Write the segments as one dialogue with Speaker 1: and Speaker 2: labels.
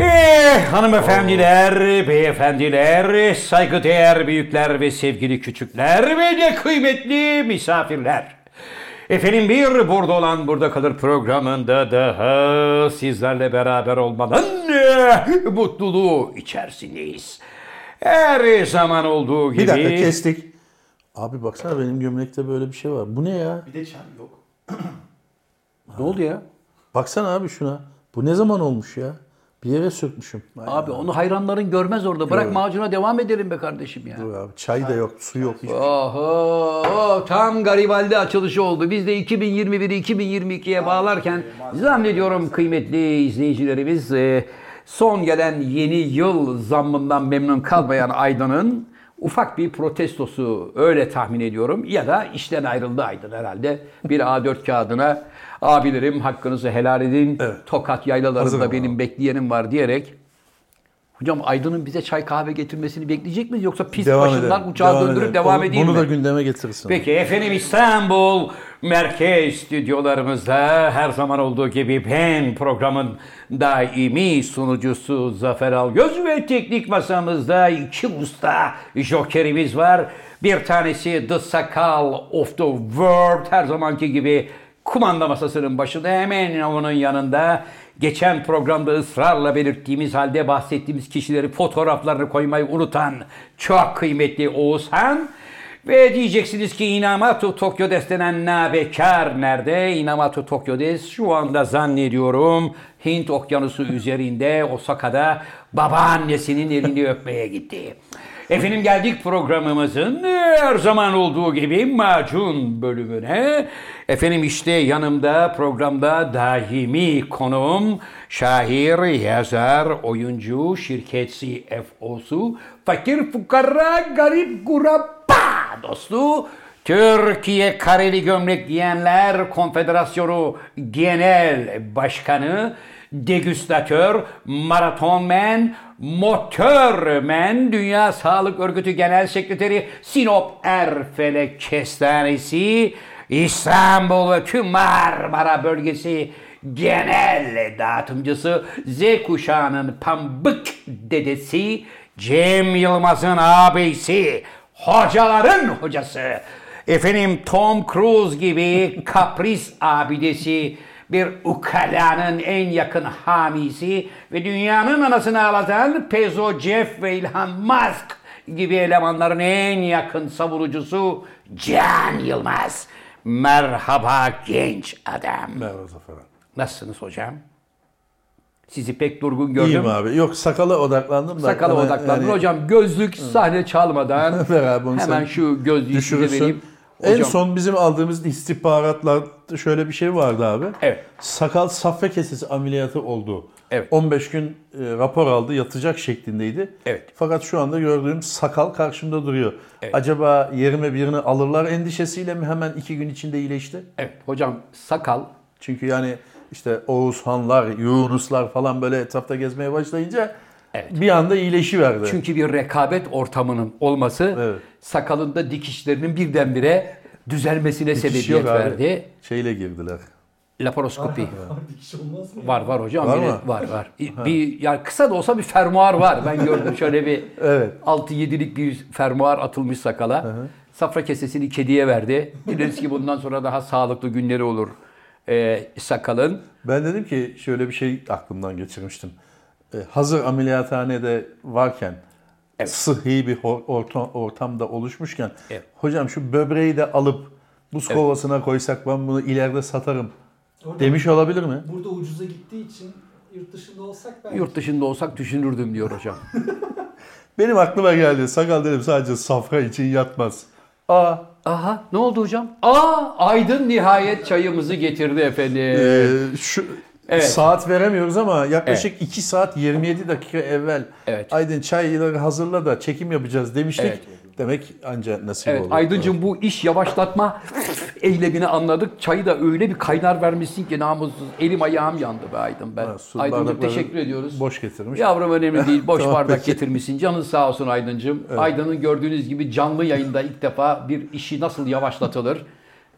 Speaker 1: Eh, hanımefendiler, beyefendiler, saygıdeğer büyükler ve sevgili küçükler ve de kıymetli misafirler. Efendim bir burada olan burada kalır programında daha sizlerle beraber olmanın eh, mutluluğu içerisindeyiz. Her zaman olduğu gibi...
Speaker 2: Bir dakika kestik. Abi baksana benim gömlekte böyle bir şey var. Bu ne ya?
Speaker 3: Bir de çam yok.
Speaker 4: Ne oldu ya?
Speaker 2: Baksana abi şuna. Bu ne zaman olmuş ya? Bir yere sökmüşüm. Vay
Speaker 4: Abi onu hayranların görmez orada. Bırak macuna devam edelim be kardeşim ya.
Speaker 2: be abi. Çay da yok, su yok. hiç-
Speaker 4: Oho tam Garibaldi açılışı oldu. Biz de 2021-2022'ye bağlarken zannediyorum kıymetli izleyicilerimiz e, son gelen yeni yıl zammından memnun kalmayan Aydın'ın ufak bir protestosu öyle tahmin ediyorum. Ya da işten ayrıldı Aydın herhalde. Bir A4 kağıdına abilerim hakkınızı helal edin. Tokat yaylalarında
Speaker 2: Hazırım
Speaker 4: benim bekleyenim var diyerek Hocam Aydın'ın bize çay kahve getirmesini bekleyecek miyiz yoksa pis başından
Speaker 2: edelim,
Speaker 4: uçağı döndürüp
Speaker 2: edelim.
Speaker 4: devam
Speaker 2: Onu-
Speaker 4: edeyim
Speaker 2: Bunu
Speaker 4: mi?
Speaker 2: da gündeme getirirsin.
Speaker 1: Peki efendim İstanbul merkez stüdyolarımızda her zaman olduğu gibi ben programın daimi sunucusu Zafer Algöz ve teknik masamızda iki usta jokerimiz var. Bir tanesi The Sakal of the World her zamanki gibi kumanda masasının başında hemen onun yanında geçen programda ısrarla belirttiğimiz halde bahsettiğimiz kişileri fotoğraflarını koymayı unutan çok kıymetli Oğuzhan ve diyeceksiniz ki Inamatu Tokyo denen nabekar nerede? Inamatu Tokyo Des şu anda zannediyorum Hint okyanusu üzerinde Osaka'da babaannesinin elini öpmeye gitti. Efendim geldik programımızın her zaman olduğu gibi macun bölümüne. Efendim işte yanımda programda daimi konuğum şair, yazar, oyuncu, şirket CFO'su, fakir, fukara, garip, guraba dostu Türkiye Kareli Gömlek Giyenler Konfederasyonu Genel Başkanı, degüstatör, maratonmen, motörmen, Dünya Sağlık Örgütü Genel Sekreteri, Sinop Erfelek Kestanesi, İstanbul ve tüm Marmara bölgesi genel dağıtımcısı, Z kuşağının pambık dedesi, Cem Yılmaz'ın abisi, hocaların hocası. Efendim Tom Cruise gibi kapris abidesi bir ukalanın en yakın hamisi ve dünyanın anasını ağlatan Pezo Jeff ve Elon Musk gibi elemanların en yakın savunucusu Can Yılmaz. Merhaba genç adam.
Speaker 2: Merhaba Zafer abi.
Speaker 1: Nasılsınız hocam? Sizi pek durgun
Speaker 2: İyiyim
Speaker 1: gördüm.
Speaker 2: abi. Yok sakala odaklandım da.
Speaker 4: Sakala
Speaker 2: Hemen
Speaker 4: odaklandın.
Speaker 2: yani
Speaker 4: Hocam gözlük sahne çalmadan
Speaker 2: Ver abi onu sen
Speaker 4: hemen şu gözlüğü size vereyim.
Speaker 2: Düşürürsün. En son bizim aldığımız istihbaratla şöyle bir şey vardı abi.
Speaker 1: Evet.
Speaker 2: Sakal safra kesesi ameliyatı oldu.
Speaker 1: Evet.
Speaker 2: 15 gün e, rapor aldı yatacak şeklindeydi.
Speaker 1: Evet.
Speaker 2: Fakat şu anda gördüğüm sakal karşımda duruyor. Acaba yerime birini alırlar endişesiyle mi hemen iki gün içinde iyileşti?
Speaker 4: Evet hocam sakal
Speaker 2: Çünkü yani işte Oğuzhanlar, Yunuslar falan böyle etrafta gezmeye başlayınca bir anda iyileşiverdi.
Speaker 4: çünkü bir rekabet ortamının olması
Speaker 2: Evet.
Speaker 4: sakalında dikişlerinin birdenbire düzelmesine
Speaker 2: Dikiş
Speaker 4: sebebiyet
Speaker 2: yok abi.
Speaker 4: verdi.
Speaker 2: Şeyle girdiler.
Speaker 4: Laparoskopi.
Speaker 3: Dikiş olmaz mı?
Speaker 4: var var hocam.
Speaker 2: Var
Speaker 4: Yine-
Speaker 2: mı?
Speaker 4: Var var. Bir yani kısa da olsa bir fermuar var. Ben gördüm şöyle bir
Speaker 2: Evet.
Speaker 4: 6-7'lik bir fermuar atılmış sakala. Safra kesesini kediye verdi. Dileriz ki bundan sonra daha sağlıklı günleri olur e, sakalın.
Speaker 2: Ben dedim ki şöyle bir şey aklımdan geçirmiştim. Ee, hazır ameliyathanede varken sıhhi bir ho- orta, ortamda oluşmuşken
Speaker 1: Evet.
Speaker 2: hocam şu böbreği de alıp buz kovasına koysak ben bunu ileride satarım
Speaker 3: Orada-
Speaker 2: demiş olabilir mi?
Speaker 3: Burada ucuza gittiği için yurt dışında olsak belki.
Speaker 4: Yurt dışında olsak düşünürdüm diyor hocam.
Speaker 2: Benim aklıma geldi. Sakal dedim sadece safra için yatmaz. Aa
Speaker 4: Aha ne oldu hocam? Aa Aydın nihayet çayımızı getirdi efendim.
Speaker 2: Ee, şu
Speaker 4: Evet.
Speaker 2: saat veremiyoruz ama yaklaşık 2 saat 27 dakika evvel
Speaker 4: Evet.
Speaker 2: Aydın çayları hazırla da çekim yapacağız demiştik.
Speaker 4: Evet.
Speaker 2: Demek ancak nasip
Speaker 4: Evet
Speaker 2: olur.
Speaker 4: Aydıncığım bu iş yavaşlatma eylemini anladık. Çayı da öyle bir kaynar vermişsin ki namussuz. Elim ayağım yandı be Aydın ben.
Speaker 2: Ha, su
Speaker 4: Aydıncığım
Speaker 2: bardakları
Speaker 4: teşekkür ediyoruz.
Speaker 2: Boş getirmiş.
Speaker 4: Yavrum önemli değil. Boş
Speaker 2: Tamam,
Speaker 4: bardak
Speaker 2: peki.
Speaker 4: getirmişsin. Canın sağ olsun Aydıncığım. Aydın'ın gördüğünüz gibi canlı yayında ilk defa bir işi nasıl yavaşlatılır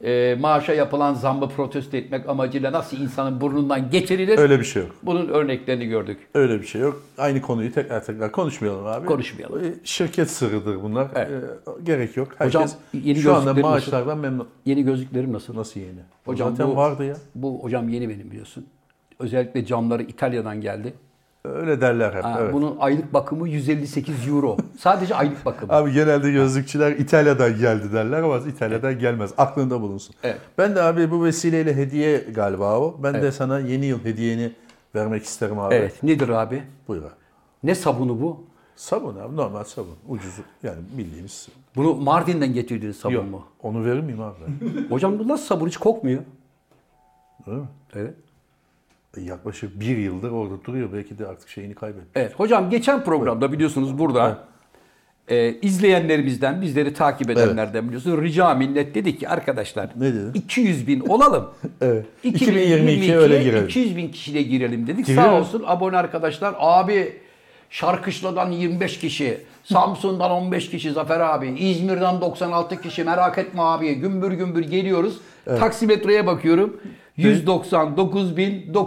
Speaker 1: e, maaşa yapılan zammı protesto etmek amacıyla nasıl insanın burnundan geçirilir?
Speaker 2: Öyle bir şey yok.
Speaker 1: Bunun örneklerini gördük.
Speaker 2: Öyle bir şey yok. Aynı konuyu tekrar tekrar konuşmayalım abi.
Speaker 1: Konuşmayalım.
Speaker 2: E, Şirket sırrıdır bunlar.
Speaker 1: Evet.
Speaker 2: E, Gerek yok. Herkes
Speaker 1: Hocam, yeni
Speaker 2: şu anda
Speaker 1: gözlüklerin nasıl?
Speaker 2: maaşlardan memnun.
Speaker 1: Yeni gözlüklerim nasıl?
Speaker 2: Nasıl yeni? O
Speaker 1: Hocam
Speaker 2: Zaten
Speaker 1: bu-
Speaker 2: vardı ya.
Speaker 1: Bu hocam yeni benim biliyorsun. Özellikle camları İtalya'dan geldi.
Speaker 2: Öyle derler hep.
Speaker 1: Ha,
Speaker 2: evet.
Speaker 1: Bunun aylık bakımı 158 euro. Sadece aylık bakımı.
Speaker 2: Abi genelde gözlükçüler İtalya'dan geldi derler ama İtalya'dan gelmez. Aklında bulunsun.
Speaker 1: Evet.
Speaker 2: Ben de abi bu vesileyle hediye galiba o. Ben de sana yeni yıl hediyeni vermek isterim abi.
Speaker 1: evet. Nedir abi?
Speaker 2: Buyur abi.
Speaker 1: Ne sabunu bu?
Speaker 2: Sabun abi normal sabun. Ucuzu yani bildiğimiz.
Speaker 1: Bunu Mardin'den getirdiğiniz sabun
Speaker 2: Yok.
Speaker 1: mu?
Speaker 2: Onu verir miyim abi? ben?
Speaker 1: Hocam bu nasıl sabun hiç kokmuyor?
Speaker 2: Öyle mi?
Speaker 1: Evet.
Speaker 2: E, Yaklaşık bir yıldır orada duruyor. Belki de artık şeyini kaybetti.
Speaker 1: Evet hocam geçen programda biliyorsunuz burada e, izleyenlerimizden bizleri takip edenlerden biliyorsunuz rica minnet dedik ki arkadaşlar
Speaker 2: Ne dedi?
Speaker 1: 200 bin olalım.
Speaker 2: Evet.
Speaker 1: 2022'ye
Speaker 2: 2022'ye öyle girelim.
Speaker 1: 200 bin kişiyle girelim dedik.
Speaker 2: Girelim.
Speaker 1: Sağ olsun abone arkadaşlar abi Şarkışla'dan 25 kişi, Samsun'dan 15 kişi Zafer abi, İzmir'den 96 kişi merak etme abi gümbür gümbür geliyoruz. Taksimetreye bakıyorum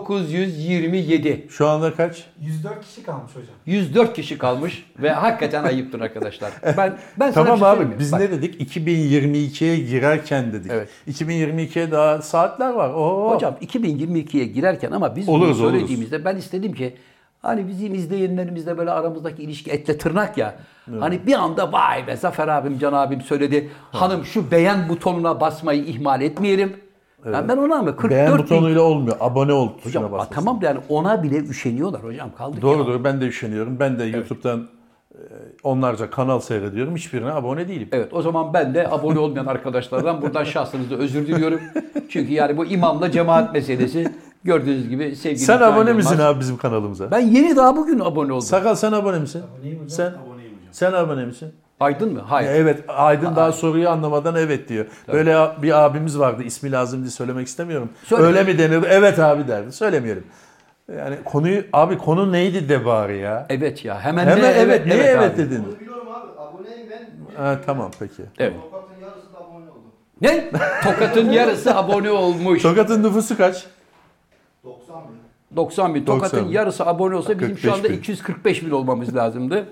Speaker 1: 199.927.
Speaker 2: Şu anda kaç?
Speaker 3: 104 kişi kalmış hocam.
Speaker 1: 104 kişi kalmış ve hakikaten ayıptır arkadaşlar. Ben ben sana
Speaker 2: Tamam
Speaker 1: bir şey
Speaker 2: abi
Speaker 1: söyleyeyim mi?
Speaker 2: biz
Speaker 1: Bak,
Speaker 2: ne dedik? 2022'ye girerken dedik.
Speaker 1: Evet.
Speaker 2: 2022'ye daha saatler var. Oo.
Speaker 1: hocam 2022'ye girerken ama biz
Speaker 2: Oluruz,
Speaker 1: bunu
Speaker 2: oluruz.
Speaker 1: söylediğimizde ben istedim ki hani bizim izleyenlerimizle böyle aramızdaki ilişki etle tırnak ya. Hani bir anda vay be Zafer abim Can abim söyledi. Hanım şu beğen butonuna basmayı ihmal etmeyelim. Yani ben ona mı 44
Speaker 2: Beğen
Speaker 1: bin-
Speaker 2: butonuyla olmuyor. Abone ol tuşuna
Speaker 1: hocam,
Speaker 2: basmasın.
Speaker 1: tamam da yani ona bile üşeniyorlar hocam kaldık
Speaker 2: Doğru
Speaker 1: ya.
Speaker 2: doğru ben de üşeniyorum. Ben de YouTube'dan e, onlarca kanal seyrediyorum. Hiçbirine abone değilim.
Speaker 1: Evet o zaman ben de abone olmayan arkadaşlardan buradan şahsınızda özür diliyorum. Çünkü yani bu imamla cemaat meselesi gördüğünüz gibi sevgili
Speaker 2: Sen
Speaker 1: Can
Speaker 2: abone
Speaker 1: Yılmaz-
Speaker 2: misin abi bizim kanalımıza?
Speaker 1: Ben yeni daha bugün abone oldum.
Speaker 2: Sakal sen abone misin?
Speaker 3: Aboneyim hocam.
Speaker 2: Sen
Speaker 5: Aboneyim hocam.
Speaker 2: sen abone misin?
Speaker 1: Aydın mı? Hayır.
Speaker 2: Evet Aydın daha soruyu anlamadan evet diyor. Böyle bir abimiz vardı ismi lazım diye söylemek istemiyorum.
Speaker 1: Söyle.
Speaker 2: Öyle mi denir? Evet abi derdi. Söylemeyelim. Yani konuyu abi konu neydi de bari ya?
Speaker 1: Evet ya hemen,
Speaker 2: Hemen
Speaker 1: de
Speaker 2: evet, niye evet,
Speaker 1: abi.
Speaker 2: dedin?
Speaker 5: Onu biliyorum abi. Aboneyim ben.
Speaker 2: Ha, tamam peki.
Speaker 1: Evet.
Speaker 5: Tokat'ın yarısı da abone oldu.
Speaker 1: Ne? Tokat'ın yarısı abone olmuş.
Speaker 2: Tokat'ın nüfusu kaç?
Speaker 5: 90 bin.
Speaker 1: 90 bin. Tokat'ın
Speaker 2: 90 bin.
Speaker 1: yarısı abone olsa bizim şu
Speaker 2: 45
Speaker 1: anda
Speaker 2: bin.
Speaker 1: 245 bin olmamız lazımdı.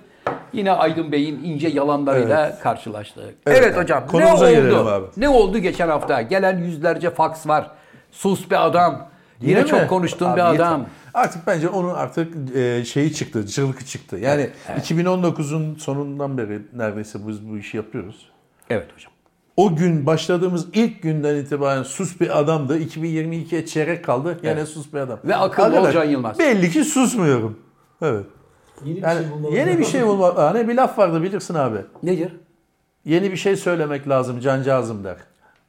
Speaker 1: Yine Aydın Bey'in ince yalanlarıyla karşılaştık. Evet, hocam. Ne
Speaker 2: Konumuza gelelim
Speaker 1: oldu?
Speaker 2: abi.
Speaker 1: Ne oldu geçen hafta? Gelen yüzlerce faks var. Sus be adam. Yine,
Speaker 2: Yine mi?
Speaker 1: çok konuştuğun
Speaker 2: Abi
Speaker 1: bir
Speaker 2: yeter.
Speaker 1: adam.
Speaker 2: Artık bence onun artık e, şeyi çıktı, çığlıkı çıktı. Yani 2019'un sonundan beri neredeyse biz bu işi yapıyoruz.
Speaker 1: Evet hocam.
Speaker 2: O gün başladığımız ilk günden itibaren sus bir adamdı. 2022'ye çeyrek kaldı. Yine sus bir adam.
Speaker 1: Ve akıllı
Speaker 2: Arkadaş,
Speaker 1: ol Can Yılmaz.
Speaker 2: Belli ki susmuyorum. Evet.
Speaker 3: Yeni bir
Speaker 2: Yani
Speaker 3: şey bulmalı.
Speaker 2: yeni bir şey bulmak. Hani bir laf vardı bilirsin abi.
Speaker 1: Nedir?
Speaker 2: Yeni bir şey söylemek lazım cancağızım der.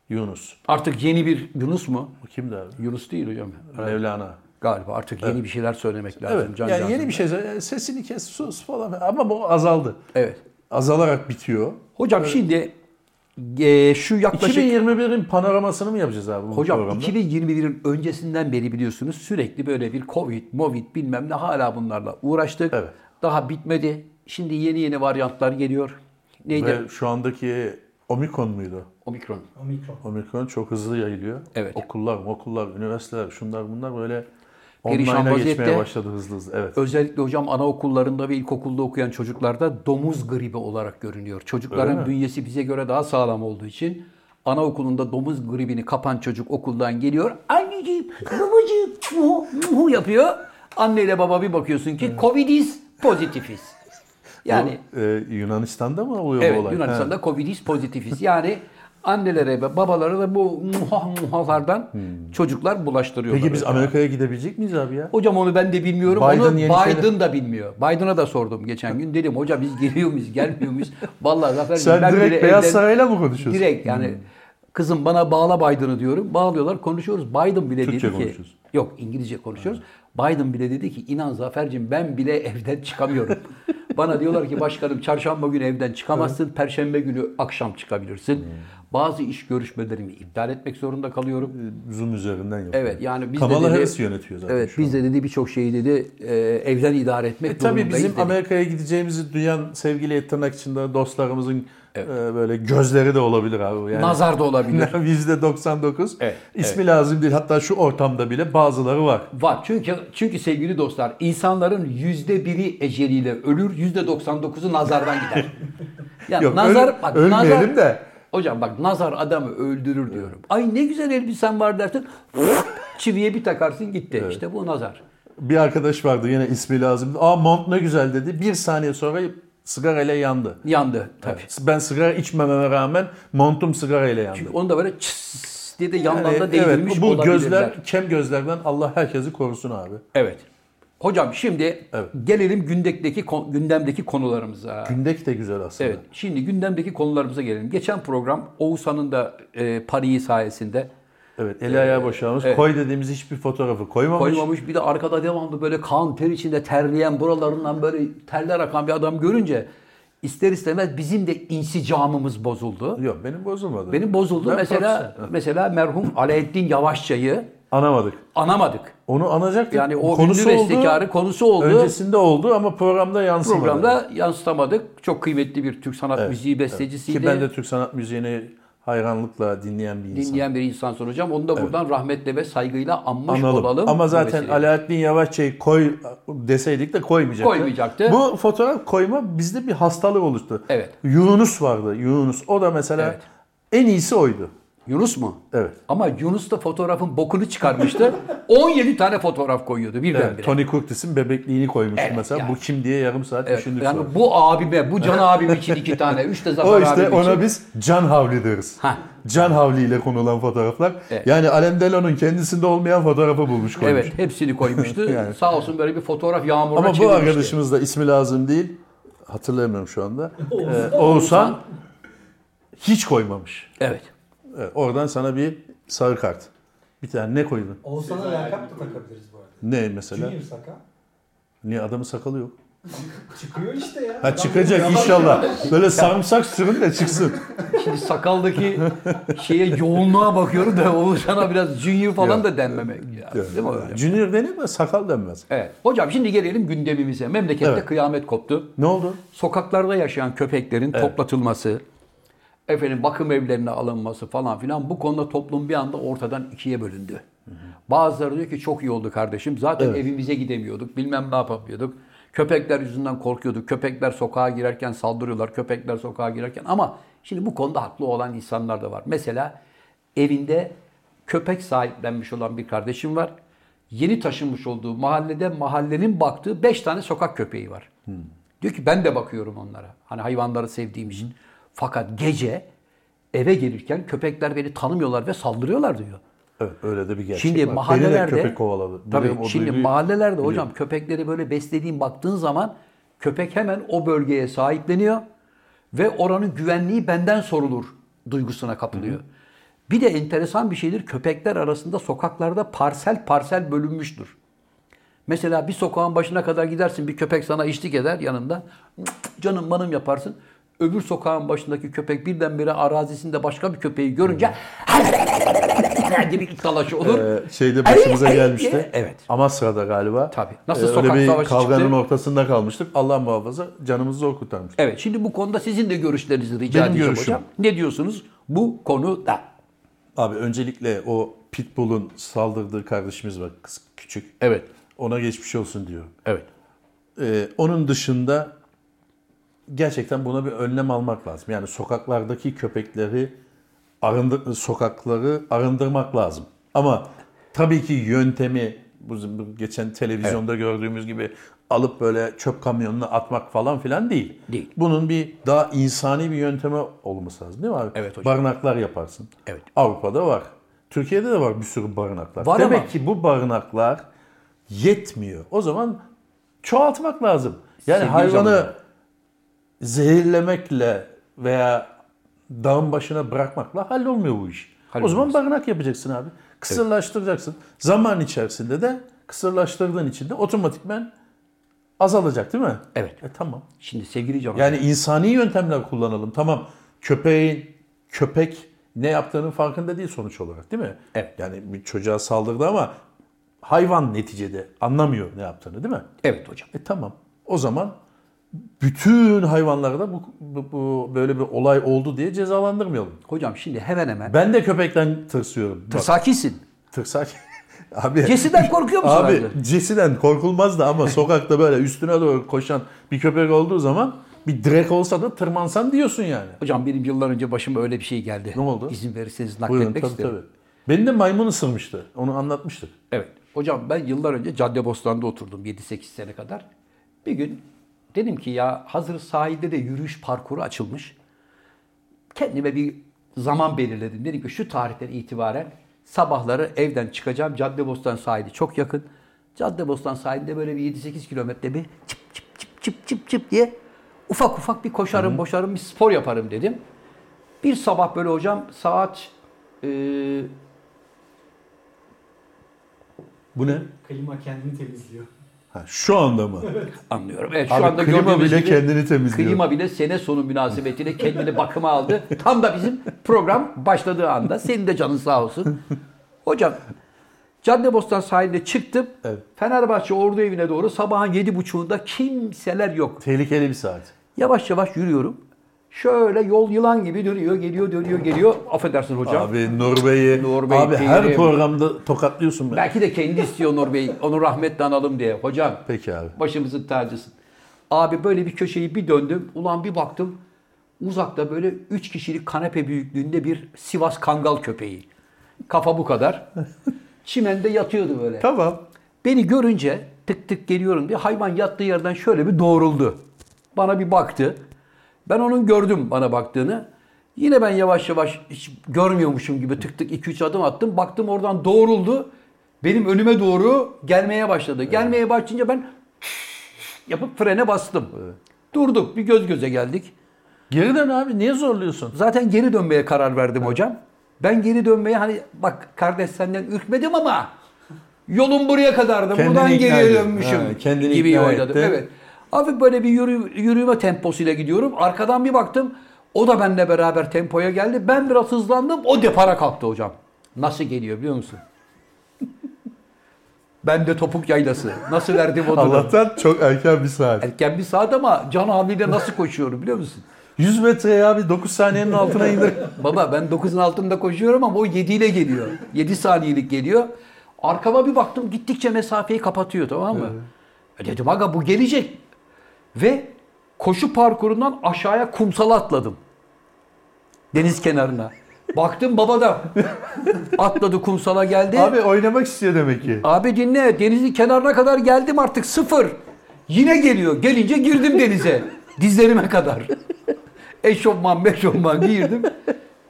Speaker 2: Yunus.
Speaker 1: Artık yeni bir Yunus mu?
Speaker 2: Bu kimdi abi?
Speaker 1: Yunus değil hocam.
Speaker 2: Mevlana.
Speaker 1: Galiba artık yeni bir şeyler söylemek lazım.
Speaker 2: Evet.
Speaker 1: Can
Speaker 2: yani
Speaker 1: Can'dan.
Speaker 2: yeni bir şey söyle- sesini kes sus falan ama bu azaldı.
Speaker 1: Evet.
Speaker 2: Azalarak bitiyor.
Speaker 1: Hocam şimdi e, şu yaklaşık
Speaker 2: 2021'in panoramasını mı yapacağız abi bu
Speaker 1: Hocam
Speaker 2: programda?
Speaker 1: 2021'in öncesinden beri biliyorsunuz sürekli böyle bir Covid, Movid bilmem ne hala bunlarla uğraştık.
Speaker 2: Evet.
Speaker 1: Daha bitmedi. Şimdi yeni yeni varyantlar geliyor. Neydi?
Speaker 2: Ve şu andaki Omikron muydu?
Speaker 1: Omikron.
Speaker 3: Omikron.
Speaker 2: Omikron çok hızlı yayılıyor.
Speaker 1: Evet.
Speaker 2: Okullar, okullar, üniversiteler, şunlar bunlar böyle
Speaker 1: Perişan
Speaker 2: online'a
Speaker 1: vaziyette.
Speaker 2: geçmeye başladı hızlı hızlı. Evet.
Speaker 1: Özellikle hocam anaokullarında ve ilkokulda okuyan çocuklarda domuz gribi olarak görünüyor.
Speaker 2: Öyle
Speaker 1: Çocukların
Speaker 2: mi?
Speaker 1: bünyesi bize göre daha sağlam olduğu için anaokulunda domuz gribini kapan çocuk okuldan geliyor. Anneciğim, babacığım muhu, muhu yapıyor. Anneyle baba bir bakıyorsun ki Covidiz pozitifiz. Yani
Speaker 2: Bu, e, Yunanistan'da mı oluyor
Speaker 1: Evet
Speaker 2: bu olay?
Speaker 1: Yunanistan'da Covid'iz pozitifiz. Yani annelere ve babalara da bu muha muhalardan çocuklar bulaştırıyorlar.
Speaker 2: Hmm. Peki biz
Speaker 1: Öyle.
Speaker 2: Amerika'ya gidebilecek miyiz abi ya?
Speaker 1: Hocam onu ben de bilmiyorum.
Speaker 2: Biden
Speaker 1: onu
Speaker 2: yeni
Speaker 1: Biden
Speaker 2: sene-
Speaker 1: da bilmiyor. Biden'a da sordum geçen gün. Dedim hoca biz geliyor muyuz, gelmiyor muyuz? Vallahi Zafer
Speaker 2: Sen
Speaker 1: ben
Speaker 2: direkt
Speaker 1: bile
Speaker 2: Beyaz
Speaker 1: evden-
Speaker 2: Saray'la mı konuşuyorsun? Hmm.
Speaker 1: Direkt yani kızım bana bağla Biden'ı diyorum. Bağlıyorlar konuşuyoruz. Biden bile
Speaker 2: Türkçe
Speaker 1: dedi ki
Speaker 2: konuşuyoruz.
Speaker 1: yok İngilizce konuşuyoruz. Biden bile dedi ki inan Zafer'cim ben bile evden çıkamıyorum. bana diyorlar ki başkanım çarşamba günü evden çıkamazsın. Perşembe günü akşam çıkabilirsin.
Speaker 2: Hmm.
Speaker 1: Bazı iş görüşmelerimi iptal etmek zorunda kalıyorum.
Speaker 2: Zoom üzerinden yapıyor.
Speaker 1: Evet yani biz de
Speaker 2: Kamala
Speaker 1: dedi,
Speaker 2: Harris yönetiyor zaten
Speaker 1: Evet
Speaker 2: şu E,
Speaker 1: biz de dedi birçok şeyi dedi e, evden idare etmek
Speaker 2: Tabii
Speaker 1: durumundayız
Speaker 2: bizim
Speaker 1: dedi.
Speaker 2: Amerika'ya gideceğimizi duyan sevgili tırnak içinde dostlarımızın Ee, böyle gözleri de olabilir abi. Yani.
Speaker 1: Nazar da olabilir.
Speaker 2: %99.
Speaker 6: Evet,
Speaker 2: İsmi lazım değil. Hatta şu ortamda bile bazıları var.
Speaker 1: Var çünkü çünkü sevgili dostlar insanların yüzde biri eceliyle ölür yüzde 99'u nazardan gider. Ya
Speaker 2: Yok,
Speaker 1: nazar
Speaker 2: öl-
Speaker 1: bak
Speaker 2: ölmeyelim
Speaker 1: nazar,
Speaker 2: de.
Speaker 1: Hocam bak nazar adamı öldürür diyorum. Ay ne güzel elbisen var dersin. Çiviye bir takarsın gitti. İşte bu nazar.
Speaker 2: Bir arkadaş vardı yine ismi lazım. Aa mont ne güzel dedi. Bir saniye sonra sigarayla yandı.
Speaker 1: Yandı tabii.
Speaker 2: Evet. Ben sigara içmememe rağmen montum sigarayla yandı.
Speaker 1: Onu da böyle çıs diye de yandan
Speaker 2: Yani
Speaker 1: da değdirmiş
Speaker 2: bu
Speaker 1: olabilirler.
Speaker 2: gözler kem gözlerden Allah herkesi korusun abi.
Speaker 1: Evet. Hocam şimdi
Speaker 2: Evet.
Speaker 1: gelelim gündemdeki kon- gündemdeki konularımıza.
Speaker 2: Gündek de güzel aslında.
Speaker 1: Evet. Şimdi gündemdeki konularımıza gelelim. Geçen program Oğuzhan'ın da e, pariyi sayesinde
Speaker 2: Evet, eli ayağı boşalmış. Koy dediğimiz hiçbir fotoğrafı koymamış.
Speaker 1: Ee, koymamış. Bir de arkada devamlı böyle kan ter içinde terleyen buralarından böyle terler akan bir adam görünce ister istemez bizim de insicamımız bozuldu.
Speaker 2: Yok benim bozulmadı.
Speaker 1: Benim bozuldu.
Speaker 2: Ben
Speaker 1: mesela
Speaker 2: profesyonel.
Speaker 1: mesela merhum Alaaddin Yavaşça'yı
Speaker 2: Anamadık.
Speaker 1: anamadık.
Speaker 2: Onu anacaktık.
Speaker 1: Yani o
Speaker 2: konusu
Speaker 1: ünlü
Speaker 2: oldu.
Speaker 1: bestekarı konusu oldu.
Speaker 2: Öncesinde oldu ama programda yansımadı.
Speaker 1: programda yansıtamadık. Çok kıymetli bir Türk sanat müziği bestecisiydi.
Speaker 2: Ki ben de Türk sanat müziğini hayranlıkla dinleyen bir insan.
Speaker 1: dinleyen bir insan soracağım. Onu da buradan rahmetle ve saygıyla anmış
Speaker 2: Analım.
Speaker 1: olalım.
Speaker 2: Ama zaten
Speaker 1: Dolayısıyla-
Speaker 2: Alaaddin Yavaşçı'yı koy deseydik de koymayacaktı.
Speaker 1: Koymayacaktı.
Speaker 2: Bu fotoğraf koyma bizde bir hastalık oluştu.
Speaker 1: Evet.
Speaker 2: Yunus vardı. Yunus. O da mesela
Speaker 1: Evet.
Speaker 2: en iyisi oydu.
Speaker 1: Yunus mu?
Speaker 2: Evet.
Speaker 1: Ama Yunus da fotoğrafın bokunu çıkarmıştı. 17 tane fotoğraf koyuyordu birdenbire.
Speaker 2: Evet, Tony Curtis'in bebekliğini koymuştu
Speaker 1: Evet,
Speaker 2: mesela.
Speaker 1: yani.
Speaker 2: Bu kim diye yarım saat
Speaker 1: Evet,
Speaker 2: düşündük
Speaker 1: yani
Speaker 2: sonra.
Speaker 1: bu abime, bu Can abim için iki tane, üç de Zafer
Speaker 2: O işte
Speaker 1: abim
Speaker 2: ona
Speaker 1: için.
Speaker 2: biz Can Havli deriz.
Speaker 1: Ha.
Speaker 2: Can Havli ile konulan fotoğraflar.
Speaker 1: Evet.
Speaker 2: Yani Alem Delon'un kendisinde olmayan fotoğrafı bulmuş koymuş.
Speaker 1: Evet, hepsini koymuştu.
Speaker 2: Yani.
Speaker 1: Sağ olsun böyle bir fotoğraf yağmuruna
Speaker 2: Ama bu
Speaker 1: çevirmişti.
Speaker 2: arkadaşımız da ismi lazım değil. Hatırlayamıyorum şu anda.
Speaker 3: Oğuzhan.
Speaker 2: Ee, Oğuzhan hiç koymamış.
Speaker 1: Evet.
Speaker 2: Evet, oradan sana bir sarı kart. Bir tane ne koydun?
Speaker 3: Oğuzhan'a lakap da takabiliriz bu arada.
Speaker 2: Ne mesela?
Speaker 3: Junior Saka.
Speaker 2: Niye adamın sakalı yok?
Speaker 3: Çıkıyor işte ya.
Speaker 2: Ha
Speaker 3: Adam
Speaker 2: çıkacak
Speaker 3: böyle
Speaker 2: inşallah. Böyle sarımsak sürün de çıksın.
Speaker 1: Şimdi sakaldaki şeye yoğunluğa bakıyorum da Oğuzhan'a biraz junior falan
Speaker 2: Yok.
Speaker 1: da denmemek. Ya, değil mi hocam?
Speaker 2: Junior denir mi? Sakal denmez.
Speaker 1: Evet. Hocam şimdi gelelim gündemimize. Memlekette
Speaker 2: Evet.
Speaker 1: kıyamet koptu.
Speaker 2: Ne oldu?
Speaker 1: Sokaklarda yaşayan köpeklerin toplatılması, efendim bakım evlerine alınması falan filan bu konuda toplum bir anda ortadan ikiye bölündü. Bazıları diyor ki çok iyi oldu kardeşim. Zaten evimize gidemiyorduk. Bilmem ne yapamıyorduk. Köpekler yüzünden korkuyorduk. Köpekler sokağa girerken saldırıyorlar. Köpekler sokağa girerken ama şimdi bu konuda haklı olan insanlar da var. Mesela evinde köpek sahiplenmiş olan bir kardeşim var. Yeni taşınmış olduğu mahallede mahallenin baktığı 5 tane sokak köpeği var. Diyor ki ben de bakıyorum onlara. Hani hayvanları sevdiğim için. Fakat gece eve gelirken köpekler beni tanımıyorlar ve saldırıyorlar diyor.
Speaker 2: Evet öyle de bir gerçek
Speaker 1: Şimdi
Speaker 2: var.
Speaker 1: mahallelerde
Speaker 2: Beni de köpek kovaladı.
Speaker 1: Tabii
Speaker 2: Biliyorum, o
Speaker 1: şimdi
Speaker 2: duyguyu-
Speaker 1: mahallelerde hocam köpekleri böyle beslediğin baktığın zaman köpek hemen o bölgeye sahipleniyor ve oranın güvenliği benden sorulur duygusuna kapılıyor. Bir de enteresan bir şeydir köpekler arasında sokaklarda parsel parsel bölünmüştür. Mesela bir sokağın başına kadar gidersin bir köpek sana içlik eder yanında. Canım manım yaparsın. Öbür sokağın başındaki köpek birdenbire arazisinde başka bir köpeği görünce gibi bir dalaşı olur.
Speaker 2: Ee, şeyde başımıza
Speaker 1: Ay, ay,
Speaker 2: gelmişti.
Speaker 1: evet.
Speaker 2: Amasra'da galiba. Ee,
Speaker 1: Tabii. Nasıl
Speaker 2: öyle
Speaker 1: sokak
Speaker 2: bir
Speaker 1: savaşı
Speaker 2: kavganın
Speaker 1: çıktı?
Speaker 2: ortasında kalmıştık. Allah muhafaza canımızı zor kurtarmıştık.
Speaker 1: Evet şimdi bu konuda sizin de görüşlerinizi rica
Speaker 2: Benim
Speaker 1: edeceğim
Speaker 2: görüşüm.
Speaker 1: hocam. Ne diyorsunuz bu konuda?
Speaker 2: Abi öncelikle o Pitbull'un saldırdığı kardeşimiz var kız küçük.
Speaker 1: Evet.
Speaker 2: Ona geçmiş olsun diyor.
Speaker 1: Evet.
Speaker 2: Ee, onun dışında gerçekten buna bir önlem almak lazım. Yani sokaklardaki köpekleri arındır sokakları arındırmak lazım. Ama tabii ki yöntemi bu bu geçen televizyonda gördüğümüz gibi alıp böyle çöp kamyonuna atmak falan filan değil.
Speaker 1: Değil.
Speaker 2: Bunun bir daha insani bir yönteme olması lazım değil mi abi?
Speaker 1: Evet hocam.
Speaker 2: Barınaklar yaparsın.
Speaker 1: Evet.
Speaker 2: Avrupa'da var. Türkiye'de de var bir sürü barınaklar.
Speaker 1: Var
Speaker 2: Demek
Speaker 1: ama-
Speaker 2: ki bu barınaklar yetmiyor. O zaman çoğaltmak lazım. Yani
Speaker 1: Sevgili
Speaker 2: hayvanı
Speaker 1: canlılar.
Speaker 2: zehirlemekle veya dağın başına bırakmakla hallolmuyor bu iş.
Speaker 1: Hallolmaz.
Speaker 2: O zaman barınak yapacaksın abi. Kısırlaştıracaksın. Zaman içerisinde de kısırlaştırdığın için de otomatikmen azalacak değil mi?
Speaker 1: Evet.
Speaker 2: E, tamam.
Speaker 1: Şimdi sevgili Can
Speaker 2: Yani insani yöntemler kullanalım. Tamam. Köpeğin köpek ne yaptığının farkında değil sonuç olarak değil mi?
Speaker 1: Evet.
Speaker 2: Yani bir çocuğa saldırdı ama hayvan neticede anlamıyor ne yaptığını değil mi?
Speaker 1: Evet hocam.
Speaker 2: E tamam. O zaman bütün hayvanlarda bu, bu, bu böyle bir olay oldu diye cezalandırmayalım.
Speaker 1: Hocam şimdi hemen hemen.
Speaker 2: Ben de köpekten tırsıyorum. Bak,
Speaker 1: Tırsakisin.
Speaker 2: tırsak. abi
Speaker 1: Cesi'den korkuyor musun
Speaker 2: abi
Speaker 1: abi?
Speaker 2: cesiden korkulmaz da ama sokakta böyle üstüne doğru koşan bir köpek olduğu zaman bir direk olsa da tırmansan diyorsun yani.
Speaker 1: Hocam benim yıllar önce başıma öyle bir şey geldi.
Speaker 2: Ne oldu?
Speaker 1: İzin verirseniz
Speaker 2: Buyurun
Speaker 1: nakletmek
Speaker 2: tabii
Speaker 1: isterim.
Speaker 2: tabii. Beni de maymun ısırmıştı. Onu anlatmıştık.
Speaker 1: Evet. Hocam ben yıllar önce Caddebostan'da oturdum 7-8 sene kadar. Bir gün dedim ki ya hazır sahilde de yürüyüş parkuru açılmış. Kendime bir zaman belirledim. Dedim ki şu tarihten itibaren sabahları evden çıkacağım. Caddebostan sahili çok yakın. Caddebostan sahilinde böyle bir 7-8 kilometre bir çıp çıp çıp çıp çıp çıp diye ufak ufak bir koşarım, boşarım, bir spor yaparım dedim. Bir sabah böyle hocam saat eee
Speaker 2: Bu ne?
Speaker 3: Klima kendini temizliyor.
Speaker 2: Ha, şu anda mı?
Speaker 1: Anlıyorum. Evet, şu
Speaker 2: Abi
Speaker 1: anda
Speaker 2: klima
Speaker 1: gördüğünüz
Speaker 2: bile
Speaker 1: gibi
Speaker 2: kendini temizliyor.
Speaker 1: Klima bile sene sonu münasebetiyle kendini bakıma aldı. Tam da bizim program başladığı anda. Senin de canın sağ olsun. Hocam Caddebostan sahilde çıktım.
Speaker 2: Evet.
Speaker 1: Fenerbahçe Ordu evine doğru sabahın yedi buçuğunda kimseler yok.
Speaker 2: Tehlikeli bir saat.
Speaker 1: Yavaş yavaş yürüyorum. Şöyle yol yılan gibi dönüyor, geliyor, dönüyor, geliyor. Affedersin hocam.
Speaker 2: Abi Nur Bey'i,
Speaker 1: Nur Bey
Speaker 2: abi her
Speaker 1: değilim.
Speaker 2: programda tokatlıyorsun beni.
Speaker 1: Belki de kendi istiyor Onur Bey. Onu rahmetle analım diye. Hocam.
Speaker 2: Peki abi.
Speaker 1: Başımızın tacısın. Abi böyle bir köşeyi bir döndüm. Ulan bir baktım. Uzakta böyle 3 kişilik kanepe büyüklüğünde bir Sivas Kangal köpeği. Kafa bu kadar. Çimende yatıyordu böyle.
Speaker 2: Tamam.
Speaker 1: Beni görünce tık tık geliyorum diye hayvan yattığı yerden şöyle bir doğruldu. Bana bir baktı. Ben onun gördüm bana baktığını. Yine ben yavaş yavaş hiç görmüyormuşum gibi tık tık 2-3 adım attım. Baktım oradan doğruldu. Benim önüme doğru gelmeye başladı. Gelmeye başlayınca ben yapıp frene bastım. Durduk bir göz göze geldik.
Speaker 2: Geri dön abi niye zorluyorsun?
Speaker 1: Zaten geri dönmeye karar verdim hocam. Ben geri dönmeye hani bak kardeş senden ürkmedim ama yolum buraya kadardı.
Speaker 2: Kendini
Speaker 1: Buradan
Speaker 2: ikna
Speaker 1: geri
Speaker 2: ediyor.
Speaker 1: dönmüşüm
Speaker 2: Ha, kendini
Speaker 1: gibi
Speaker 2: ikna
Speaker 1: oynadım.
Speaker 2: etti.
Speaker 1: Evet. Hafif böyle bir yürü, yürüme temposuyla gidiyorum. Arkadan bir baktım. O da benimle beraber tempoya geldi. Ben biraz hızlandım. O depara kalktı hocam. Nasıl geliyor biliyor musun? ben de topuk yaylası. Nasıl verdim o durum?
Speaker 2: Allah'tan çok erken bir saat.
Speaker 1: Erken bir saat ama Can abiyle nasıl koşuyorum biliyor musun?
Speaker 2: 100 metreye abi 9 saniyenin altına indir.
Speaker 1: Baba ben 9'un altında koşuyorum ama o 7 ile geliyor. 7 saniyelik geliyor. Arkama bir baktım gittikçe mesafeyi kapatıyor tamam mı? E Dedim aga bu gelecek. Ve koşu parkurundan aşağıya kumsala atladım. Deniz kenarına. Baktım baba da atladı kumsala geldi.
Speaker 2: abi oynamak istiyor demek ki.
Speaker 1: Abi dinle denizin kenarına kadar geldim artık sıfır. Yine geliyor. Gelince girdim denize. Dizlerime kadar. Eşofman meşofman giydim.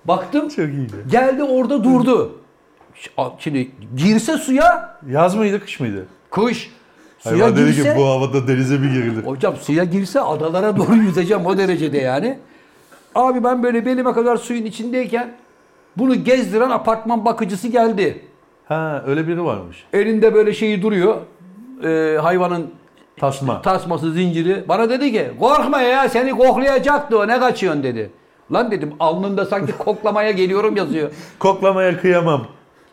Speaker 1: Baktım
Speaker 2: Çok iyiydi.
Speaker 1: geldi orada durdu. Ş- a- Şimdi girse suya
Speaker 2: Yaz mıydı kış mıydı?
Speaker 1: kuş. Suya
Speaker 2: Hayvan dedi ki
Speaker 1: girse
Speaker 2: bu havada denize bir girilir.
Speaker 1: hocam suya girse adalara doğru yüzeceğim o derecede yani. Abi ben böyle belime kadar suyun içindeyken bunu gezdiren apartman bakıcısı geldi.
Speaker 2: Ha öyle biri varmış.
Speaker 1: Elinde böyle şeyi duruyor. Ee, hayvanın
Speaker 2: Tasma.
Speaker 1: tasması zinciri. Bana dedi ki korkma ya seni koklayacaktı o ne kaçıyorsun dedi. Lan dedim alnında sanki koklamaya geliyorum yazıyor.
Speaker 2: Koklamaya kıyamam.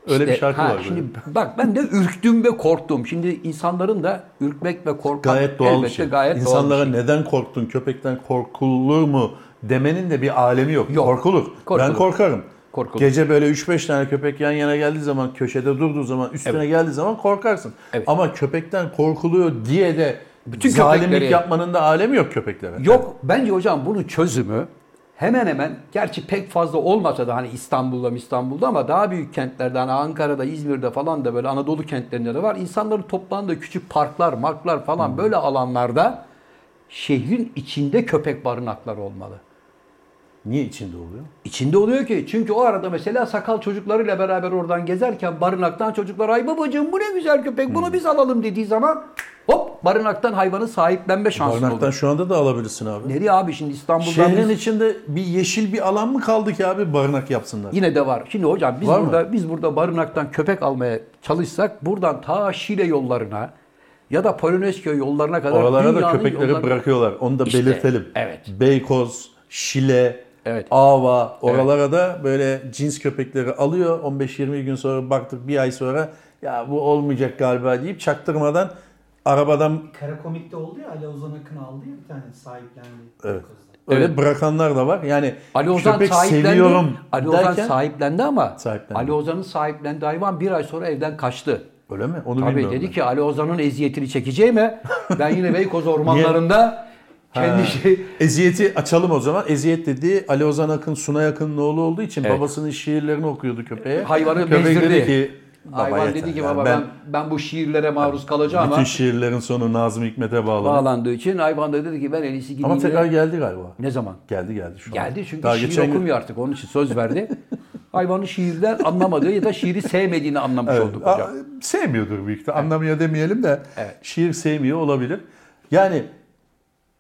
Speaker 2: Öyle bir
Speaker 1: İşte,
Speaker 2: şarkı
Speaker 1: ha,
Speaker 2: var.
Speaker 1: Şimdi
Speaker 2: böyle.
Speaker 1: bak ben de ürktüm ve korktum. Şimdi insanların da ürkmek ve korkmak
Speaker 2: Gayet doğal bir
Speaker 1: elbette
Speaker 2: şey.
Speaker 1: gayet
Speaker 2: İnsanlara
Speaker 1: doğal bir şey.
Speaker 2: neden korktun, köpekten korkulur mu demenin de bir alemi yok.
Speaker 1: Yok.
Speaker 2: Korkulur.
Speaker 1: Korkulur.
Speaker 2: Ben korkarım.
Speaker 1: Korkulur.
Speaker 2: Gece böyle 3-5 tane köpek yan yana geldiği zaman, köşede durduğu zaman, üstüne geldiği zaman korkarsın.
Speaker 1: Evet.
Speaker 2: Ama köpekten korkuluyor diye de
Speaker 1: Bütün
Speaker 2: zalimlik
Speaker 1: köpekleri-
Speaker 2: yapmanın da alemi yok köpeklere.
Speaker 1: şey. Yok bence hocam bunun çözümü hemen hemen gerçi pek fazla olmasa da hani İstanbul'da İstanbul'da ama daha büyük kentlerde hani Ankara'da İzmir'de falan da böyle Anadolu kentlerinde de var. İnsanların toplandığı küçük parklar marklar falan
Speaker 2: Hmm.
Speaker 1: böyle alanlarda şehrin içinde köpek barınakları olmalı.
Speaker 2: Niye içinde oluyor?
Speaker 1: İçinde oluyor ki çünkü o arada mesela sakal çocuklarıyla beraber oradan gezerken barınaktan çocuklar ay babacığım bu ne güzel köpek
Speaker 2: Hmm.
Speaker 1: bunu biz alalım dediği zaman hop barınaktan hayvanı sahiplenme şansı
Speaker 2: Barnaktan
Speaker 1: olur.
Speaker 2: şu anda da alabilirsin abi.
Speaker 1: Nereye abi şimdi İstanbul'dan biz-
Speaker 2: Şehrin içinde bir yeşil bir alan mı kaldı ki abi barınak yapsınlar?
Speaker 1: Yine de var. Şimdi hocam biz
Speaker 2: Var mı?
Speaker 1: burada biz burada barınaktan köpek almaya çalışsak buradan ta Şile yollarına ya da Polonezköy yollarına kadar
Speaker 2: Oralara da
Speaker 1: dünyanın
Speaker 2: köpekleri
Speaker 1: yollarına-
Speaker 2: bırakıyorlar. Onu da
Speaker 1: İşte,
Speaker 2: belirtelim.
Speaker 1: evet.
Speaker 2: Beykoz, Şile,
Speaker 1: Evet.
Speaker 2: Ava oralara da böyle cins köpekleri alıyor. 15-20 gün sonra baktık bir ay sonra ya bu olmayacak galiba deyip çaktırmadan arabadan
Speaker 3: Kara komikte oldu ya Ali Ozan Akın aldı ya bir tane sahiplendi.
Speaker 2: Evet.
Speaker 3: O kızdan.
Speaker 2: öyle
Speaker 1: Evet.
Speaker 2: bırakanlar da var. Yani
Speaker 1: Ali Ozan
Speaker 2: köpek
Speaker 1: sahiplendi.
Speaker 2: seviyorum
Speaker 1: Ali Ozan
Speaker 2: derken
Speaker 1: sahiplendi ama
Speaker 2: Sahiplendi.
Speaker 1: Ali Ozan'ın sahiplendiği hayvan bir ay sonra evden kaçtı.
Speaker 2: öyle mi? Onu
Speaker 1: Tabii
Speaker 2: bilmiyorum.
Speaker 1: dedi
Speaker 2: ben.
Speaker 1: ki Ali Ozan'ın eziyetini çekeceğime ben yine Beykoz ormanlarında kendi şey
Speaker 2: Eziyeti açalım o zaman. Eziyet dediği Ali Ozan Akın Sunay Akın'ın oğlu olduğu için babasının şiirlerini okuyordu köpeğe.
Speaker 1: Hayvanı
Speaker 2: Köpek
Speaker 1: bezdirdi.
Speaker 2: dedi ki baba
Speaker 1: Hayvan
Speaker 2: yeter
Speaker 1: dedi ki
Speaker 2: ya.
Speaker 1: baba ben ben bu şiirlere maruz kalacağım
Speaker 2: bütün
Speaker 1: ama
Speaker 2: şiirlerin sonu Nazım Hikmet'e bağlı.
Speaker 1: bağlandığı için hayvan da dedi ki ben en iyisi gideyim.
Speaker 2: Ama tekrar
Speaker 1: de-
Speaker 2: geldi galiba.
Speaker 1: ne zaman?
Speaker 2: Geldi geldi şu an.
Speaker 1: Geldi çünkü
Speaker 2: Daha
Speaker 1: şiir
Speaker 2: geçen gün-
Speaker 1: okumuyor artık onun için söz verdi. Hayvanın şiirden anlamadığı ya da şiiri sevmediğini anlamış olduk hocam.
Speaker 2: Aa, sevmiyordur büyük ihtimal. Anlamıyor demeyelim de şiir sevmiyor olabilir. Yani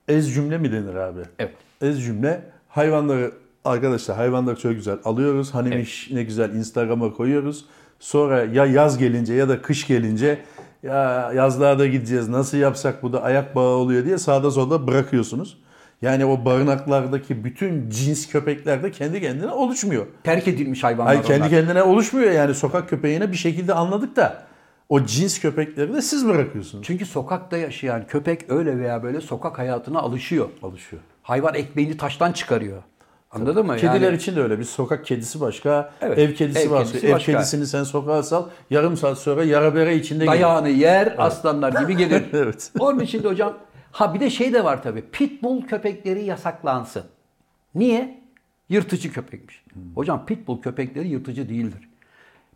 Speaker 2: ez cümle mi denir abi?
Speaker 1: Evet.
Speaker 2: Ez cümle hayvanları arkadaşlar hayvanları çok güzel alıyoruz. Hanimiş ne güzel Instagram'a koyuyoruz. Sonra ya yaz gelince ya da kış gelince ya yazlığa da gideceğiz nasıl yapsak bu da ayak bağı oluyor diye sağda solda bırakıyorsunuz. Yani o barınaklardaki bütün cins köpekler de kendi kendine oluşmuyor.
Speaker 1: Terk edilmiş hayvanlar
Speaker 2: Hayır kendi
Speaker 1: onlar.
Speaker 2: kendine oluşmuyor yani sokak köpeğine bir şekilde anladık da o cins köpekleri de siz bırakıyorsunuz.
Speaker 1: Çünkü sokakta yaşayan köpek öyle veya böyle sokak hayatına alışıyor.
Speaker 2: Alışıyor.
Speaker 1: Hayvan ekmeğini taştan çıkarıyor. Anladın mı?
Speaker 2: Kediler
Speaker 1: Yani-
Speaker 2: için de öyle. Bir sokak kedisi başka,
Speaker 1: Evet,
Speaker 2: ev kedisi
Speaker 1: ev
Speaker 2: başka.
Speaker 1: kedisi
Speaker 2: ev
Speaker 1: başka.
Speaker 2: kedisini sen sokağa sal, yarım saat sonra yara bere içinde gelir.
Speaker 1: Dayağını yer, aslanlar gibi gelir.
Speaker 2: Evet.
Speaker 1: Onun için de hocam, ha bir de şey de var tabii. Pitbull köpekleri yasaklansın. Niye? Yırtıcı köpekmiş.
Speaker 2: Hmm.
Speaker 1: Hocam pitbull köpekleri yırtıcı değildir.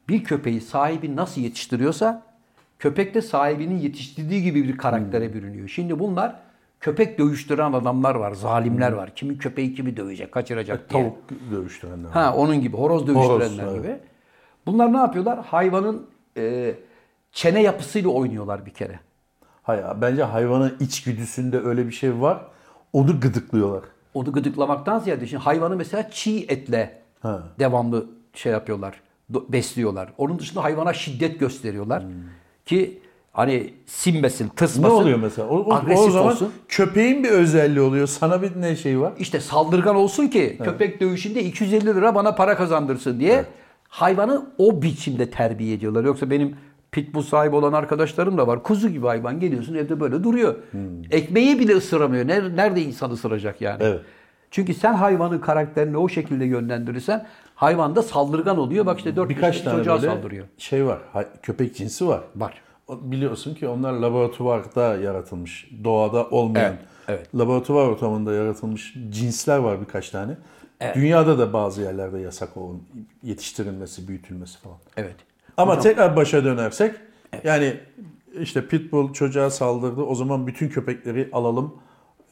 Speaker 1: Bir köpeği sahibi nasıl yetiştiriyorsa köpek de sahibinin yetiştirdiği gibi bir karaktere
Speaker 2: Hmm.
Speaker 1: bürünüyor. Şimdi bunlar köpek dövüştüren adamlar var, zalimler var. Kimin köpeği kimi dövecek, kaçıracak diye.
Speaker 2: Hmm. E, Tavuk dövüştürenler.
Speaker 1: Ha onun gibi horoz dövüştürenler
Speaker 2: Horoz, evet.
Speaker 1: gibi. Bunlar ne yapıyorlar? Hayvanın e, çene yapısıyla oynuyorlar bir kere.
Speaker 2: Hayır, bence hayvanın içgüdüsünde öyle bir şey var. Onu gıdıklıyorlar.
Speaker 1: Onu gıdıklamaktan ziyade şimdi hayvanı mesela çiğ etle
Speaker 2: Ha.
Speaker 1: devamlı şey yapıyorlar, do- besliyorlar. Onun dışında hayvana şiddet gösteriyorlar ki hani sinmesin,
Speaker 2: Hmm. Ne
Speaker 1: tırsmasın.
Speaker 2: oluyor mesela? O, o-
Speaker 1: agresif
Speaker 2: o zaman
Speaker 1: olsun.
Speaker 2: köpeğin bir özelliği oluyor. Sana bir ne şey var?
Speaker 1: İşte saldırgan olsun ki köpek dövüşünde 250 lira bana para kazandırsın diye hayvanı o biçimde terbiye ediyorlar. Yoksa benim pitbull sahibi olan arkadaşlarım da var. Kuzu gibi hayvan geliyorsun evde böyle duruyor.
Speaker 2: Hmm.
Speaker 1: Ekmeği bile ısıramıyor. Ner- Nerede insan ısıracak yani?
Speaker 2: Evet.
Speaker 1: Çünkü sen hayvanın karakterini o şekilde yönlendirirsen hayvan da saldırgan oluyor. Bak işte 4
Speaker 2: Birkaç tane
Speaker 1: çocuğa
Speaker 2: böyle
Speaker 1: saldırıyor.
Speaker 2: şey var. hay- Köpek cinsi var.
Speaker 1: Var.
Speaker 2: O- Biliyorsun ki onlar laboratuvarda yaratılmış. Doğada olmayan.
Speaker 1: Evet, evet.
Speaker 2: Laboratuvar ortamında yaratılmış cinsler var birkaç tane. Dünyada da bazı yerlerde yasak olun yetiştirilmesi, büyütülmesi falan.
Speaker 1: Evet.
Speaker 2: Ama tekrar başa dönersek yani işte pitbull çocuğa saldırdı. O zaman bütün köpekleri alalım.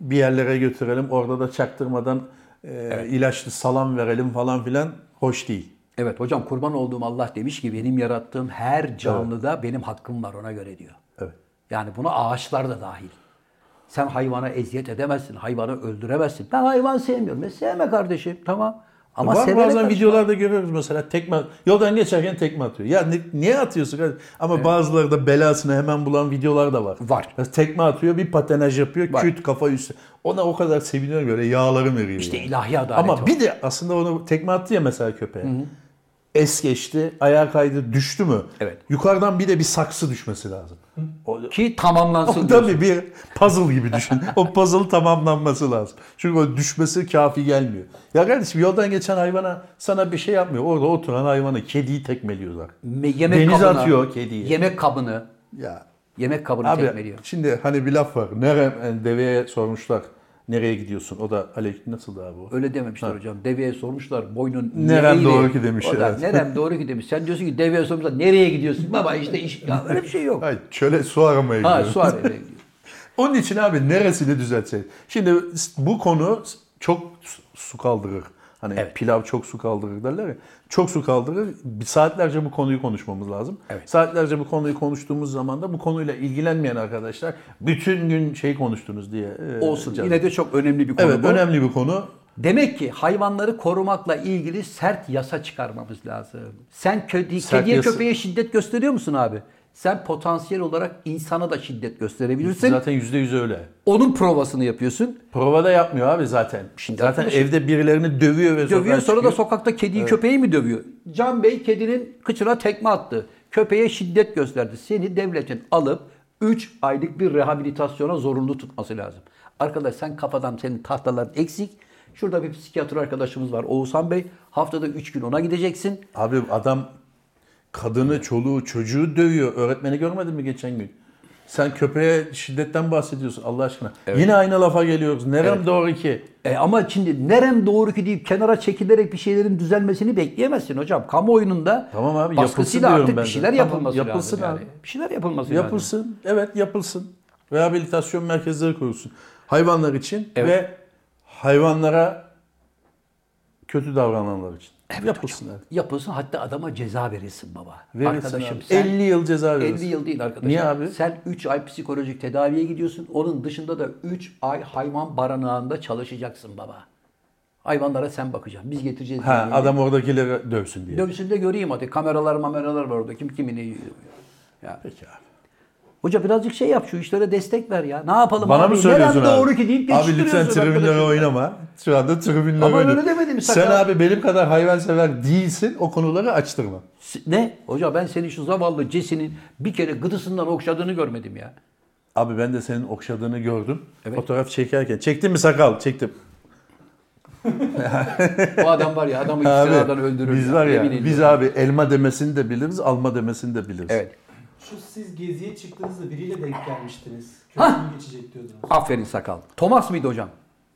Speaker 2: Bir yerlere götürelim. Orada da çaktırmadan e, ilaçlı salam verelim falan filan hoş değil.
Speaker 1: Evet hocam kurban olduğum Allah demiş ki benim yarattığım her canlıda benim hakkım var ona göre diyor.
Speaker 2: Evet.
Speaker 1: Yani buna ağaçlar da dahil. Sen hayvana eziyet edemezsin, hayvanı öldüremezsin. Ben hayvan sevmiyorum. E sevme kardeşim tamam. Ama
Speaker 2: Var
Speaker 1: severek
Speaker 2: bazen
Speaker 1: karşı-
Speaker 2: videolarda görüyoruz mesela tekme yoldan geçerken tekme atıyor. Ya ne, niye atıyorsun? kardeşim? Ama bazıları da belasını hemen bulan videolar da var.
Speaker 1: Var.
Speaker 2: Mesela tekme atıyor, bir patenaj yapıyor,
Speaker 1: Var.
Speaker 2: küt kafa üstü. Ona o kadar seviniyorum böyle yağlarım eriyor.
Speaker 1: İşte
Speaker 2: yani.
Speaker 1: ilahi adalet
Speaker 2: Ama
Speaker 1: var.
Speaker 2: bir de aslında onu tekme attı ya mesela köpeğe. Es geçti, ayağa kaydı, düştü mü?
Speaker 1: Evet.
Speaker 2: Yukarıdan bir de bir saksı düşmesi lazım. O,
Speaker 1: Ki tamamlansın diyor.
Speaker 2: Tabii bir puzzle gibi düşün. o puzzle tamamlanması lazım. Çünkü o düşmesi kafi gelmiyor. Ya kardeşim yoldan geçen hayvana sana bir şey yapmıyor. Orada oturan hayvanı, kediyi tekmeliyorlar.
Speaker 1: Me- Yemek
Speaker 2: Denize
Speaker 1: kabına,
Speaker 2: atıyor kediyi.
Speaker 1: Yemek kabını,
Speaker 2: Ya
Speaker 1: yemek kabını
Speaker 2: abi
Speaker 1: tekmeliyor.
Speaker 2: şimdi hani bir laf var. Nere, yani deveye sormuşlar. Nereye gidiyorsun? O da Alek nasıl daha bu?
Speaker 1: Öyle dememişler hocam. Deveye sormuşlar boynun
Speaker 2: Nerem
Speaker 1: nereyle-
Speaker 2: doğru ki demiş,
Speaker 1: O da,
Speaker 2: evet.
Speaker 1: Nerem doğru ki demiş. Sen diyorsun ki deveye sormuşlar nereye gidiyorsun? Baba işte iş. Ya öyle bir şey yok.
Speaker 2: Hayır, çöle su aramaya
Speaker 1: Ha
Speaker 2: gidiyorum.
Speaker 1: su arayla gidiyor.
Speaker 2: Onun için abi neresini düzeltecek? Şimdi bu konu çok su- su kaldırır. Hani pilav çok su kaldırır derler ya. Çok su kaldırır. Bir Saatlerce bu konuyu konuşmamız lazım.
Speaker 1: Evet.
Speaker 2: Saatlerce bu konuyu konuştuğumuz zaman da bu konuyla ilgilenmeyen arkadaşlar bütün gün şey konuştunuz diye. e,
Speaker 1: Olsun.
Speaker 2: can-
Speaker 1: Yine de çok önemli bir konu
Speaker 2: Evet
Speaker 1: bu.
Speaker 2: önemli bir konu.
Speaker 1: Demek ki hayvanları korumakla ilgili sert yasa çıkarmamız lazım. Sen kedi,
Speaker 2: Sert
Speaker 1: kediye
Speaker 2: yasa-
Speaker 1: köpeğe şiddet gösteriyor musun abi? Sen potansiyel olarak insana da şiddet gösterebilirsin.
Speaker 2: Zaten %100 öyle.
Speaker 1: Onun provasını yapıyorsun.
Speaker 2: Provada yapmıyor abi zaten.
Speaker 1: Şimdi
Speaker 2: zaten
Speaker 1: arkadaşım-
Speaker 2: evde birilerini dövüyor ve sokağa
Speaker 1: Dövüyor sonra da
Speaker 2: çıkıyor.
Speaker 1: sokakta kediyi köpeği mi dövüyor? Can Bey kedinin kıçına tekme attı. Köpeğe şiddet gösterdi. Seni devletin alıp 3 aylık bir rehabilitasyona zorunlu tutması lazım. Arkadaş sen kafadan senin tahtaların eksik. Şurada bir psikiyatr arkadaşımız var Oğuzhan Bey. Haftada 3 gün ona gideceksin.
Speaker 2: Abi adam kadını, çoluğu, çocuğu dövüyor. Öğretmeni görmedin mi geçen gün? Sen köpeğe şiddetten bahsediyorsun Allah aşkına. Yine aynı lafa geliyoruz. Nerem doğru ki?
Speaker 1: E ama şimdi nerem doğru ki deyip kenara çekilerek bir şeylerin düzelmesini bekleyemezsin hocam. Kamuoyunun da
Speaker 2: Tamam abi,
Speaker 1: baskısıyla
Speaker 2: yapılsın diyorum
Speaker 1: artık
Speaker 2: ben
Speaker 1: bir
Speaker 2: de.
Speaker 1: şeyler
Speaker 2: Tamam,
Speaker 1: yapılması
Speaker 2: yapılsın
Speaker 1: lazım.
Speaker 2: abi.
Speaker 1: Yani. Bir şeyler yapılması lazım.
Speaker 2: Yapılsın. Evet yapılsın. Rehabilitasyon merkezleri kurulsun. Hayvanlar için ve hayvanlara kötü davrananlar için. yapılsın. Evet.
Speaker 1: Yapılsın hatta adama ceza verilsin baba.
Speaker 2: Verilsin
Speaker 1: Arkadaşım
Speaker 2: abi.
Speaker 1: sen
Speaker 2: 50 yıl ceza verirsin.
Speaker 1: 50 yıl değil arkadaşım.
Speaker 2: Niye abi?
Speaker 1: Sen 3 ay psikolojik tedaviye gidiyorsun. Onun dışında da 3 ay hayvan barınağında çalışacaksın baba. Hayvanlara sen bakacaksın. Biz getireceğiz.
Speaker 2: Ha,
Speaker 1: yemeğini.
Speaker 2: adam oradakileri dövsün diye.
Speaker 1: Dövüşünde göreyim hadi. Kameralar mameralar var orada. Kim kimi ne yiyor. Ya.
Speaker 2: Peki abi.
Speaker 1: Hoca birazcık şey yap şu işlere destek ver ya. Ne yapalım
Speaker 2: Bana
Speaker 1: abi?
Speaker 2: mı söylüyorsun
Speaker 1: Neden
Speaker 2: abi?
Speaker 1: doğru ki deyip
Speaker 2: Abi lütfen
Speaker 1: geçiştiriyorsun
Speaker 2: tribünlere
Speaker 1: arkadaşım.
Speaker 2: oynama. Şu anda tribünlere
Speaker 1: Ama öyle
Speaker 2: oynuyorum.
Speaker 1: demedim,
Speaker 2: Sen
Speaker 1: sakal.
Speaker 2: abi benim kadar hayvansever değilsin. O konuları açtırma.
Speaker 1: S- Ne? Hoca ben senin şu zavallı Cesi'nin bir kere gıdısından okşadığını görmedim ya.
Speaker 2: Abi ben de senin okşadığını gördüm.
Speaker 1: Evet.
Speaker 2: Fotoğraf çekerken. Çektin mi sakal? Çektim.
Speaker 1: Bu adam var ya adamı iftiradan öldürür.
Speaker 2: biz var ya,
Speaker 1: yemin ediyorum.
Speaker 2: biz abi elma demesini de biliriz, alma demesini de biliriz.
Speaker 1: Evet.
Speaker 3: Şu siz geziye çıktığınızda biriyle denk gelmiştiniz.
Speaker 1: Hah!
Speaker 3: Köprüyü geçecek diyordunuz.
Speaker 1: Aferin sakal. Thomas mıydı hocam?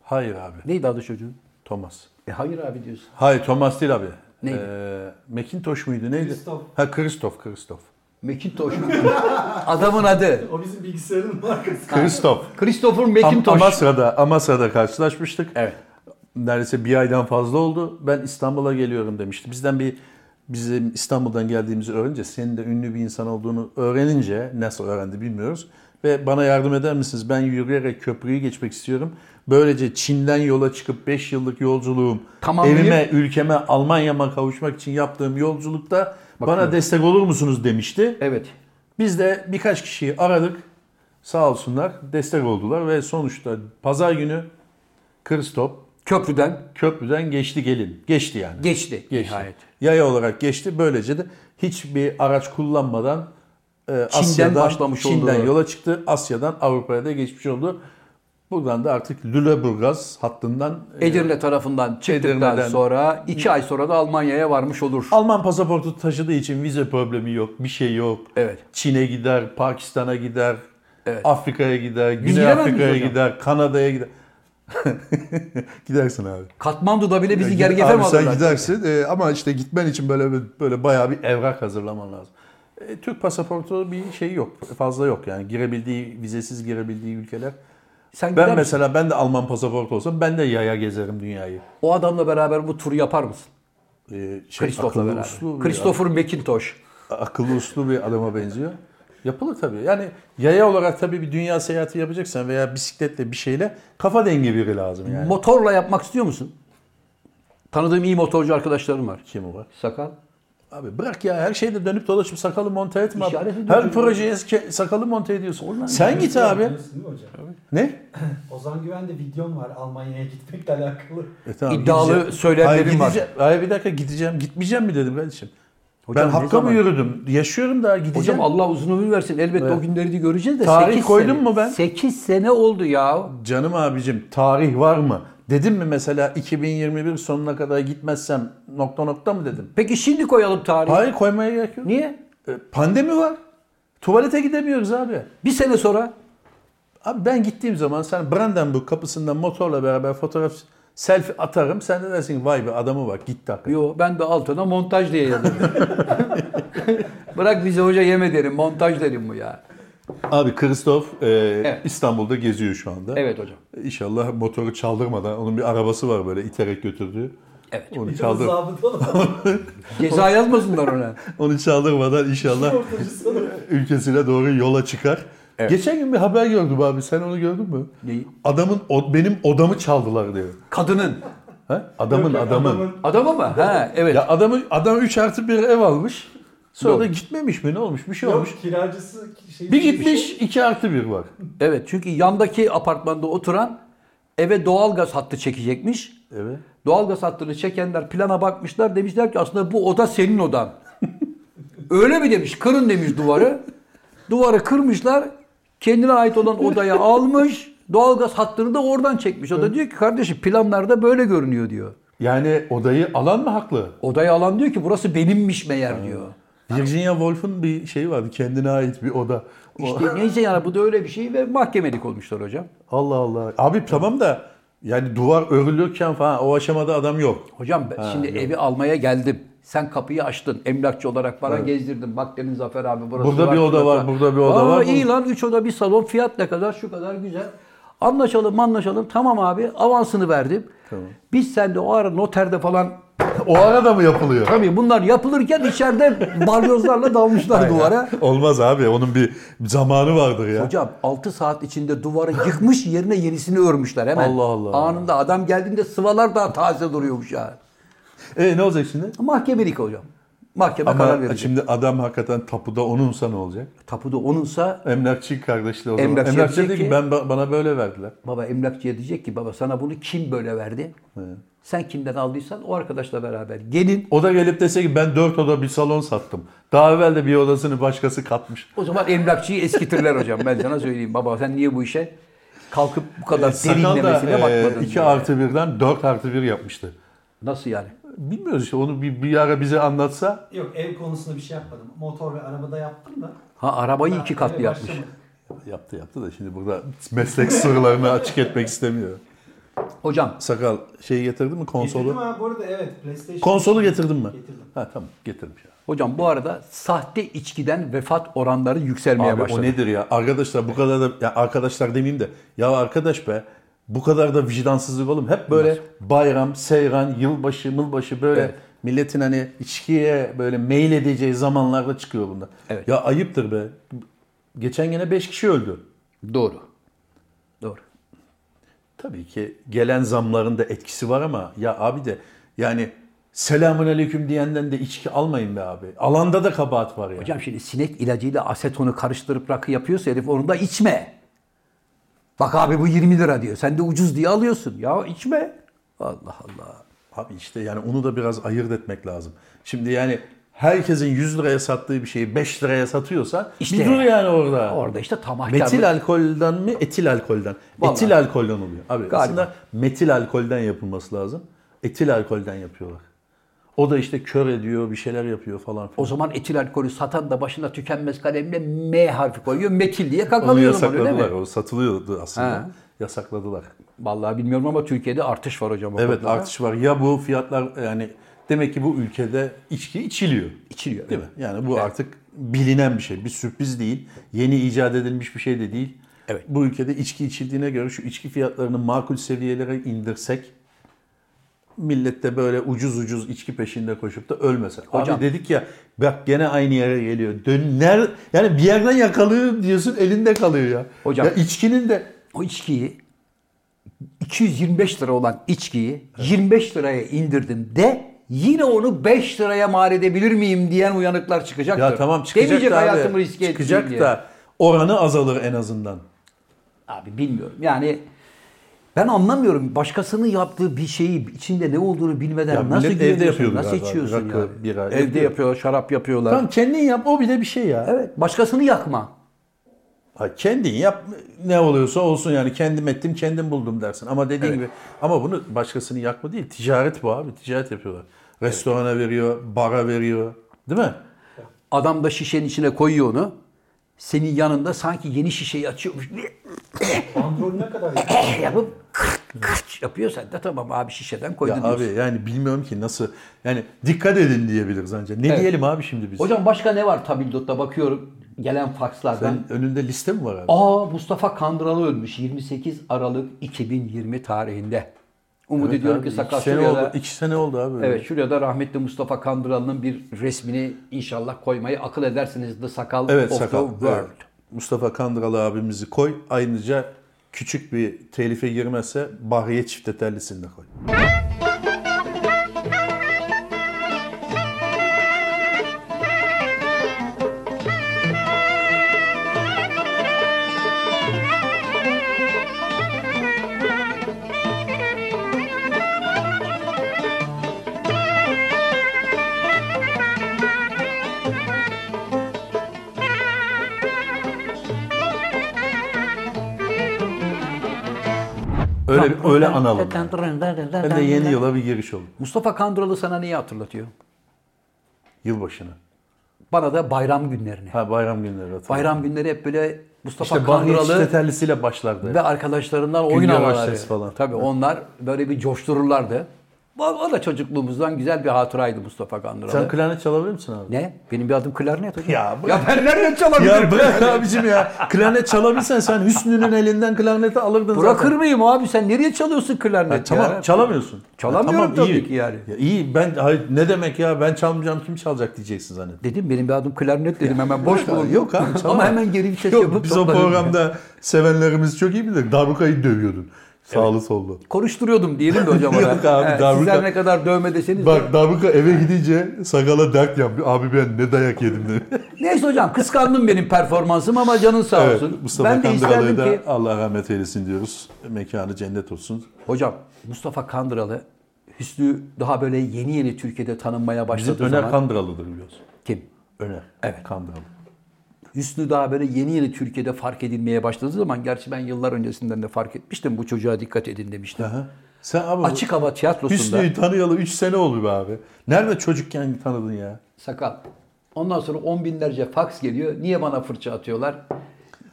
Speaker 2: Hayır abi,
Speaker 1: Neydi adı çocuğun?
Speaker 2: Thomas.
Speaker 1: E hayır abi diyorsun.
Speaker 2: Hayır, Thomas değil abi.
Speaker 1: Neydi?
Speaker 2: Ee, Macintosh muydu neydi?
Speaker 3: Christoph.
Speaker 2: Ha Christoph, Christoph.
Speaker 1: Macintosh. Adamın adı.
Speaker 3: O bizim bilgisayarın markası.
Speaker 2: Christoph.
Speaker 1: Christopher
Speaker 2: Am-
Speaker 1: Macintosh.
Speaker 2: Amasra'da, Amasra'da karşılaşmıştık.
Speaker 1: Evet.
Speaker 2: Neredeyse bir aydan fazla oldu. Ben İstanbul'a geliyorum demişti. Bizden bir bizim İstanbul'dan geldiğimizi öğrenince, senin de ünlü bir insan olduğunu öğrenince, nasıl öğrendi bilmiyoruz. Ve bana yardım eder misiniz? Ben yürüyerek köprüyü geçmek istiyorum. Böylece Çin'den yola çıkıp 5 yıllık yolculuğum,
Speaker 1: Tamamlayıp-
Speaker 2: evime, ülkeme, Almanya'ma kavuşmak için yaptığım yolculukta bana destek olur musunuz demişti.
Speaker 1: Evet.
Speaker 2: Biz de birkaç kişiyi aradık. Sağ olsunlar destek oldular ve sonuçta pazar günü Kristop
Speaker 1: Köprüden
Speaker 2: köprüden geçti gelin. Geçti yani.
Speaker 1: geçti.
Speaker 2: geçti.
Speaker 1: Nihayet.
Speaker 2: Yaya olarak geçti. Böylece de hiçbir araç kullanmadan e, Asya'dan,
Speaker 1: başlamış oldu.
Speaker 2: Çin'den yola çıktı. Asya'dan Avrupa'ya da geçmiş oldu. Buradan da artık Lüleburgaz hattından e,
Speaker 1: Edirne tarafından çıktıktan
Speaker 2: Edirne'den-
Speaker 1: sonra iki ay sonra da Almanya'ya varmış olur.
Speaker 2: Alman pasaportu taşıdığı için vize problemi yok, bir şey yok.
Speaker 1: Evet.
Speaker 2: Çin'e gider, Pakistan'a gider,
Speaker 1: Evet.
Speaker 2: Afrika'ya gider, Güney
Speaker 1: giremez miyiz
Speaker 2: Afrika'ya
Speaker 1: hocam?
Speaker 2: gider, Kanada'ya gider. Gidersin abi.
Speaker 1: Katmandu'da bile bizi
Speaker 2: Abi
Speaker 1: gergefe mi
Speaker 2: sen
Speaker 1: alırlar?
Speaker 2: gidersin e, ama işte gitmen için böyle bir- böyle bayağı bir evrak hazırlaman lazım. E, Türk pasaportu bir şey yok. Fazla yok yani girebildiği, vizesiz girebildiği ülkeler.
Speaker 1: Sen gider misin?
Speaker 2: Ben mesela ben de Alman pasaportu olsam ben de yaya gezerim dünyayı.
Speaker 1: O adamla beraber bu turu yapar mısın?
Speaker 2: E, şey,
Speaker 1: Christopher'la
Speaker 2: akıllı
Speaker 1: beraber.
Speaker 2: uslu bir
Speaker 1: Christopher Macintosh.
Speaker 2: akıllı uslu bir adama benziyor. Yapılır tabii. Yani yaya olarak tabii bir dünya seyahati yapacaksan veya bisikletle bir şeyle kafa dengi biri lazım yani.
Speaker 1: Motorla yapmak istiyor musun? Tanıdığım iyi motorcu arkadaşlarım var.
Speaker 2: Kim o var?
Speaker 1: Sakal.
Speaker 2: Abi bırak ya her şeyde dönüp dolaşıp sakalı monte etme. abi.
Speaker 1: İşaret ediyorum.
Speaker 2: Her projeye ke- sakalı monte ediyorsun. Sen git abi.
Speaker 3: Biliyorsun değil mi hocam?
Speaker 2: Ne?
Speaker 3: Ozan Güven'de videom var Almanya'ya gitmekle alakalı.
Speaker 2: E tamam,
Speaker 1: İddialı söylemlerin
Speaker 2: Hayır,
Speaker 1: var.
Speaker 2: gideceğim. Hayır bir dakika gideceğim. Gitmeyeceğim mi dedim kardeşim.
Speaker 1: Hocam,
Speaker 2: ben
Speaker 1: ne
Speaker 2: hakka mı
Speaker 1: zaman?
Speaker 2: yürüdüm? Yaşıyorum daha gideceğim.
Speaker 1: Hocam Allah uzun ömür versin. Elbette
Speaker 2: Evet.
Speaker 1: o günleri de göreceğiz de.
Speaker 2: Tarih
Speaker 1: sekiz
Speaker 2: koydun
Speaker 1: sene-
Speaker 2: mu ben?
Speaker 1: 8 sene oldu ya.
Speaker 2: Canım abicim tarih var mı? Dedim mi mesela 2021 sonuna kadar gitmezsem nokta nokta mı dedim?
Speaker 1: Peki şimdi koyalım tarihi.
Speaker 2: Hayır koymaya gerek yok.
Speaker 1: Hani Niye?
Speaker 2: E, Pandemi var. Tuvalete gidemiyoruz abi.
Speaker 1: Bir sene sonra
Speaker 2: Abi ben gittiğim zaman sen Brandenburg kapısından motorla beraber fotoğraf selfie atarım. Sen de dersin ki, vay be adamı bak gitti hakikaten.
Speaker 1: yo ben de altına montaj diye yazarım. Bırak bize hoca yeme derim. Montaj derim bu ya.
Speaker 2: Abi Kristof e,
Speaker 1: Evet.
Speaker 2: İstanbul'da geziyor şu anda.
Speaker 1: Evet hocam.
Speaker 2: İnşallah motoru çaldırmadan onun bir arabası var böyle iterek götürdüğü.
Speaker 1: Evet.
Speaker 2: Onu,
Speaker 3: Bir
Speaker 2: çaldır,
Speaker 3: zabıta olan
Speaker 1: Ceza yazmasınlar ona.
Speaker 2: onu çaldırmadan inşallah
Speaker 3: ortacısı.
Speaker 2: ülkesine doğru yola çıkar. Geçen gün bir haber gördüm abi. Sen onu gördün mü?
Speaker 1: Neyi?
Speaker 2: Adamın o, benim odamı çaldılar diyor.
Speaker 1: Kadının.
Speaker 2: Ha? Adamın adamın.
Speaker 1: Adamı mı? Ha evet.
Speaker 2: Ya adamı adam 3 artı bir ev almış. Sonra
Speaker 1: Doğru.
Speaker 2: da gitmemiş mi? Ne olmuş? Bir şey
Speaker 3: Yok
Speaker 2: olmuş.
Speaker 3: kiracısı şey
Speaker 2: Bir gitmiş 2 artı bir var.
Speaker 1: Evet çünkü yandaki apartmanda oturan eve doğalgaz hattı çekecekmiş.
Speaker 2: Evet.
Speaker 1: Doğalgaz hattını çekenler plana bakmışlar demişler ki aslında bu oda senin odan. Öyle mi demiş kırın demiş duvarı. Duvarı kırmışlar kendine ait olan odaya almış. Doğalgaz hattını da oradan çekmiş. O da diyor ki kardeşim planlarda böyle görünüyor diyor.
Speaker 2: Yani odayı alan mı haklı?
Speaker 1: Odaya alan diyor ki burası benimmiş meğer diyor.
Speaker 2: Virginia Woolf'un bir şeyi vardı. Kendine ait bir oda. O-
Speaker 1: İşte neyse yani bu da öyle bir şey ve mahkemelik olmuşlar hocam.
Speaker 2: Allah Allah. Abi tamam da yani duvar örülürken falan o aşamada adam yok.
Speaker 1: Hocam ben şimdi evi almaya geldim. Sen kapıyı açtın. Emlakçı olarak bana gezdirdin. Bak demin Zafer abi burası
Speaker 2: Burada bir oda
Speaker 1: şurası
Speaker 2: var, burada bir oda
Speaker 1: Aa,
Speaker 2: var.
Speaker 1: iyi lan 3 oda bir salon fiyat ne kadar şu kadar güzel. Anlaşalım anlaşalım. Tamam abi avansını verdim. Biz sen de o ara noterde falan
Speaker 2: O arada mı yapılıyor?
Speaker 1: tabii bunlar yapılırken içeride balyozlarla dalmışlar duvara.
Speaker 2: Olmaz abi. Onun bir zamanı vardır ya.
Speaker 1: Hocam 6 saat içinde duvarı yıkmış yerine yenisini örmüşler hemen.
Speaker 2: Allah Allah.
Speaker 1: Anında adam geldiğinde sıvalar daha taze duruyormuş ya.
Speaker 2: E ne olacak şimdi?
Speaker 1: Mahkemelik hocam. Mahkeme karar
Speaker 2: Ama
Speaker 1: verecek.
Speaker 2: şimdi adam hakikaten tapuda onunsa ne olacak?
Speaker 1: Tapuda onunsa
Speaker 2: Emlakçı kardeşleri o zaman.
Speaker 1: Emlakçı
Speaker 2: Emlakçı,
Speaker 1: diyecek
Speaker 2: dedi ki
Speaker 1: ki-
Speaker 2: ben bana böyle verdiler.
Speaker 1: baba emlakçıya diyecek ki baba sana bunu kim böyle verdi? Sen kimden aldıysan o arkadaşla beraber gelin.
Speaker 2: O da gelip dese ki ben dört oda bir salon sattım. Daha evvel de bir odasını başkası katmış.
Speaker 1: O zaman emlakçıyı eskitirler hocam. Ben sana söyleyeyim baba sen niye bu işe kalkıp bu kadar
Speaker 2: E, Sakal da
Speaker 1: derinlemesine bakmadın?
Speaker 2: 2
Speaker 1: diye.
Speaker 2: artı 1'den 4 artı 1 yapmıştı.
Speaker 1: Nasıl yani?
Speaker 2: Bilmiyoruz işte onu bir, bir ara bize anlatsa.
Speaker 3: Yok ev konusunda bir şey yapmadım. Motor ve arabada yaptım da.
Speaker 1: Ha arabayı
Speaker 3: daha
Speaker 1: iki
Speaker 3: eve
Speaker 1: katlı yapmış.
Speaker 3: başlamadım.
Speaker 2: Yaptı yaptı da şimdi burada meslek sırlarını açık etmek istemiyor.
Speaker 1: Hocam
Speaker 2: Sakal şeyi getirdin mi
Speaker 3: Getirdim
Speaker 2: konsolu?
Speaker 3: ha bu arada evet PlayStation.
Speaker 2: Konsolu getirdin mi?
Speaker 3: Getirdim.
Speaker 2: Ha tamam getirmiş.
Speaker 1: Hocam bu arada sahte içkiden vefat oranları yükselmeye
Speaker 2: Abi o
Speaker 1: başladı.
Speaker 2: nedir ya? Arkadaşlar bu kadar da ya arkadaşlar demeyeyim de ya arkadaş be bu kadar da vicdansızlık oğlum. Hep böyle bayram, seyran, yılbaşı, mılbaşı böyle
Speaker 1: Evet.
Speaker 2: milletin hani içkiye böyle meyil edeceği zamanlarda çıkıyor bunlar.
Speaker 1: Evet.
Speaker 2: Ya ayıptır be. Geçen gene 5 kişi öldü.
Speaker 1: Doğru. Doğru.
Speaker 2: Tabii ki gelen zamların da etkisi var ama ya abi de yani selamun aleyküm diyenden de içki almayın be abi. Alanda da kabahat var ya.
Speaker 1: Hocam şimdi sinek ilacıyla asetonu karıştırıp rakı yapıyorsa herif onu da içme. Bak abi bu 20 lira diyor. Sen de ucuz diye alıyorsun. Ya içme. Allah Allah.
Speaker 2: Abi işte yani onu da biraz ayırt etmek lazım. Şimdi yani herkesin 100 liraya sattığı bir şeyi 5 liraya satıyorsa
Speaker 1: İşte.
Speaker 2: bir dur yani orada.
Speaker 1: Orada işte tamahkarlık.
Speaker 2: Metil alkolden mi etil alkolden?
Speaker 1: Vallahi.
Speaker 2: Etil alkolden oluyor. Abi
Speaker 1: Galiba.
Speaker 2: aslında metil alkolden yapılması lazım. Etil alkolden yapıyorlar. O da işte kör ediyor, bir şeyler yapıyor falan
Speaker 1: O
Speaker 2: filan.
Speaker 1: zaman etil alkolü satan da başına tükenmez kalemle M harfi koyuyor. Metil diye kakalıyor.
Speaker 2: Onu
Speaker 1: bunu,
Speaker 2: yasakladılar.
Speaker 1: değil mi?
Speaker 2: O satılıyordu aslında.
Speaker 1: Ha.
Speaker 2: Yasakladılar.
Speaker 1: Vallahi bilmiyorum ama Türkiye'de artış var hocam. o
Speaker 2: Evet
Speaker 1: konuda.
Speaker 2: artış var. Ya bu fiyatlar yani demek ki bu ülkede içki içiliyor.
Speaker 1: İçiliyor.
Speaker 2: Değil mi? Yani bu artık bilinen bir şey. Bir sürpriz değil. Yeni icat edilmiş bir şey de değil.
Speaker 1: Evet.
Speaker 2: Bu ülkede içki içildiğine göre şu içki fiyatlarını makul seviyelere indirsek millet de böyle ucuz ucuz içki peşinde koşup da ölmese.
Speaker 1: Hocam-
Speaker 2: Abi dedik ya bak gene aynı yere geliyor. Döner yani bir yerden yakalıyor diyorsun elinde kalıyor ya.
Speaker 1: Hocam-
Speaker 2: Ya içkinin de
Speaker 1: o içkiyi 225 lira olan içkiyi 25 liraya indirdim de yine onu 5 liraya mal edebilir miyim diyen uyanıklar çıkacaktır.
Speaker 2: ya tamam çıkacak
Speaker 1: Demeyecek
Speaker 2: da abi.
Speaker 1: hayatımı riske ettim
Speaker 2: Çıkacak
Speaker 1: diye.
Speaker 2: da oranı azalır en azından.
Speaker 1: Abi bilmiyorum yani ben anlamıyorum başkasının yaptığı bir şeyi içinde ne olduğunu bilmeden
Speaker 2: Ya
Speaker 1: nasıl
Speaker 2: millet evde
Speaker 1: güveniyorsun,
Speaker 2: yapıyordu
Speaker 1: nasıl
Speaker 2: galiba.
Speaker 1: içiyorsun
Speaker 2: Rakı,
Speaker 1: yani?
Speaker 2: bira
Speaker 1: Evde
Speaker 2: yapıyor.
Speaker 1: yapıyorlar, şarap yapıyorlar.
Speaker 2: Tamam kendin yap o bile bir şey ya.
Speaker 1: Evet, başkasını yakma.
Speaker 2: Ha, kendin yap ne oluyorsa olsun yani kendim ettim kendim buldum dersin. Ama dediğin gibi ama bunu başkasını yakma değil ticaret bu abi ticaret yapıyorlar. Restorana veriyor, bara veriyor değil mi?
Speaker 1: Adam da şişenin içine koyuyor onu. Senin yanında sanki yeni şişeyi açıyormuş.
Speaker 3: Bandrol ne kadar yaptım?
Speaker 1: yapıp kırk kırk yapıyor sen de tamam abi şişeden
Speaker 2: Ya
Speaker 1: koydun
Speaker 2: abi
Speaker 1: diyorsun.
Speaker 2: yani bilmiyorum ki nasıl yani dikkat edin diyebiliriz ancak. Ne
Speaker 1: Evet.
Speaker 2: diyelim abi şimdi biz?
Speaker 1: Hocam başka ne var tabildota bakıyorum gelen fakslardan.
Speaker 2: Sen önünde liste mi var abi?
Speaker 1: Aa Mustafa Kandıralı ölmüş 28 Aralık 2020 tarihinde. Umut
Speaker 2: Evet
Speaker 1: ediyorum
Speaker 2: abi,
Speaker 1: ki
Speaker 2: iki
Speaker 1: sakal
Speaker 2: sene
Speaker 1: şuraya
Speaker 2: oldu,
Speaker 1: da,
Speaker 2: iki sene oldu abi. öyle.
Speaker 1: evet, şuraya da rahmetli Mustafa Kandıralı'nın bir resmini inşallah koymayı akıl edersiniz. The Sakal
Speaker 2: Evet
Speaker 1: of
Speaker 2: sakal.
Speaker 1: the World.
Speaker 2: evet. Mustafa Kandıralı abimizi koy. Ayrıca küçük bir telife girmezse Bahriye çifte tellisini de koy.
Speaker 7: Thank you.
Speaker 2: Öyle öyle analım. yani. Ben de yeni yıla bir giriş oldu.
Speaker 1: Mustafa Kandıralı sana niye hatırlatıyor?
Speaker 2: Yılbaşına.
Speaker 1: Bana da bayram günlerini.
Speaker 2: Ha bayram günleri hatırladım.
Speaker 1: Bayram günleri hep böyle Mustafa
Speaker 2: İşte Bahriye
Speaker 1: Kandıralı
Speaker 2: Çiçetellisi'yle başlardı.
Speaker 1: ve arkadaşlarından oyun
Speaker 2: Güllü
Speaker 1: havaları.
Speaker 2: Yavaşçes falan.
Speaker 1: Tabii
Speaker 2: Evet.
Speaker 1: onlar böyle bir coştururlardı. O, o da çocukluğumuzdan güzel bir hatıraydı Mustafa Kandıralı.
Speaker 2: Sen klarnet çalabilir misin abi?
Speaker 1: ne? Benim bir adım klarnet hocam.
Speaker 2: Ya bırak-
Speaker 1: ya ben nereden çalabilirim?
Speaker 2: Ya bırak abicim ya. Klarnet çalabilsen sen Hüsnü'nün elinden klarneti alırdın zaten.
Speaker 1: Bırakır mıyım abi? Sen nereye çalıyorsun klarnet?
Speaker 2: Ha, tamam
Speaker 1: ya?
Speaker 2: çalamıyorsun.
Speaker 1: Çalamıyorum
Speaker 2: Ha,
Speaker 1: tabii ki yani.
Speaker 2: Ya, iyi ben hayır, ne demek ya ben çalmayacağım kim çalacak diyeceksin zannettim.
Speaker 1: Dedim benim bir adım klarnet dedim hemen boş
Speaker 2: abi,
Speaker 1: bulundum.
Speaker 2: yok abi,
Speaker 1: Ama
Speaker 2: çalamam.
Speaker 1: hemen geri vites
Speaker 2: Yok
Speaker 1: yapıp
Speaker 2: biz o
Speaker 1: topladım.
Speaker 2: programda sevenlerimiz çok iyi bilir. Darbukayı dövüyordun. Sağlı sollu.
Speaker 1: Konuşturuyordum diyelim de hocam ona.
Speaker 2: Yok abi,
Speaker 1: Evet,
Speaker 2: darbuka-
Speaker 1: Sizler ne kadar dövme deseniz de.
Speaker 2: Bak Darbuka eve gidince sakala dert yapıyor. Abi ben ne dayak yedim dedi.
Speaker 1: Neyse hocam kıskandım benim performansım ama canın sağ
Speaker 2: evet,
Speaker 1: olsun.
Speaker 2: Mustafa
Speaker 1: ben de
Speaker 2: Kandıralı'ya
Speaker 1: isterdim
Speaker 2: da
Speaker 1: ki
Speaker 2: Allah rahmet eylesin diyoruz. Mekanı cennet olsun.
Speaker 1: Hocam Mustafa Kandıralı Hüsnü daha böyle yeni yeni Türkiye'de tanınmaya
Speaker 2: Bizim
Speaker 1: başladığı
Speaker 2: Öner
Speaker 1: zaman
Speaker 2: Kandıralı'dır biliyorsun.
Speaker 1: kim?
Speaker 2: Öner
Speaker 1: Evet.
Speaker 2: Kandıralı.
Speaker 1: Hüsnü daha böyle yeni yeni Türkiye'de fark edilmeye başladığı zaman gerçi ben yıllar öncesinden de fark etmiştim bu çocuğa dikkat edin demiştim.
Speaker 2: Aha. Sen abi
Speaker 1: Açık hava tiyatrosunda
Speaker 2: Hüsnü'yü tanıyalı 3 sene oldu be abi. Nerede çocukken tanıdın ya?
Speaker 1: sakal. Ondan sonra on binlerce faks geliyor. Niye bana fırça atıyorlar?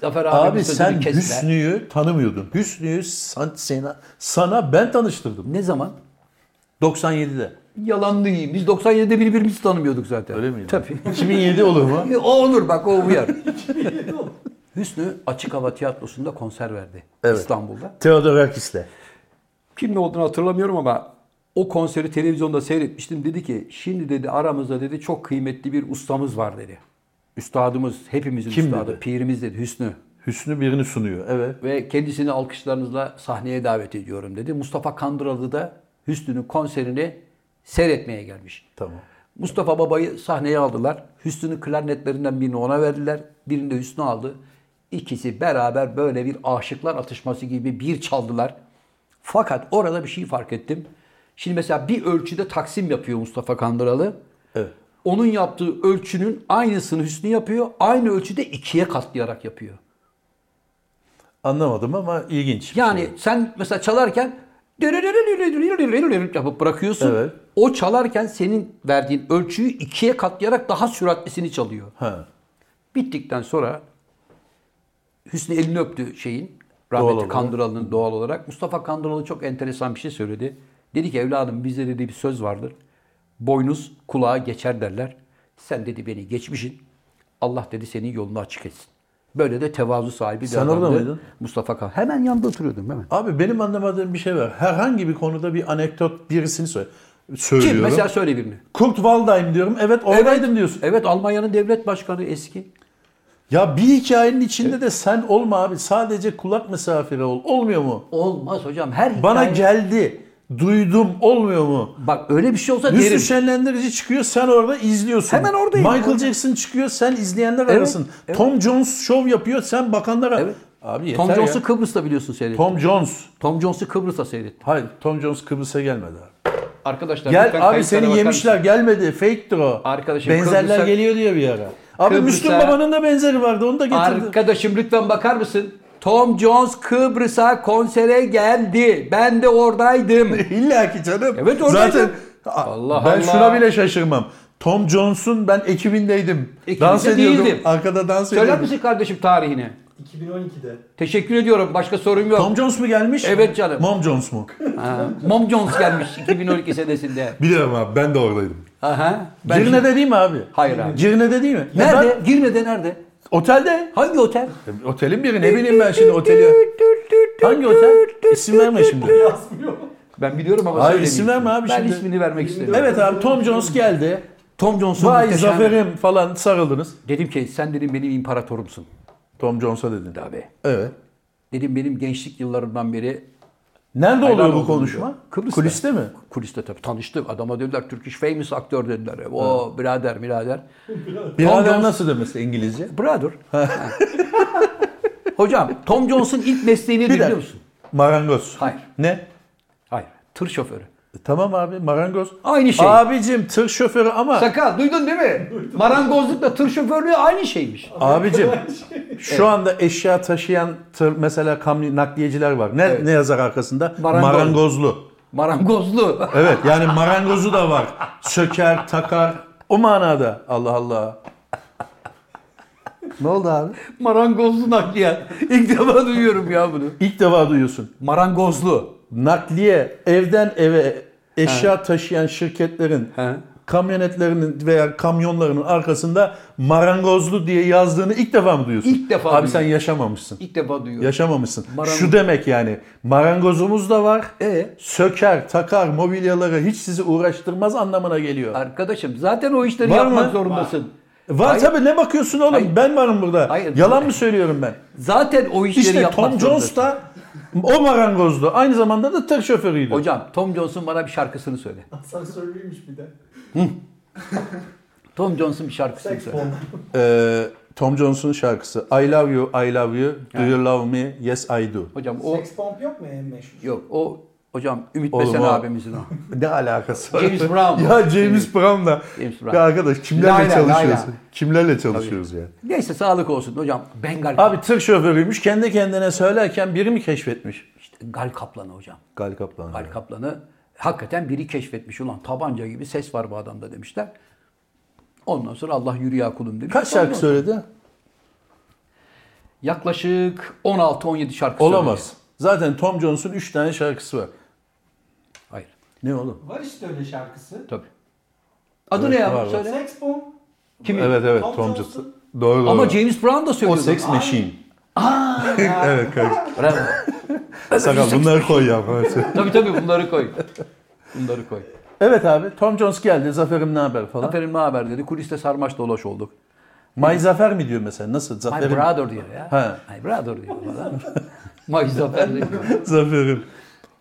Speaker 1: Zafer abi,
Speaker 2: Abi sen Hüsnü'yü tanımıyordun. Hüsnü'yü san- sana, sana ben tanıştırdım.
Speaker 1: Ne zaman?
Speaker 2: 97'de.
Speaker 1: Yalan değil. Biz 97'de birbirimizi tanımıyorduk zaten.
Speaker 2: Öyle miydi?
Speaker 1: Tabii.
Speaker 2: 2007 olur mu?
Speaker 1: E, O olur bak o uyar. Hüsnü Açık Hava Tiyatrosu'nda konser verdi
Speaker 2: Evet.
Speaker 1: İstanbul'da.
Speaker 2: Theodor Akis'le.
Speaker 1: Kimle olduğunu hatırlamıyorum ama o konseri televizyonda seyretmiştim. Dedi ki şimdi dedi aramızda dedi çok kıymetli bir ustamız var dedi. Üstadımız hepimizin
Speaker 2: Kim
Speaker 1: üstadı.
Speaker 2: dedi?
Speaker 1: Pirimiz dedi Hüsnü.
Speaker 2: Hüsnü birini sunuyor. Evet.
Speaker 1: Ve kendisini alkışlarınızla sahneye davet ediyorum dedi. Mustafa Kandıralı da Hüsnü'nün konserini seyretmeye gelmiş.
Speaker 2: Tamam.
Speaker 1: Mustafa Baba'yı sahneye aldılar. Hüsnü'nün klarnetlerinden birini ona verdiler. Birini de Hüsnü aldı. İkisi beraber böyle bir aşıklar atışması gibi bir çaldılar. Fakat orada bir şey fark ettim. Şimdi mesela bir ölçüde taksim yapıyor Mustafa Kandıralı.
Speaker 2: Evet.
Speaker 1: Onun yaptığı ölçünün aynısını Hüsnü yapıyor. Aynı ölçüde ikiye katlayarak yapıyor.
Speaker 2: Anlamadım ama ilginç. bir
Speaker 1: Yani
Speaker 2: şey.
Speaker 1: sen mesela çalarken yapıp bırakıyorsun.
Speaker 2: Evet.
Speaker 1: O çalarken senin verdiğin ölçüyü ikiye katlayarak daha süratlisini çalıyor.
Speaker 2: Ha.
Speaker 1: Bittikten sonra Hüsnü elini öptü şeyin.
Speaker 2: Doğal
Speaker 1: Rahmetli
Speaker 2: olarak.
Speaker 1: Kandıralı'nın doğal olarak. Mustafa Kandıralı çok enteresan bir şey söyledi. Dedi ki evladım bizde dedi bir söz vardır. Boynuz kulağa geçer derler. Sen dedi beni geçmişin. Allah dedi senin yolunu açık etsin. Böyle de tevazu sahibi bir
Speaker 2: Sen
Speaker 1: adamdı.
Speaker 2: orada mıydın?
Speaker 1: Mustafa Kandıralı. Hemen yanında oturuyordum hemen.
Speaker 2: Abi benim anlamadığım bir şey var. Herhangi bir konuda bir anekdot birisini söyle. Söylüyorum.
Speaker 1: Kim? Mesela söyle birini.
Speaker 2: Kurt Waldheim diyorum. Evet oradaydım diyorsun.
Speaker 1: Evet Almanya'nın devlet başkanı eski.
Speaker 2: Ya bir hikayenin içinde de sen olma abi. Sadece kulak misafiri ol. Olmuyor mu?
Speaker 1: Olmaz hocam. Her
Speaker 2: Bana
Speaker 1: hikaye-
Speaker 2: geldi. Duydum. Olmuyor mu?
Speaker 1: Bak öyle bir şey olsa derim.
Speaker 2: Hüsnü Şenlendirici çıkıyor sen orada izliyorsun.
Speaker 1: Hemen oradayım.
Speaker 2: Michael
Speaker 1: Orada.
Speaker 2: Jackson çıkıyor sen izleyenler arasın.
Speaker 1: evet.
Speaker 2: Tom Jones şov yapıyor sen bakanlara.
Speaker 1: Evet.
Speaker 2: Abi yeter
Speaker 1: Tom Jones'u
Speaker 2: ya.
Speaker 1: Kıbrıs'ta biliyorsun seyrettim. Tom,
Speaker 2: Tom Jones.
Speaker 1: Jones'u Kıbrıs'ta seyrettim.
Speaker 2: Hayır Tom Jones Kıbrıs'a gelmedi abi.
Speaker 1: Arkadaşlar lütfen
Speaker 2: Gel abi
Speaker 1: kayıtlara bakar
Speaker 2: seni
Speaker 1: mısın?
Speaker 2: yemişler gelmedi. Fake'tir o.
Speaker 1: Arkadaşım,
Speaker 2: Benzerler
Speaker 1: Kıbrıs'a-
Speaker 2: geliyor diyor bir ara. Abi
Speaker 1: Kıbrıs'a-
Speaker 2: Müslüm Baba'nın da benzeri vardı onu da getirdi.
Speaker 1: Arkadaşım lütfen bakar mısın? Tom Jones Kıbrıs'a konsere geldi. Ben de oradaydım.
Speaker 2: İlla ki canım.
Speaker 1: Evet, oradaydı.
Speaker 2: Zaten
Speaker 1: Allah
Speaker 2: Allah ben
Speaker 1: Allah.
Speaker 2: şuna bile şaşırmam. Tom Jones'un ben ekibindeydim.
Speaker 1: Ekibinde
Speaker 2: dans ediyordum.
Speaker 1: değildim.
Speaker 2: Arkada dans
Speaker 1: Söyler
Speaker 2: ediyordum.
Speaker 1: misin kardeşim tarihini?
Speaker 3: 2012'de.
Speaker 1: Teşekkür ediyorum. Başka sorum yok.
Speaker 2: Tom Jones mu gelmiş?
Speaker 1: Evet canım.
Speaker 2: Mom Jones mu?
Speaker 1: Ha, Mom Jones gelmiş 2012 senesinde.
Speaker 2: Biliyorum abi ben de oradaydım.
Speaker 1: Aha. Ben
Speaker 2: Girne'de değil mi abi?
Speaker 1: Hayır abi.
Speaker 2: Girne'de değil mi? Ya
Speaker 1: Nerede?
Speaker 2: ben-
Speaker 1: Girne'de nerede?
Speaker 2: otelde.
Speaker 1: Hangi otel?
Speaker 2: Otelin biri ne bileyim ben şimdi oteli. Hangi otel? İsim verme şimdi.
Speaker 3: Yazmıyor.
Speaker 1: Ben biliyorum ama
Speaker 2: Hayır,
Speaker 1: söylemeyeyim.
Speaker 2: isim verme abi
Speaker 1: ben
Speaker 2: şimdi.
Speaker 1: ismini vermek istemiyorum.
Speaker 2: Evet abi Tom Jones geldi.
Speaker 1: Tom Johnson
Speaker 2: Vay
Speaker 1: muhteşem.
Speaker 2: zaferim falan sarıldınız.
Speaker 1: Dedim ki sen dedim benim imparatorumsun.
Speaker 2: Tom Jones'a dedin.
Speaker 1: Abi.
Speaker 2: Evet.
Speaker 1: Dedim benim gençlik yıllarımdan beri
Speaker 2: Nerede
Speaker 1: Hayran
Speaker 2: oluyor
Speaker 1: oldum
Speaker 2: bu konuşma?
Speaker 1: diyor. Kıbrıs'ta.
Speaker 2: Kuliste mi?
Speaker 1: kuliste tabii tanıştık. Adama dediler Turkish famous aktör dediler. O birader birader.
Speaker 2: Birader
Speaker 1: Jones-
Speaker 2: nasıl demesi İngilizce?
Speaker 1: Brother. Ha. Hocam Tom Jones'un ilk mesleği nedir
Speaker 2: dakika.
Speaker 1: biliyor musun?
Speaker 2: Marangoz.
Speaker 1: Hayır.
Speaker 2: Ne?
Speaker 1: Hayır. Tır şoförü.
Speaker 2: E, tamam abi marangoz.
Speaker 1: Aynı şey.
Speaker 2: Abicim tır şoförü ama
Speaker 1: Sakal duydun değil mi? Marangozlukla tır şoförlüğü aynı şeymiş.
Speaker 2: abicim şu anda eşya taşıyan tır mesela kamyon nakliyeciler var. Ne ne yazar arkasında?
Speaker 1: Marangoz.
Speaker 2: Marangozlu.
Speaker 1: Marangozlu.
Speaker 2: Evet yani marangozu da var. Söker, takar. O manada. Allah Allah. ne oldu abi?
Speaker 1: Marangozlu nakliyat. İlk defa duyuyorum ya bunu.
Speaker 2: İlk defa duyuyorsun.
Speaker 1: Marangozlu.
Speaker 2: Nakliye evden eve eşya taşıyan şirketlerin
Speaker 1: He.
Speaker 2: kamyonetlerinin veya kamyonlarının arkasında marangozlu diye yazdığını ilk defa mı duyuyorsun?
Speaker 1: İlk defa
Speaker 2: Abi
Speaker 1: duyuyorum.
Speaker 2: sen yaşamamışsın.
Speaker 1: İlk defa duyuyorum.
Speaker 2: Yaşamamışsın.
Speaker 1: Marangoz.
Speaker 2: Şu demek yani marangozumuz da var.
Speaker 1: E?
Speaker 2: Söker, takar mobilyaları hiç sizi uğraştırmaz anlamına geliyor.
Speaker 1: Arkadaşım zaten o işleri
Speaker 2: Var
Speaker 1: yapmak
Speaker 2: mı?
Speaker 1: zorundasın.
Speaker 2: Var
Speaker 1: Hayır.
Speaker 2: tabii ne bakıyorsun oğlum?
Speaker 1: Hayır.
Speaker 2: Ben varım burada.
Speaker 1: Hayır.
Speaker 2: Yalan mı söylüyorum ben?
Speaker 1: Zaten o işleri
Speaker 2: İşte
Speaker 1: yapmak
Speaker 2: Tom Jones
Speaker 1: zorundasın.
Speaker 2: da o marangozdu. Aynı zamanda da tır şoförüydü.
Speaker 1: Hocam Tom Jones'un bana bir şarkısını söyle.
Speaker 3: Asansörlüymüş bir de.
Speaker 1: Tom Jones'un bir şarkısını söyle.
Speaker 3: Tekfon.
Speaker 2: Ee, Tom Jones'un şarkısı I love you, I love you. Do you love me? Yes I do.
Speaker 1: Hocam o
Speaker 3: Sex Bomb yok mu en meşhur?
Speaker 1: yok o hocam Ümit
Speaker 2: Oğlum
Speaker 1: Besen
Speaker 2: o-
Speaker 1: abimizin o.
Speaker 2: Ne alakası var?
Speaker 1: James Brown.
Speaker 2: ya James Brown da.
Speaker 1: James Brown.
Speaker 2: Ya arkadaş kimlerle
Speaker 1: Layla,
Speaker 2: çalışıyoruz?
Speaker 1: layla.
Speaker 2: Kimlerle çalışıyoruz ya?
Speaker 1: Neyse sağlık olsun hocam. Ben Gal,
Speaker 2: Abi tır şoförüymüş. Kendi kendine söylerken biri mi keşfetmiş?
Speaker 1: işte Gal Kaplan'ı hocam.
Speaker 2: Gal Kaplan.
Speaker 1: Gal Kaplan'ı hakikaten biri keşfetmiş. Ulan tabanca gibi ses var bu adamda demişler. Ondan sonra Allah yürü ya kulum demiş.
Speaker 2: Kaç
Speaker 1: Ondan
Speaker 2: şarkı
Speaker 1: sonra
Speaker 2: söyledi?
Speaker 1: Yaklaşık 16-17 şarkı
Speaker 2: Olamaz.
Speaker 1: söyledi.
Speaker 2: Zaten Tom Jones'un 3 tane şarkısı var.
Speaker 1: Hayır.
Speaker 2: Ne oğlum?
Speaker 3: Var işte öyle şarkısı.
Speaker 1: Tabii. Adı
Speaker 2: Evet,
Speaker 1: ne ya?
Speaker 2: var, var.
Speaker 1: Söyle.
Speaker 3: Sex Bomb.
Speaker 1: Kimin?
Speaker 2: Evet evet
Speaker 3: Tom
Speaker 2: Tom,
Speaker 3: Jones'un-
Speaker 2: Jones'un. Doğru doğru.
Speaker 1: Ama James Brown da
Speaker 2: o
Speaker 1: söylüyordu.
Speaker 2: Sex
Speaker 1: Aa,
Speaker 2: Machine. evet kardeşim.
Speaker 1: Bravo.
Speaker 2: Sakal bunları koy ya.
Speaker 1: tabii tabii bunları koy. Bunları koy.
Speaker 2: evet abi Tom Jones geldi. Zafer'im ne haber falan.
Speaker 1: Aferin ne haber dedi. Kuliste sarmaş dolaş olduk.
Speaker 2: May Zafer mi diyor mesela? Nasıl?
Speaker 1: My
Speaker 2: Zafer'im.
Speaker 1: brother diyor ya.
Speaker 2: Ha.
Speaker 1: My brother diyor falan. My Zafer diyor.
Speaker 2: Zafer'im.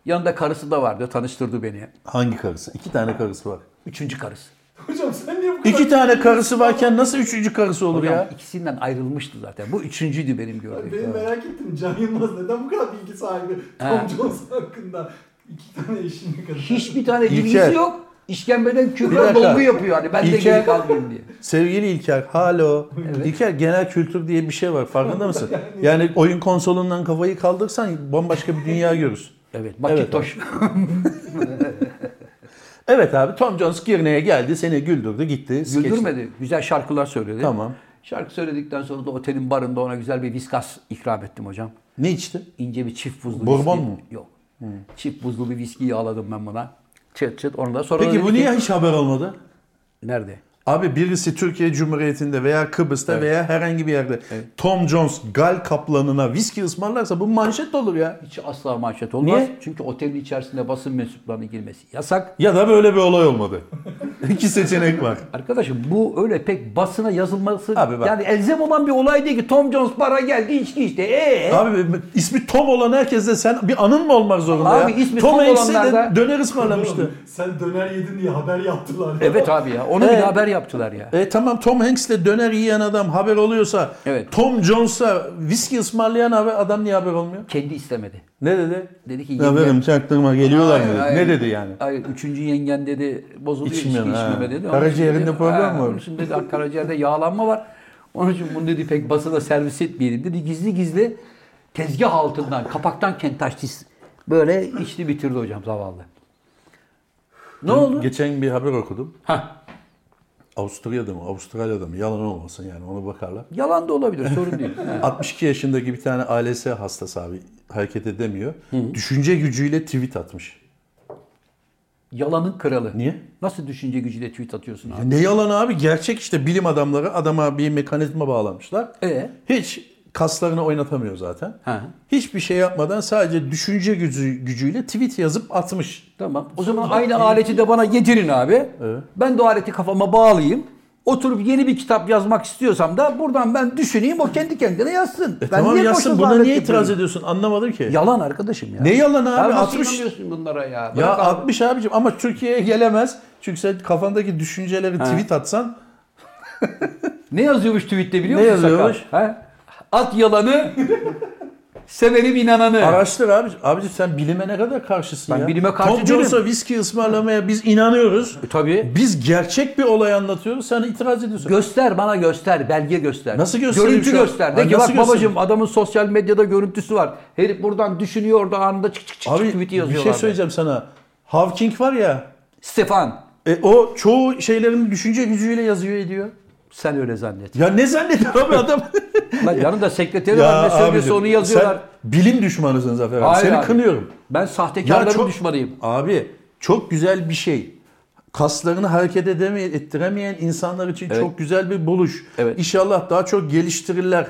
Speaker 1: Yanında karısı da vardı. Tanıştırdı beni.
Speaker 2: Hangi karısı? İki tane karısı var.
Speaker 1: Üçüncü karısı.
Speaker 3: Hocam sen niye bu kadar...
Speaker 2: İki tane karısı varken nasıl üçüncü karısı olur
Speaker 1: Hocam
Speaker 2: ya?
Speaker 1: ikisinden ayrılmıştı zaten. Bu üçüncüydü benim gördüğüm.
Speaker 3: Benim merak ettim Can Yılmaz neden bu kadar bilgi sahibi
Speaker 1: Ha.
Speaker 3: Tom Jones hakkında? İki tane eşini kadar.
Speaker 1: Hiçbir tane bilgisi
Speaker 2: İlker.
Speaker 1: yok. İşkembeden
Speaker 2: Bir
Speaker 1: küfür
Speaker 2: dakika.
Speaker 1: dolgu yapıyor. Hani ben de
Speaker 2: İlker.
Speaker 1: geri kalmayayım diye.
Speaker 2: Sevgili İlker, halo. İlker genel kültür diye bir şey var. Farkında mısın? Yani oyun konsolundan kafayı kaldırsan bambaşka bir dünya görürsün.
Speaker 1: Evet.
Speaker 2: Evet abi.
Speaker 1: Makitoş.
Speaker 2: Evet abi Tom Jones Girne'ye geldi seni güldürdü gitti. skeçti.
Speaker 1: Güldürmedi. Güzel şarkılar söyledi.
Speaker 2: Tamam.
Speaker 1: Şarkı söyledikten sonra da otelin barında ona güzel bir viskas ikram ettim hocam.
Speaker 2: Ne içti?
Speaker 1: İnce bir çift buzlu
Speaker 2: Bourbon
Speaker 1: viski.
Speaker 2: mu?
Speaker 1: Yok. Çift buzlu bir viskiyi aladım ben buna. Çıt çıt onu da sonra da
Speaker 2: Peki
Speaker 1: dedi
Speaker 2: bu
Speaker 1: ki,
Speaker 2: niye hiç haber olmadı?
Speaker 1: Nerede?
Speaker 2: Abi birisi Türkiye Cumhuriyeti'nde veya Kıbrıs'ta veya herhangi bir yerde Tom Jones Gal Kaplan'ına viski ısmarlarsa bu manşet olur ya.
Speaker 1: Hiç asla manşet olmaz.
Speaker 2: Niye?
Speaker 1: Çünkü otelin içerisinde basın mensuplarının girmesi yasak.
Speaker 2: Ya da böyle bir olay olmadı. İki seçenek var.
Speaker 1: Arkadaşım bu öyle pek basına yazılması
Speaker 2: Abi bak.
Speaker 1: yani elzem olan bir olay değil ki Tom Jones bara geldi içki işte. Ee?
Speaker 2: Abi e, ismi Tom olan herkesle sen bir anın mı olmak zorunda
Speaker 1: Abi
Speaker 2: ya?
Speaker 1: ismi Tom
Speaker 2: Tom Hanks'e
Speaker 1: olanlarda-
Speaker 2: de döner ısmarlamıştı.
Speaker 3: Sen döner yedin diye haber yaptılar.
Speaker 1: Evet abi ya. Onu bir
Speaker 2: Evet.
Speaker 1: haber yaptılar ya.
Speaker 2: E tamam Tom Hanks'le döner yiyen adam haber oluyorsa
Speaker 1: Evet.
Speaker 2: Tom Jones'a viski ısmarlayan abi- adam niye haber olmuyor?
Speaker 1: Kendi istemedi.
Speaker 2: Ne dedi?
Speaker 1: Dedi ki
Speaker 2: Ne verim çaktırma geliyorlar
Speaker 1: Hayır,
Speaker 2: dedi.
Speaker 1: hayır.
Speaker 2: Ne dedi yani?
Speaker 1: Hayır, üçüncü yengen dedi bozuluyor içki
Speaker 2: İçmiyorum, ha.
Speaker 1: içmeme dedi. Onun
Speaker 2: Karaciğerinde
Speaker 1: için dedi,
Speaker 2: problem
Speaker 1: ha,
Speaker 2: var.
Speaker 1: Onun için dedi karaciğerde yağlanma var. Onun için bunu dedi pek basına servis etmeyelim dedi. Gizli gizli tezgah altından, kapaktan kentaştis böyle içti bitirdi hocam zavallı. Ne oldu?
Speaker 2: Geçen bir haber okudum.
Speaker 1: Hah,
Speaker 2: Avusturya'da mı Avustralya'da mı yalan olmasın yani ona bakarlar.
Speaker 1: yalan da olabilir sorun değil. Ha.
Speaker 2: 62 yaşındaki bir tane ALS hastası abi hareket edemiyor. Düşünce gücüyle tweet atmış.
Speaker 1: Yalanın kralı.
Speaker 2: Niye?
Speaker 1: Nasıl düşünce gücüyle tweet atıyorsun abi?
Speaker 2: Ya Ne yalan abi gerçek işte bilim adamları adama bir mekanizma bağlamışlar.
Speaker 1: E?
Speaker 2: Hiç kaslarını oynatamıyor zaten.
Speaker 1: Ha.
Speaker 2: Hiçbir şey yapmadan sadece düşünce gücü, gücüyle tweet yazıp atmış.
Speaker 1: Tamam. O zaman aynı aleti de bana getirin abi. Ben de o aleti kafama bağlayayım. Oturup yeni bir kitap yazmak istiyorsam da buradan ben düşüneyim o kendi kendine yazsın.
Speaker 2: E
Speaker 1: ben
Speaker 2: tamam
Speaker 1: niye
Speaker 2: yazsın
Speaker 1: boşa
Speaker 2: buna
Speaker 1: zahmet
Speaker 2: niye
Speaker 1: yapıyorum?
Speaker 2: itiraz ediyorsun anlamadım ki. Ya,
Speaker 1: Yalan arkadaşım ya.
Speaker 2: Ne yalan abi?
Speaker 1: Ya nasıl
Speaker 2: 60
Speaker 1: inanıyorsun bunlara ya? Bırak
Speaker 2: ya
Speaker 1: abi.
Speaker 2: 60 abicim ama Türkiye'ye gelemez. Çünkü sen kafandaki düşünceleri tweet atsan
Speaker 1: Ne yazıyormuş tweette biliyor
Speaker 2: Ne
Speaker 1: musun? Sakal?
Speaker 2: yazıyormuş?
Speaker 1: Ha? At yalanı Severim inananı.
Speaker 2: Araştır abi. Abicim sen bilime ne kadar karşısın
Speaker 1: Ben
Speaker 2: ya?
Speaker 1: bilime karşı
Speaker 2: Tom Jones'a
Speaker 1: değilim.
Speaker 2: viski ısmarlamaya biz inanıyoruz.
Speaker 1: E, tabii.
Speaker 2: Biz gerçek bir olay anlatıyoruz. Sen itiraz ediyorsun.
Speaker 1: Göster bana göster, belge göster.
Speaker 2: Nasıl göstereyim
Speaker 1: Görüntü
Speaker 2: şu an?
Speaker 1: göster. De
Speaker 2: Ay,
Speaker 1: ki
Speaker 2: nasıl
Speaker 1: bak
Speaker 2: göstereyim?
Speaker 1: babacığım adamın sosyal medyada görüntüsü var. Herif buradan düşünüyor da anında çık çık çık
Speaker 2: abi
Speaker 1: çık tweet'i
Speaker 2: bir
Speaker 1: yazıyorlar.
Speaker 2: şey söyleyeceğim sana. Hawking var ya.
Speaker 1: Stefan
Speaker 2: E, o çoğu şeylerin düşünce gücüyle yazıyor ediyor.
Speaker 1: sen öyle zannet.
Speaker 2: Ya ne zannediyor abi adam?
Speaker 1: Lan yanında sekreteri var ne söylüyorsa
Speaker 2: abicim,
Speaker 1: onu yazıyorlar.
Speaker 2: Sen bilim düşmanısın Zafer abi.
Speaker 1: Hayır
Speaker 2: Seni
Speaker 1: abi.
Speaker 2: kınıyorum.
Speaker 1: Ben sahtekarların
Speaker 2: çok-
Speaker 1: düşmanıyım.
Speaker 2: Abi çok güzel bir şey. Kaslarını hareket edeme, ettiremeyen insanlar için
Speaker 1: Evet.
Speaker 2: çok güzel bir buluş.
Speaker 1: Evet.
Speaker 2: İnşallah daha çok geliştirirler.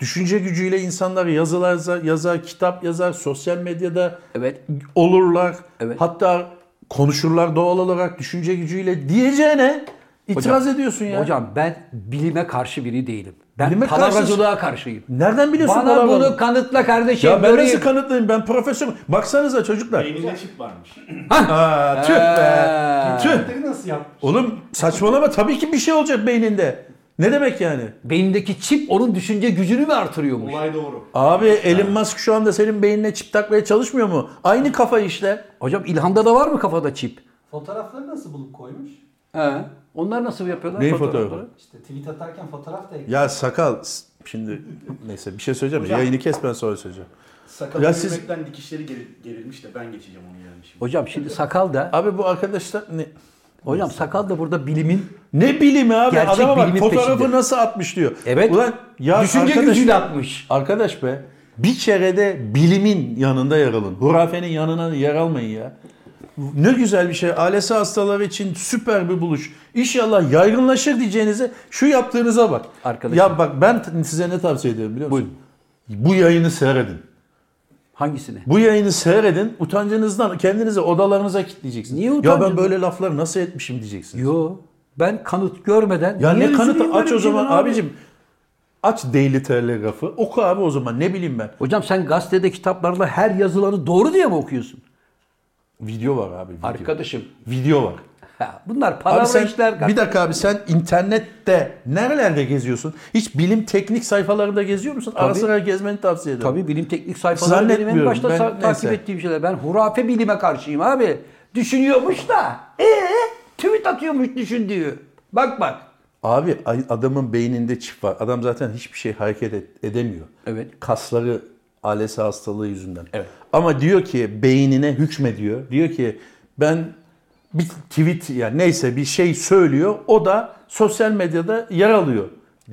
Speaker 2: Düşünce gücüyle insanlar yazılar yazar, kitap yazar, sosyal medyada
Speaker 1: Evet.
Speaker 2: olurlar.
Speaker 1: Evet.
Speaker 2: Hatta konuşurlar doğal olarak düşünce gücüyle diyeceğine itiraz ediyorsun ya.
Speaker 1: Hocam ben bilime karşı biri değilim. Ben
Speaker 2: Bilime karşı-
Speaker 1: palavracılığa karşıyım.
Speaker 2: Nereden biliyorsun
Speaker 1: Bana
Speaker 2: palavrayı?
Speaker 1: bunu kanıtla kardeşim.
Speaker 2: Ya ben
Speaker 1: Böyle-
Speaker 2: nasıl kanıtlayayım? Ben profesörüm. Baksanıza çocuklar.
Speaker 7: Beyninde çip varmış.
Speaker 2: Aa, tüh be.
Speaker 1: Ee,
Speaker 2: Tüh.
Speaker 3: Nasıl yapmış?
Speaker 2: Oğlum saçmalama tabii ki bir şey olacak beyninde. Ne demek yani?
Speaker 1: Beynindeki çip onun düşünce gücünü mü artırıyormuş?
Speaker 7: Olay doğru.
Speaker 2: Abi Elon Musk şu anda senin beynine çip takmaya çalışmıyor mu? Aynı kafa işte.
Speaker 1: Hocam İlhan'da da var mı kafada çip?
Speaker 3: Fotoğrafları nasıl bulup koymuş?
Speaker 1: He. Onlar nasıl yapıyorlar?
Speaker 2: Neyin
Speaker 1: fotoğrafları?
Speaker 2: fotoğrafı?
Speaker 3: İşte tweet atarken fotoğraf da eklemiş.
Speaker 2: Ya sakal s- şimdi neyse bir şey söyleyeceğim.
Speaker 7: Hocam.
Speaker 2: Yayını kes ben sonra söyleyeceğim.
Speaker 7: Sakalı
Speaker 2: Ya
Speaker 7: ya
Speaker 2: siz-
Speaker 7: dikişleri geril- gerilmiş de ben geçeceğim onu yani şimdi.
Speaker 1: Hocam şimdi sakal da
Speaker 2: Abi bu arkadaşlar ne,
Speaker 1: hocam sakal da burada bilimin
Speaker 2: ne bilimi abi
Speaker 1: Gerçek
Speaker 2: adama bak
Speaker 1: bilimin
Speaker 2: fotoğrafı
Speaker 1: peşinde.
Speaker 2: nasıl atmış diyor.
Speaker 1: Evet.
Speaker 2: Ulan ya
Speaker 1: düşünce
Speaker 2: arkadaş,
Speaker 1: gücüyle atmış.
Speaker 2: Arkadaş be bir kere de bilimin yanında yer alın. Hurafenin yanına yer almayın ya. Ne güzel bir şey. ALS hastaları için süper bir buluş. İnşallah yaygınlaşır diyeceğinize şu yaptığınıza bak.
Speaker 1: Arkadaşım.
Speaker 2: Ya bak ben t- size ne tavsiye ederim biliyor musun? Bu yayını seyredin.
Speaker 1: Hangisini?
Speaker 2: Bu yayını seyredin. Utancınızdan kendinize odalarınıza kilitleyeceksiniz.
Speaker 1: Niye
Speaker 2: ya ben
Speaker 1: utancınızdan?
Speaker 2: böyle lafları nasıl etmişim diyeceksiniz.
Speaker 1: Yo ben kanıt görmeden
Speaker 2: Ya
Speaker 1: niye
Speaker 2: ne kanıtı
Speaker 1: üzüleyim
Speaker 2: aç
Speaker 1: böyle
Speaker 2: o
Speaker 1: bir şeyden
Speaker 2: zaman
Speaker 1: abi?
Speaker 2: abicim. Aç Daily Telegraph'ı. Oku abi o zaman ne bileyim ben.
Speaker 1: Hocam sen gazetede kitaplarda her yazılanı doğru diye mi okuyorsun?
Speaker 2: Video var abi. Video.
Speaker 1: Arkadaşım.
Speaker 2: Video var.
Speaker 1: Ha, bunlar
Speaker 2: Abi
Speaker 1: palavra
Speaker 2: sen,
Speaker 1: işler.
Speaker 2: bir dakika abi sen internette nerelerde geziyorsun? Hiç bilim teknik sayfalarında geziyor musun? Ara sıra gezmeni tavsiye ederim.
Speaker 1: Tabii bilim teknik sayfaları benim en
Speaker 2: Zannetmiyorum.
Speaker 1: başta
Speaker 2: Ben-
Speaker 1: sa- takip
Speaker 2: neyse.
Speaker 1: ettiğim şeyler. Ben hurafe bilime karşıyım abi. Düşünüyormuş da. Ee, tweet atıyormuş düşündüğü. Bak bak.
Speaker 2: Abi ay- adamın beyninde çip var. Adam zaten hiçbir şey hareket et- edemiyor.
Speaker 1: Evet.
Speaker 2: Kasları ALS hastalığı yüzünden.
Speaker 1: Evet.
Speaker 2: Ama diyor ki beynine hükmediyor. Diyor ki ben bir tweet yani neyse bir şey söylüyor. O da sosyal medyada yer alıyor.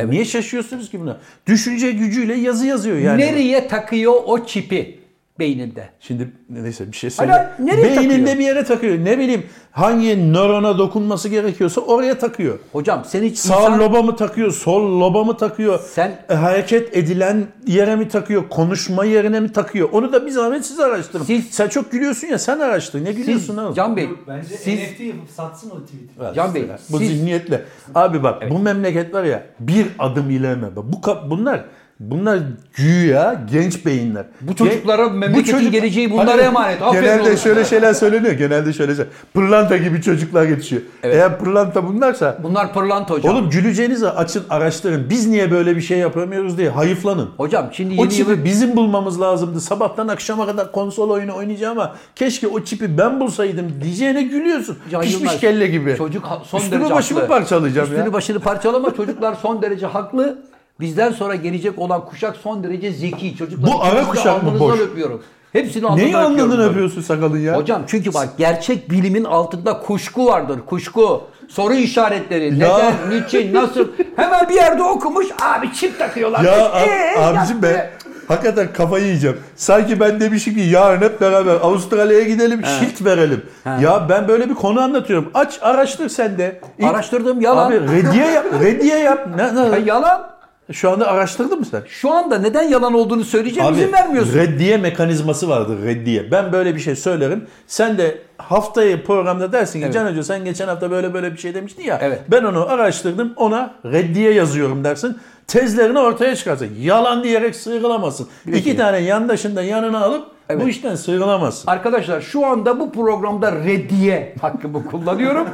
Speaker 2: Niye şaşıyorsunuz ki buna? Düşünce gücüyle yazı yazıyor yani.
Speaker 1: Nereye takıyor o çipi beyninde?
Speaker 2: Şimdi neyse bir şey
Speaker 1: Hala
Speaker 2: söyle.
Speaker 1: nereye
Speaker 2: Beyninde
Speaker 1: takıyor?
Speaker 2: bir yere takıyor. Ne bileyim hangi nörona dokunması gerekiyorsa oraya takıyor.
Speaker 1: Hocam sen hiç
Speaker 2: Sağ
Speaker 1: insan...
Speaker 2: loba mı takıyor, sol loba mı takıyor?
Speaker 1: Sen-
Speaker 2: E, hareket edilen yere mi takıyor, konuşma yerine mi takıyor? Onu da bir zahmet siz araştırın.
Speaker 1: Siz-
Speaker 2: sen çok gülüyorsun ya sen araştır. Ne gülüyorsun
Speaker 1: Siz,
Speaker 2: oğlum?
Speaker 1: Can Bey,
Speaker 3: Yok, Bence
Speaker 1: siz
Speaker 3: NFT yapıp satsın o tweet'i.
Speaker 2: Var
Speaker 1: Can Bey,
Speaker 2: işte ya. bu
Speaker 1: siz-
Speaker 2: zihniyetle. Abi bak bu memleket var ya bir adım ilerleme. Bak, Bu kap- bunlar bunlar güya genç beyinler.
Speaker 1: Bu çocuklara memleketin geleceği bunlara emanet. Aferin
Speaker 2: genelde
Speaker 1: olsun.
Speaker 2: şöyle şeyler söyleniyor. Genelde şöyle şey. Pırlanta gibi çocuklar yetişiyor. Eğer pırlanta bunlarsa
Speaker 1: bunlar pırlanta hocam.
Speaker 2: Oğlum güleceğinize açın araştırın. Biz niye böyle bir şey yapamıyoruz diye hayıflanın.
Speaker 1: hocam şimdi
Speaker 2: O
Speaker 1: yeni
Speaker 2: çipi
Speaker 1: yılı...
Speaker 2: bizim bulmamız lazımdı. Sabahtan akşama kadar konsol oyunu oynayacağım ama keşke o çipi ben bulsaydım diyeceğine gülüyorsun.
Speaker 1: Can
Speaker 2: Pişmiş
Speaker 1: Yılmaz,
Speaker 2: kelle gibi.
Speaker 1: Çocuk ha- son
Speaker 2: Üstümü
Speaker 1: derece
Speaker 2: başımı
Speaker 1: haklı.
Speaker 2: parçalayacağım
Speaker 1: Üstünü
Speaker 2: ya.
Speaker 1: başını parçalama çocuklar son derece haklı. Bizden sonra gelecek olan kuşak son derece zeki. Çocuklar
Speaker 2: Bu ara kuşak mı boş?
Speaker 1: öpüyorum. Hepsini alnından
Speaker 2: Neyi anladın
Speaker 1: öpüyorum.
Speaker 2: öpüyorsun sakalın ya?
Speaker 1: Hocam çünkü bak gerçek bilimin altında kuşku vardır. Kuşku, soru işaretleri,
Speaker 2: Ya.
Speaker 1: neden, niçin, nasıl. Hemen bir yerde okumuş abi çip takıyorlar.
Speaker 2: ya ab-
Speaker 1: Ee,
Speaker 2: abicim be. Hakikaten kafayı yiyeceğim. Sanki ben demişim ki yarın hep beraber Avustralya'ya gidelim, şilt verelim. Ya ben böyle bir konu anlatıyorum. Aç araştır sen de. İlk-
Speaker 1: Araştırdım yalan.
Speaker 2: Abi rediye yap, rediye yap. Ne, ne-
Speaker 1: Ya yalan.
Speaker 2: Şu anda araştırdın mı sen?
Speaker 1: Şu anda neden yalan olduğunu söyleyeceğim izin vermiyorsun.
Speaker 2: reddiye mekanizması vardır reddiye. Ben böyle bir şey söylerim. Sen de haftayı programda dersin ki
Speaker 1: Evet.
Speaker 2: Can Hoca sen geçen hafta böyle böyle bir şey demiştin ya.
Speaker 1: Evet.
Speaker 2: Ben onu araştırdım ona reddiye yazıyorum dersin. Tezlerini ortaya çıkarsın. Yalan diyerek sıyrılamazsın. İki tane yandaşını da yanına alıp bu
Speaker 1: Evet.
Speaker 2: işten sıyrılamazsın.
Speaker 1: Arkadaşlar şu anda bu programda reddiye hakkımı kullanıyorum.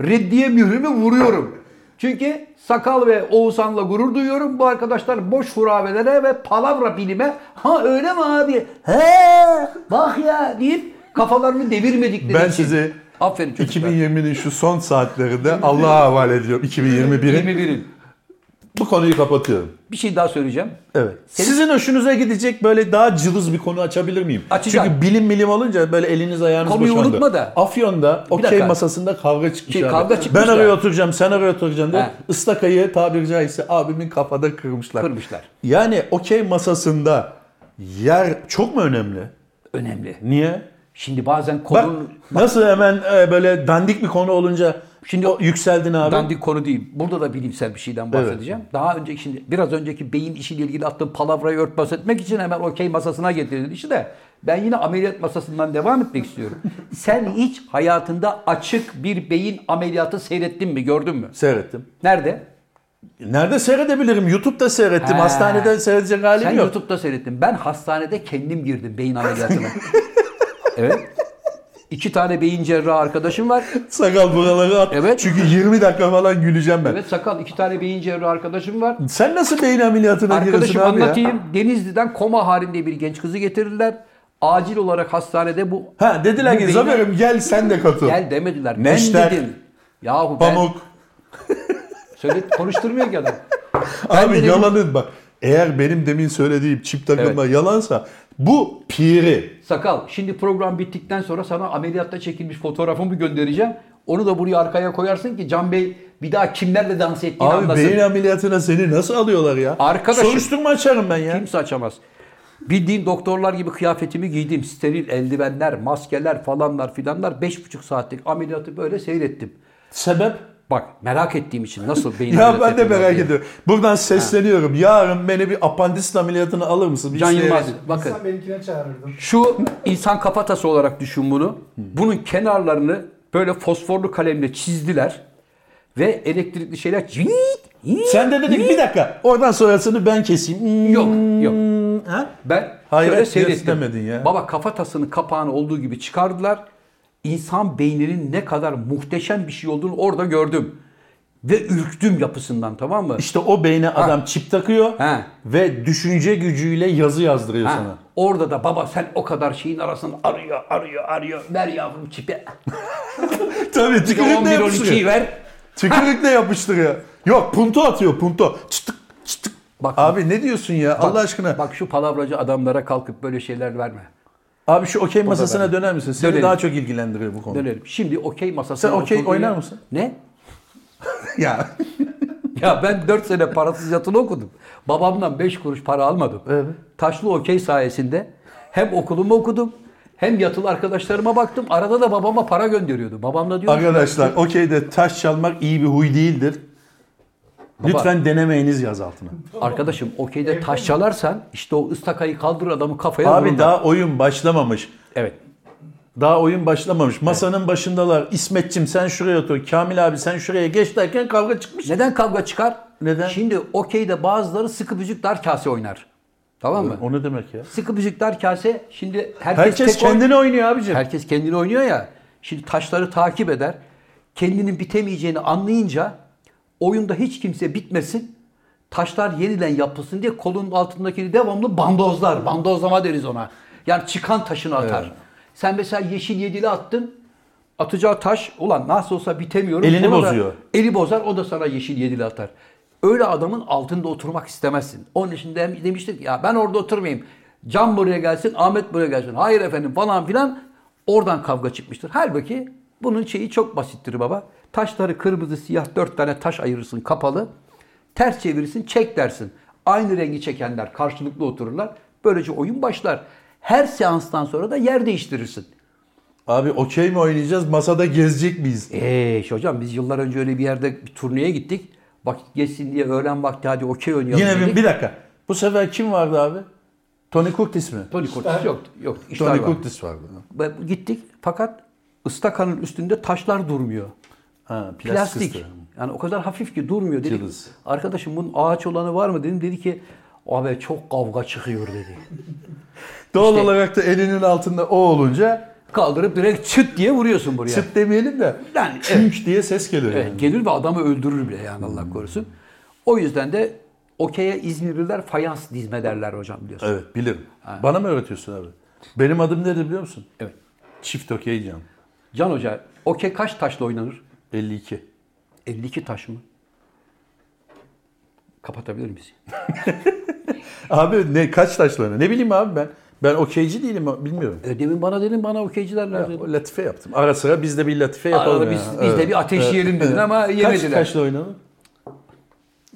Speaker 1: reddiye mührümü vuruyorum. Çünkü Sakal ve Oğuzhan'la gurur duyuyorum. Bu arkadaşlar boş hurabelere ve palavra bilime ha öyle mi abi? He bak ya deyip kafalarını devirmedikleri
Speaker 2: Ben
Speaker 1: için.
Speaker 2: sizi
Speaker 1: Aferin çocuklar.
Speaker 2: 2020'nin şu son saatlerinde Allah'a havale ediyorum. 2021'in.
Speaker 1: 21'in.
Speaker 2: Bu konuyu kapatıyorum.
Speaker 1: Bir şey daha söyleyeceğim.
Speaker 2: Evet. Sizin hoşunuza gidecek böyle daha cılız bir konu açabilir miyim?
Speaker 1: Açacağım.
Speaker 2: Çünkü bilim bilim olunca böyle eliniz ayağınız
Speaker 1: Konuyu
Speaker 2: boşandı.
Speaker 1: unutma da.
Speaker 2: Afyon'da okey
Speaker 1: dakika.
Speaker 2: masasında kavga çıkmış
Speaker 1: Şey,
Speaker 2: abi.
Speaker 1: kavga çıkmış
Speaker 2: ben
Speaker 1: ya.
Speaker 2: oraya oturacağım sen oraya oturacaksın diye
Speaker 1: He.
Speaker 2: ıstakayı tabiri caizse abimin kafada kırmışlar.
Speaker 1: Kırmışlar.
Speaker 2: Yani okey masasında yer çok mu önemli?
Speaker 1: Önemli.
Speaker 2: Niye?
Speaker 1: Şimdi bazen
Speaker 2: Bak
Speaker 1: konun
Speaker 2: nasıl hemen e, böyle dandik bir konu olunca şimdi o, yükseldin abi.
Speaker 1: dandik konu değil. Burada da bilimsel bir şeyden bahsedeceğim. Daha önce şimdi biraz önceki beyin işiyle ilgili attığım palavrayı örtbas etmek için hemen okey masasına getirdin işi de ben yine ameliyat masasından devam etmek istiyorum. Sen hiç hayatında açık bir beyin ameliyatı seyrettin mi? Gördün mü?
Speaker 2: Seyrettim.
Speaker 1: Nerede?
Speaker 2: Nerede seyredebilirim? YouTube'da seyrettim.
Speaker 1: He.
Speaker 2: Hastanede seyredecek halim
Speaker 1: Sen
Speaker 2: yok.
Speaker 1: YouTube'da seyrettin. Ben hastanede kendim girdim beyin ameliyatına. evet. İki tane beyin cerrahı arkadaşım var.
Speaker 2: Sakal buraları at.
Speaker 1: Evet.
Speaker 2: Çünkü 20 dakika falan güleceğim ben.
Speaker 1: Evet sakal iki tane beyin cerrahı arkadaşım var.
Speaker 2: Sen nasıl beyin ameliyatına giriyorsun
Speaker 1: Arkadaşım
Speaker 2: abi ya?
Speaker 1: anlatayım. Denizli'den koma halinde bir genç kızı getirirler. Acil olarak hastanede bu
Speaker 2: Ha dediler
Speaker 1: Bu
Speaker 2: ki
Speaker 1: beyin-
Speaker 2: Zafer'im gel sen de katıl.
Speaker 1: gel demediler.
Speaker 2: Neşter,
Speaker 1: ben dedim. Yahu ben
Speaker 2: Pamuk.
Speaker 1: söyle konuşturmuyor ki adam.
Speaker 2: Abi
Speaker 1: dedim-
Speaker 2: yalanın bak. Eğer benim demin söylediğim çip takılma yalansa bu piri.
Speaker 1: Sakal şimdi program bittikten sonra sana ameliyatta çekilmiş fotoğrafımı göndereceğim. Onu da buraya arkaya koyarsın ki Can Bey bir daha kimlerle dans ettiğini
Speaker 2: Abi
Speaker 1: anlasın.
Speaker 2: beyin ameliyatına seni nasıl alıyorlar ya?
Speaker 1: Arkadaşım-
Speaker 2: Soruşturma açarım ben ya.
Speaker 1: Kimse açamaz. Bildiğin doktorlar gibi kıyafetimi giydim. Steril eldivenler, maskeler falanlar filanlar. 5,5 saatlik ameliyatı böyle seyrettim.
Speaker 2: Sebep?
Speaker 1: Bak merak ettiğim için nasıl beyin
Speaker 2: Ya
Speaker 1: ameliyatı
Speaker 2: ben de
Speaker 1: yapıyorlar
Speaker 2: merak
Speaker 1: diye.
Speaker 2: ediyorum. Buradan sesleniyorum. Yarın beni bir apandist ameliyatına alır mısın? Bir
Speaker 1: Can
Speaker 2: seyret-
Speaker 1: Yılmaz bakın.
Speaker 3: İnsan benimkine çağırırdım.
Speaker 1: Şu insan kafatası olarak düşün bunu.
Speaker 2: Hmm.
Speaker 1: Bunun kenarlarını böyle fosforlu kalemle çizdiler. Ve elektrikli şeyler cıvıt, cıvıt.
Speaker 2: Sen de dedik bir dakika. Oradan sonrasını ben keseyim. Hmm,
Speaker 1: Yok, yok.
Speaker 2: Ha?
Speaker 1: Ben
Speaker 2: Hayret
Speaker 1: şöyle
Speaker 2: diyorsun
Speaker 1: seyrettim.
Speaker 2: demedin ya.
Speaker 1: Baba kafatasının kapağını olduğu gibi çıkardılar. İnsan beyninin ne kadar muhteşem bir şey olduğunu orada gördüm. Ve ürktüm yapısından tamam mı?
Speaker 2: İşte o beyne adam çip takıyor
Speaker 1: Ha.
Speaker 2: ve düşünce gücüyle yazı yazdırıyor
Speaker 1: Ha,
Speaker 2: sana.
Speaker 1: orada da baba sen o kadar şeyin arasında arıyor, arıyor, arıyor. Ver yavrum çipi.
Speaker 2: Tabii
Speaker 1: 11 12'yi ver.
Speaker 2: Tükürükle yapıştırıyor. Yok punto atıyor punto. Çıtık çıtık.
Speaker 1: Bak.
Speaker 2: Abi ne diyorsun ya Allah aşkına.
Speaker 1: Bak şu palavracı adamlara kalkıp böyle şeyler verme.
Speaker 2: Abi şu okey masasına döner misin? Seni
Speaker 1: Dönelim.
Speaker 2: daha çok ilgilendiriyor bu konu.
Speaker 1: Dönelim. Şimdi okey masasına
Speaker 2: Sen okey
Speaker 1: oturduğu
Speaker 2: oynar
Speaker 1: yer-
Speaker 2: mısın?
Speaker 1: Ne?
Speaker 2: ya.
Speaker 1: Ya ben 4 sene parasız yatılı okudum. Babamdan 5 kuruş para almadım. Taşlı okey sayesinde hem okulumu okudum hem yatılı arkadaşlarıma baktım. Arada da babama para gönderiyordu. Babam da diyor ki,
Speaker 2: Arkadaşlar okeyde taş çalmak iyi bir huy değildir. Lütfen denemeyiniz yaz altına.
Speaker 1: arkadaşım okeyde taş çalarsan işte o ıstakayı kaldır adamı kafaya
Speaker 2: Abi
Speaker 1: vururlar."
Speaker 2: daha oyun başlamamış.
Speaker 1: Evet.
Speaker 2: Daha oyun başlamamış. Masanın başındalar. İsmetçim sen şuraya otur. Kamil abi sen şuraya geç derken kavga çıkmış.
Speaker 1: Neden kavga çıkar?
Speaker 2: Neden?
Speaker 1: Şimdi okeyde bazıları sıkı büzük dar kase oynar. Tamam mı?
Speaker 2: O ne demek ya?
Speaker 1: Sıkı büzük dar kase şimdi herkes,
Speaker 2: Herkes
Speaker 1: tek oyn-
Speaker 2: kendini oynuyor abicim.
Speaker 1: Herkes kendini oynuyor ya. Şimdi taşları takip eder. Kendinin bitemeyeceğini anlayınca oyunda hiç kimse bitmesin. Taşlar yeniden yapılsın diye kolun altındakini devamlı bandozlar. Bandozlama deriz ona. Yani çıkan taşını atar. Sen mesela yeşil yedili attın. Atacağı taş ulan nasıl olsa bitemiyorum.
Speaker 2: Elini
Speaker 1: Bunu da-
Speaker 2: bozuyor.
Speaker 1: eli bozar o da sana yeşil yedili atar. Öyle adamın altında oturmak istemezsin. Onun için de demiştik ya ben orada oturmayayım. Can buraya gelsin, Ahmet buraya gelsin. Hayır efendim falan filan. Oradan kavga çıkmıştır. Halbuki bunun şeyi çok basittir baba. Taşları kırmızı, siyah dört tane taş ayırırsın kapalı. Ters çevirirsin, çek dersin. Aynı rengi çekenler karşılıklı otururlar. Böylece oyun başlar. Her seanstan sonra da yer değiştirirsin.
Speaker 2: Abi okey mi oynayacağız? Masada gezecek
Speaker 1: E,
Speaker 2: miyiz?
Speaker 1: Eee hocam biz yıllar önce öyle bir yerde bir turneye gittik. Vakit geçsin diye öğlen vakti hadi okey oynayalım
Speaker 2: Yine bir,
Speaker 1: dedik.
Speaker 2: bir dakika. Bu sefer kim vardı abi? Tony Curtis mi?
Speaker 1: Tony Curtis yok. Yok. işler
Speaker 2: Tony
Speaker 1: var.
Speaker 2: Curtis vardı.
Speaker 1: Ve Gittik fakat ıstakanın üstünde taşlar durmuyor.
Speaker 2: Ha,
Speaker 1: Plastik.
Speaker 2: plastik.
Speaker 1: Yani o kadar hafif ki durmuyor. Dedik,
Speaker 2: Cılız.
Speaker 1: arkadaşım bunun ağaç olanı var mı dedim. Dedi ki abi çok kavga çıkıyor dedi.
Speaker 2: Doğal
Speaker 1: İşte-
Speaker 2: olarak da elinin altında o olunca
Speaker 1: Kaldırıp direkt çıt diye vuruyorsun buraya.
Speaker 2: Çıt demeyelim de
Speaker 1: Yani,
Speaker 2: yani, diye ses geliyor.
Speaker 1: Evet, Hmm.
Speaker 2: yani.
Speaker 1: gelir ve adamı öldürür bile yani Allah korusun. O yüzden de okey'e İzmirliler fayans dizme derler hocam biliyorsun.
Speaker 2: Evet bilirim. Bana mı öğretiyorsun abi? Benim adım nedir biliyor musun?
Speaker 1: Evet.
Speaker 2: Çift okey can.
Speaker 1: Can Hoca okey kaç taşla oynanır?
Speaker 2: 52.
Speaker 1: 52 taş mı? Kapatabilir miyiz?
Speaker 2: Abi ne kaç taşlarına? Ne bileyim abi ben. Ben okeyci değilim bilmiyorum.
Speaker 1: E, demin bana dedin bana okeyciler
Speaker 2: Ya,
Speaker 1: nerede?
Speaker 2: o latife yaptım. Ara sıra biz de bir latife yapalım.
Speaker 1: Arada
Speaker 2: ya.
Speaker 1: biz, biz de
Speaker 2: Evet.
Speaker 1: bir ateş yiyelim dedin ama
Speaker 2: Kaç
Speaker 1: yemediler.
Speaker 2: taşla oynanır?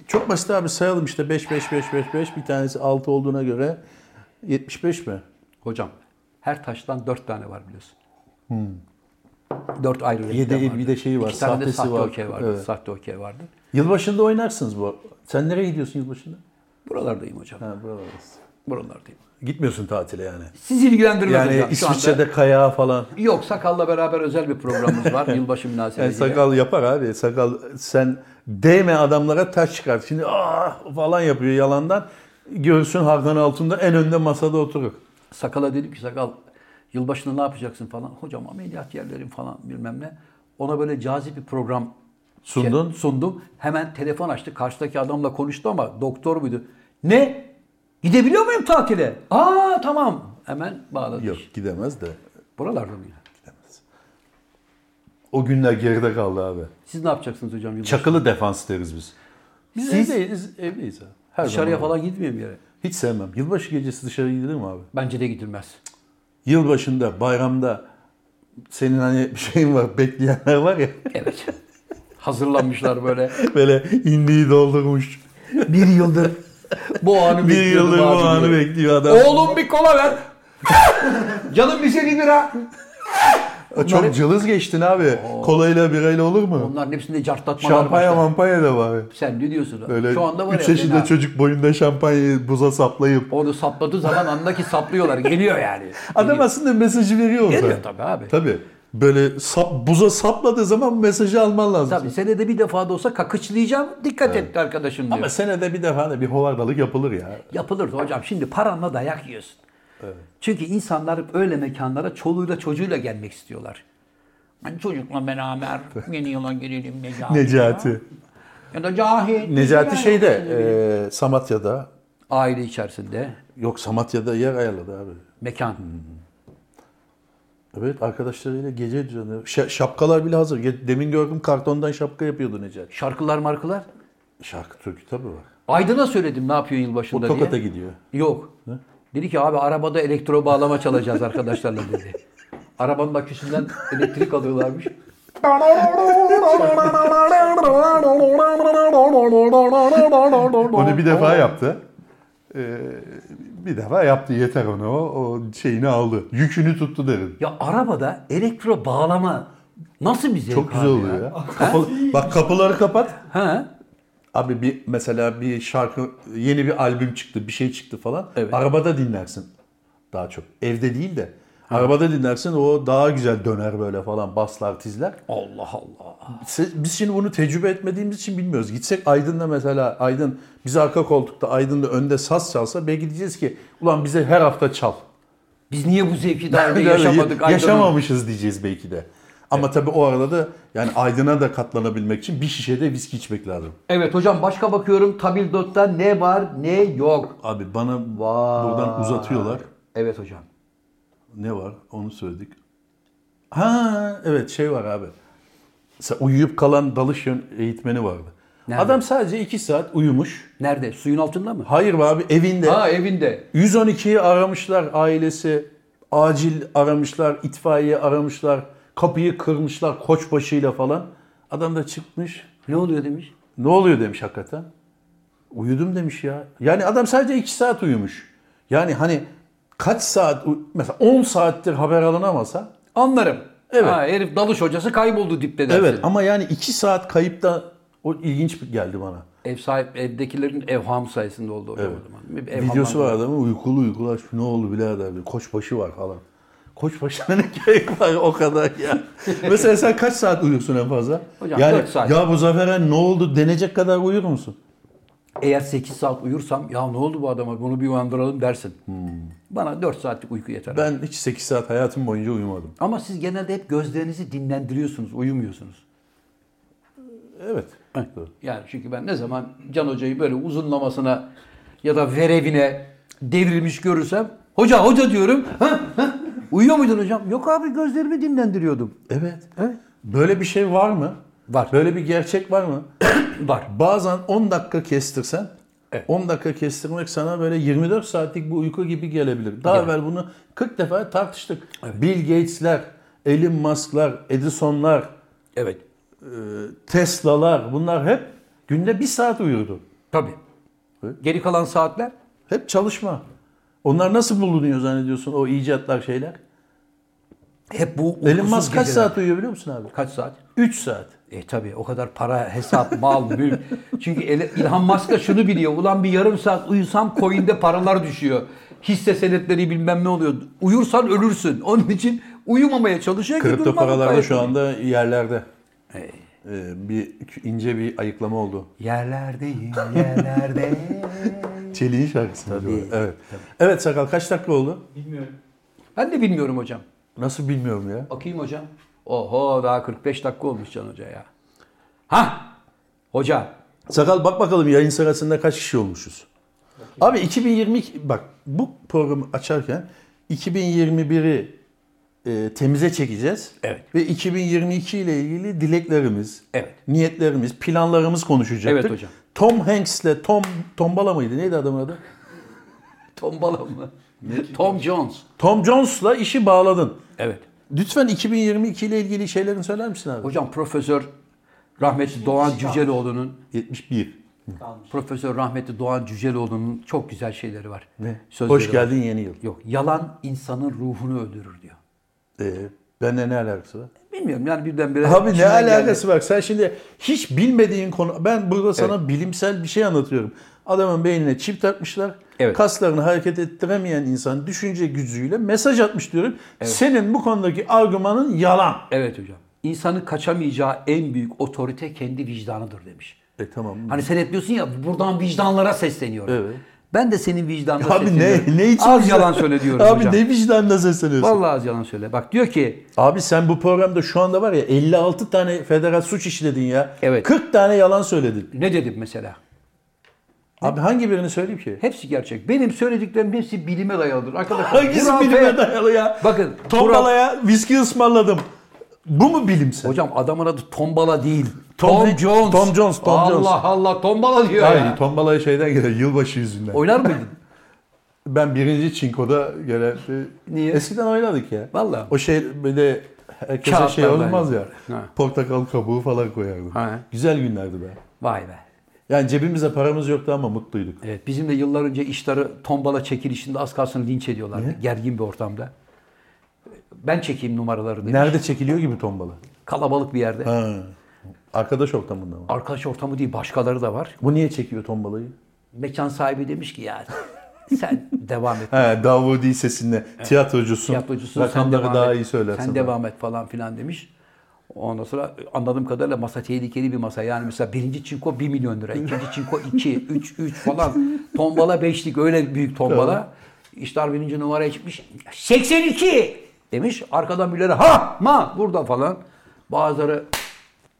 Speaker 2: Çok basit abi sayalım işte 5 5 5 5 5 bir tanesi 6 olduğuna göre 75 mi?
Speaker 1: Hocam her taştan 4 tane var biliyorsun. 4 ayrı
Speaker 2: Hmm. Yedi-
Speaker 1: renkten vardı.
Speaker 2: bir de şeyi var,
Speaker 1: İki tane de
Speaker 2: sahtesi
Speaker 1: sahte
Speaker 2: var.
Speaker 1: okey vardı.
Speaker 2: Evet.
Speaker 1: Sahte okey vardı.
Speaker 2: Yılbaşında oynarsınız bu. Sen nereye gidiyorsun yılbaşında?
Speaker 1: Buralardayım hocam.
Speaker 2: Ha buralardasın.
Speaker 1: Buralardayım.
Speaker 2: Gitmiyorsun tatile yani.
Speaker 1: Sizi ilgilendirmez
Speaker 2: Yani
Speaker 1: hocam. Şu anda-
Speaker 2: İsviçre'de kayağa falan.
Speaker 1: Yok sakalla beraber özel bir programımız var. Yılbaşı
Speaker 2: Yani
Speaker 1: münasebetiyle.
Speaker 2: E, sakal yapar abi. Sakal sen değme adamlara taş çıkar. Şimdi ah falan yapıyor yalandan. Göğsün hardan altında en önde masada oturur.
Speaker 1: Sakala dedim ki sakal yılbaşında ne yapacaksın falan. Hocam ameliyat yerlerim falan bilmem ne. Ona böyle cazip bir program
Speaker 2: Sundun.
Speaker 1: şey- sundum. Hemen telefon açtı. Karşıdaki adamla konuştu ama doktor muydu? Ne? Gidebiliyor muyum tatile? Aa tamam. Hemen bağladı.
Speaker 2: Yok
Speaker 1: iş.
Speaker 2: gidemez de.
Speaker 1: Buralarda mı ya?
Speaker 2: O günler geride kaldı abi.
Speaker 1: Siz ne yapacaksınız hocam yılbaşı?
Speaker 2: Çakılı defans deriz biz. Biz
Speaker 1: Siz-
Speaker 2: evdeyiz, evdeyiz abi. Her
Speaker 1: Dışarıya
Speaker 2: zaman.
Speaker 1: falan gitmiyor mu yere?
Speaker 2: Hiç sevmem. Yılbaşı gecesi dışarı gidilir mi abi?
Speaker 1: Bence de gidilmez.
Speaker 2: Yılbaşında, bayramda senin hani bir şeyin var, bekleyenler var ya.
Speaker 1: Evet. Hazırlanmışlar böyle.
Speaker 2: Böyle indiği doldurmuş.
Speaker 1: Bir yıldır bu anı
Speaker 2: Bir
Speaker 1: bekliyordum
Speaker 2: yıldır bu
Speaker 1: abi
Speaker 2: anı
Speaker 1: diyor.
Speaker 2: bekliyor adam.
Speaker 1: Oğlum bir kola ver. Canım bize bir bira.
Speaker 2: Çok cılız geçtin abi. Kolayla birayla olur mu?
Speaker 1: Onların hepsinde cartlatmalar
Speaker 2: Şampanya
Speaker 1: başlar.
Speaker 2: mampanya da var.
Speaker 1: Sen ne diyorsun?
Speaker 2: Böyle
Speaker 1: Şu anda var
Speaker 2: 3
Speaker 1: ya.
Speaker 2: yaşında
Speaker 1: fena.
Speaker 2: çocuk boyunda şampanyayı buza saplayıp.
Speaker 1: Onu sapladığı zaman anla ki saplıyorlar. Geliyor yani.
Speaker 2: Adam aslında mesajı veriyor orada.
Speaker 1: Geliyor tabii abi.
Speaker 2: Tabii. Böyle sap, buza sapladığı zaman bu mesajı alman lazım.
Speaker 1: Tabii senede bir defa da olsa kakıçlayacağım. Dikkat et arkadaşım diyor.
Speaker 2: Ama senede bir defa da bir hovardalık yapılır ya.
Speaker 1: Yapılır hocam. Şimdi paranla dayak yiyorsun. Çünkü insanlar öyle mekanlara çoluğuyla çocuğuyla gelmek istiyorlar. Hani çocukla beraber yeni yıla girelim Necati.
Speaker 2: Necati.
Speaker 1: Ya da Cahit.
Speaker 2: Necati şeyde e, Samatya'da
Speaker 1: Aile içerisinde
Speaker 2: yok Samatya'da yer ayarladı abi.
Speaker 1: mekan.
Speaker 2: Evet arkadaşlarıyla gece düzenliyor. Şa- şapkalar bile hazır. Ge- Demin gördüm kartondan şapka yapıyordu Necati.
Speaker 1: Şarkılar markılar.
Speaker 2: Şarkı türkü tabii var.
Speaker 1: Aydın'a söyledim ne yapıyorsun
Speaker 2: O
Speaker 1: yılbaşında
Speaker 2: Tokat'a
Speaker 1: diye.
Speaker 2: gidiyor.
Speaker 1: Yok. Dedi ki abi arabada elektro bağlama çalacağız arkadaşlarla dedi. Arabanın aküsünden elektrik alıyorlarmış.
Speaker 2: Onu bir defa yaptı. Ee, bir defa yaptı yeter ona o, o şeyini aldı. Yükünü tuttu derim.
Speaker 1: Ya arabada elektro bağlama nasıl bir zevk
Speaker 2: Çok güzel
Speaker 1: abi
Speaker 2: oluyor ya. Kapı- bak kapıları kapat.
Speaker 1: Ha?
Speaker 2: Abi bir mesela bir şarkı yeni bir albüm çıktı, bir şey çıktı falan.
Speaker 1: Evet.
Speaker 2: Arabada dinlersin. Daha çok evde değil de arabada dinlersin o daha güzel döner böyle falan baslar tizler.
Speaker 1: Allah Allah.
Speaker 2: Siz- Biz şimdi bunu tecrübe etmediğimiz için bilmiyoruz. Gitsek Aydın'da mesela Aydın biz arka koltukta Aydın'da önde saz çalsa belki diyeceğiz ki ulan bize her hafta çal.
Speaker 1: Biz niye bu zevki daha önce
Speaker 2: Yani
Speaker 1: yaşamadık? Aydın'ın?
Speaker 2: Yaşamamışız diyeceğiz belki de. Ama tabii o arada da yani Aydın'a da katlanabilmek için bir şişede viski içmek lazım.
Speaker 1: Evet hocam başka bakıyorum Tabildot'ta ne var ne yok.
Speaker 2: Abi bana
Speaker 1: Vay.
Speaker 2: buradan uzatıyorlar.
Speaker 1: Evet hocam.
Speaker 2: Ne var? Onu söyledik. Ha evet şey var abi. Mesela uyuyup kalan dalış yön eğitmeni vardı.
Speaker 1: Nerede?
Speaker 2: Adam sadece 2 saat uyumuş.
Speaker 1: Nerede? Suyun altında mı?
Speaker 2: Hayır be abi evinde.
Speaker 1: Ha evinde.
Speaker 2: 112'yi aramışlar ailesi. Acil aramışlar, itfaiye aramışlar. Kapıyı kırmışlar koçbaşıyla falan. Adam da çıkmış.
Speaker 1: Ne oluyor demiş.
Speaker 2: Ne oluyor demiş hakikaten. Uyudum demiş ya. Yani adam sadece 2 saat uyumuş. Yani hani kaç saat, uy- mesela 10 saattir haber alınamasa
Speaker 1: Anlarım.
Speaker 2: Evet.
Speaker 1: Ha, herif dalış hocası kayboldu dipte dersin.
Speaker 2: Evet ama yani 2 saat kayıpta o ilginç geldi bana.
Speaker 1: Ev sahip evdekilerin evham sayesinde oldu hocam o zaman. Bir evhamlandı.
Speaker 2: Videosu var adamın uykulu uykulu aç ne oldu birader bir koçbaşı var falan. Koçbaşına ne gerek var o kadar ya. Mesela sen kaç saat uyuyorsun en fazla?
Speaker 1: Hocam,
Speaker 2: yani
Speaker 1: dört saat.
Speaker 2: ya bu Zafer Han ne oldu denecek kadar uyur musun?
Speaker 1: Eğer 8 saat uyursam ya ne oldu bu adama bunu bir uyandıralım dersin. Bana 4 saatlik uyku yeter.
Speaker 2: Hmm. Ben hiç 8 saat hayatım boyunca uyumadım.
Speaker 1: Ama siz genelde hep gözlerinizi dinlendiriyorsunuz, uyumuyorsunuz.
Speaker 2: Evet. Doğru.
Speaker 1: Yani çünkü ben ne zaman Can Hoca'yı böyle uzunlamasına ya da verevine devrilmiş görürsem hoca hoca diyorum. "Hah, hah." Uyuyor muydun hocam? Yok abi gözlerimi dinlendiriyordum.
Speaker 2: Evet.
Speaker 1: Evet.
Speaker 2: Böyle bir şey var mı?
Speaker 1: Var.
Speaker 2: Böyle bir gerçek var mı?
Speaker 1: Var.
Speaker 2: Bazen 10 dakika kestirsen 10 dakika kestirmek sana böyle 24 saatlik bir uyku gibi gelebilir. Daha evvel bunu 40 defa tartıştık. Bill Gates'ler, Elon Musk'lar, Edison'lar, e,
Speaker 1: Evet.
Speaker 2: Tesla'lar bunlar hep günde 1 saat uyurdu.
Speaker 1: Tabii. Geri kalan saatler
Speaker 2: Hep çalışma. Onlar nasıl bulunuyor zannediyorsun o icatlar şeyler?
Speaker 1: hep bu uykusuz
Speaker 2: Elon Musk kaç
Speaker 1: geceler.
Speaker 2: saat uyuyor biliyor musun abi?
Speaker 1: Kaç saat?
Speaker 2: 3 saat.
Speaker 1: E tabii o kadar para, hesap, mal, mülk. Çünkü ele- İlhan Musk da şunu biliyor. Ulan bir yarım saat uyusam coin'de paralar düşüyor. Hisse senetleri bilmem ne oluyor. Uyursan ölürsün. Onun için uyumamaya çalışıyor ki
Speaker 2: Kripto
Speaker 1: durmadan
Speaker 2: paralar da
Speaker 1: gayet
Speaker 2: şu
Speaker 1: iyi.
Speaker 2: anda yerlerde. Ee, bir ince bir ayıklama oldu.
Speaker 1: Yerlerdeyim, yerlerde.
Speaker 2: Çelik'in şarkısı. Tabii. Evet. Evet Sakal kaç dakika oldu?
Speaker 3: Bilmiyorum.
Speaker 1: ben de bilmiyorum hocam.
Speaker 2: Nasıl bilmiyorum ya.
Speaker 1: Bakayım hocam. Oho daha 45 dakika olmuş Can Hoca ya. Hah! Hoca.
Speaker 2: Sakal bak bakalım yayın sırasında kaç kişi olmuşuz. Abi 2022 bak bu programı açarken 2021'i e, temize çekeceğiz.
Speaker 1: Evet.
Speaker 2: Ve 2022 ile ilgili dileklerimiz,
Speaker 1: Evet.
Speaker 2: niyetlerimiz, planlarımız konuşacaktık.
Speaker 1: Evet hocam.
Speaker 2: Tom Hanks'le Tom Tombala mıydı? Neydi adamın adı?
Speaker 1: Tombala mı? Tom Jones.
Speaker 2: Tom Jones'la işi bağladın.
Speaker 1: Evet.
Speaker 2: Lütfen 2022 ile ilgili şeylerini söyler misin abi?
Speaker 1: Hocam Profesör Rahmetli Doğan Cüceloğlu'nun
Speaker 2: 71.
Speaker 3: Kalmış.
Speaker 1: Profesör Rahmetli Doğan Cüceloğlu'nun çok güzel şeyleri var.
Speaker 2: Ne?
Speaker 1: Sözleri
Speaker 2: Hoş
Speaker 1: var.
Speaker 2: geldin yeni yıl.
Speaker 1: Yok, yalan insanın ruhunu öldürür diyor.
Speaker 2: Ee, benle ne alakası var?
Speaker 1: Bilmiyorum yani birdenbire...
Speaker 2: Abi ne
Speaker 1: içimden geldi.
Speaker 2: alakası var? Sen şimdi hiç bilmediğin konu... Ben burada sana bilimsel bir şey anlatıyorum. Adamın beynine çip takmışlar.
Speaker 1: Evet.
Speaker 2: Kaslarını hareket ettiremeyen insan düşünce gücüyle mesaj atmış diyorum. Senin bu konudaki argümanın yalan.
Speaker 1: Evet hocam. İnsanın kaçamayacağı en büyük otorite kendi vicdanıdır demiş.
Speaker 2: E tamam.
Speaker 1: Hani sen hep diyorsun ya buradan vicdanlara sesleniyorum.
Speaker 2: Evet.
Speaker 1: Ben de senin vicdanına
Speaker 2: Abi ne,
Speaker 1: Hani sesleniyorum.
Speaker 2: ne için
Speaker 1: Az
Speaker 2: bize-
Speaker 1: yalan söyle diyorum
Speaker 2: Abi
Speaker 1: hocam.
Speaker 2: ne vicdanla sesleniyorsun?
Speaker 1: Vallahi az yalan söyle. Bak diyor ki
Speaker 2: Abi sen bu programda şu anda var ya 56 tane federal suç işledin ya.
Speaker 1: Evet.
Speaker 2: 40 tane yalan söyledin.
Speaker 1: ne dedim mesela?
Speaker 2: Abi hangi birini söyleyeyim ki?
Speaker 1: Hepsi gerçek. Benim söylediklerim hepsi bilime dayalıdır. Arkadaşlar
Speaker 2: Hangisi
Speaker 1: hurafe-
Speaker 2: bilime dayalı ya?
Speaker 1: Bakın,
Speaker 2: Tombalaya viski ısmarladım. Bu mu bilimsel?
Speaker 1: Hocam adamın adı Tombala değil.
Speaker 2: Tom
Speaker 1: Tom,
Speaker 2: Hanks-
Speaker 1: Jones.
Speaker 2: Tom Jones, Tom
Speaker 1: Allah
Speaker 2: Jones.
Speaker 1: Allah Tombala diyor
Speaker 2: Hayır,
Speaker 1: ya.
Speaker 2: tombalaya şeyden gelen yılbaşı yüzünden.
Speaker 1: Oynar mıydın?
Speaker 2: Ben birinci çinkoda gelen... şey-
Speaker 1: Niye?
Speaker 2: Eskiden oynadık ya.
Speaker 1: Vallahi.
Speaker 2: O şey böyle herkese
Speaker 1: Kağıtlar
Speaker 2: şey olmaz ya.
Speaker 1: böyle. Ha.
Speaker 2: Portakal kabuğu falan koyardım.
Speaker 1: Ha.
Speaker 2: Güzel günlerdi be.
Speaker 1: Vay be.
Speaker 2: Yani cebimize paramız yoktu ama mutluyduk.
Speaker 1: Evet bizim de yıllar önce işleri Tombala çekilişinde az kalsın linç ediyorlardı. Gergin bir ortamda. Ben çekeyim numaraları demiş.
Speaker 2: Nerede çekiliyor gibi tombala?
Speaker 1: Kalabalık bir yerde.
Speaker 2: Ha. Arkadaş ortamında mı?
Speaker 1: Arkadaş ortamı değil başkaları da var.
Speaker 2: Bu niye çekiyor tombalayı?
Speaker 1: Mekan sahibi demiş ki ya sen devam et.
Speaker 2: He, Davudi sesinde tiyatrocusun.
Speaker 1: Tiyatrocusun sen
Speaker 2: Rakamları
Speaker 1: devam
Speaker 2: daha
Speaker 1: et.
Speaker 2: iyi söylersin.
Speaker 1: Sen devam et falan filan demiş. Ondan sonra anladığım kadarıyla masa tehlikeli bir masa. Yani mesela birinci çinko 1 milyon lira, ikinci çinko 2, 3, 3 falan. Tombala beşlik öyle büyük tombala. İşler birinci numaraya çıkmış. 82 demiş. Arkadan birileri ha ma burada falan. Bazıları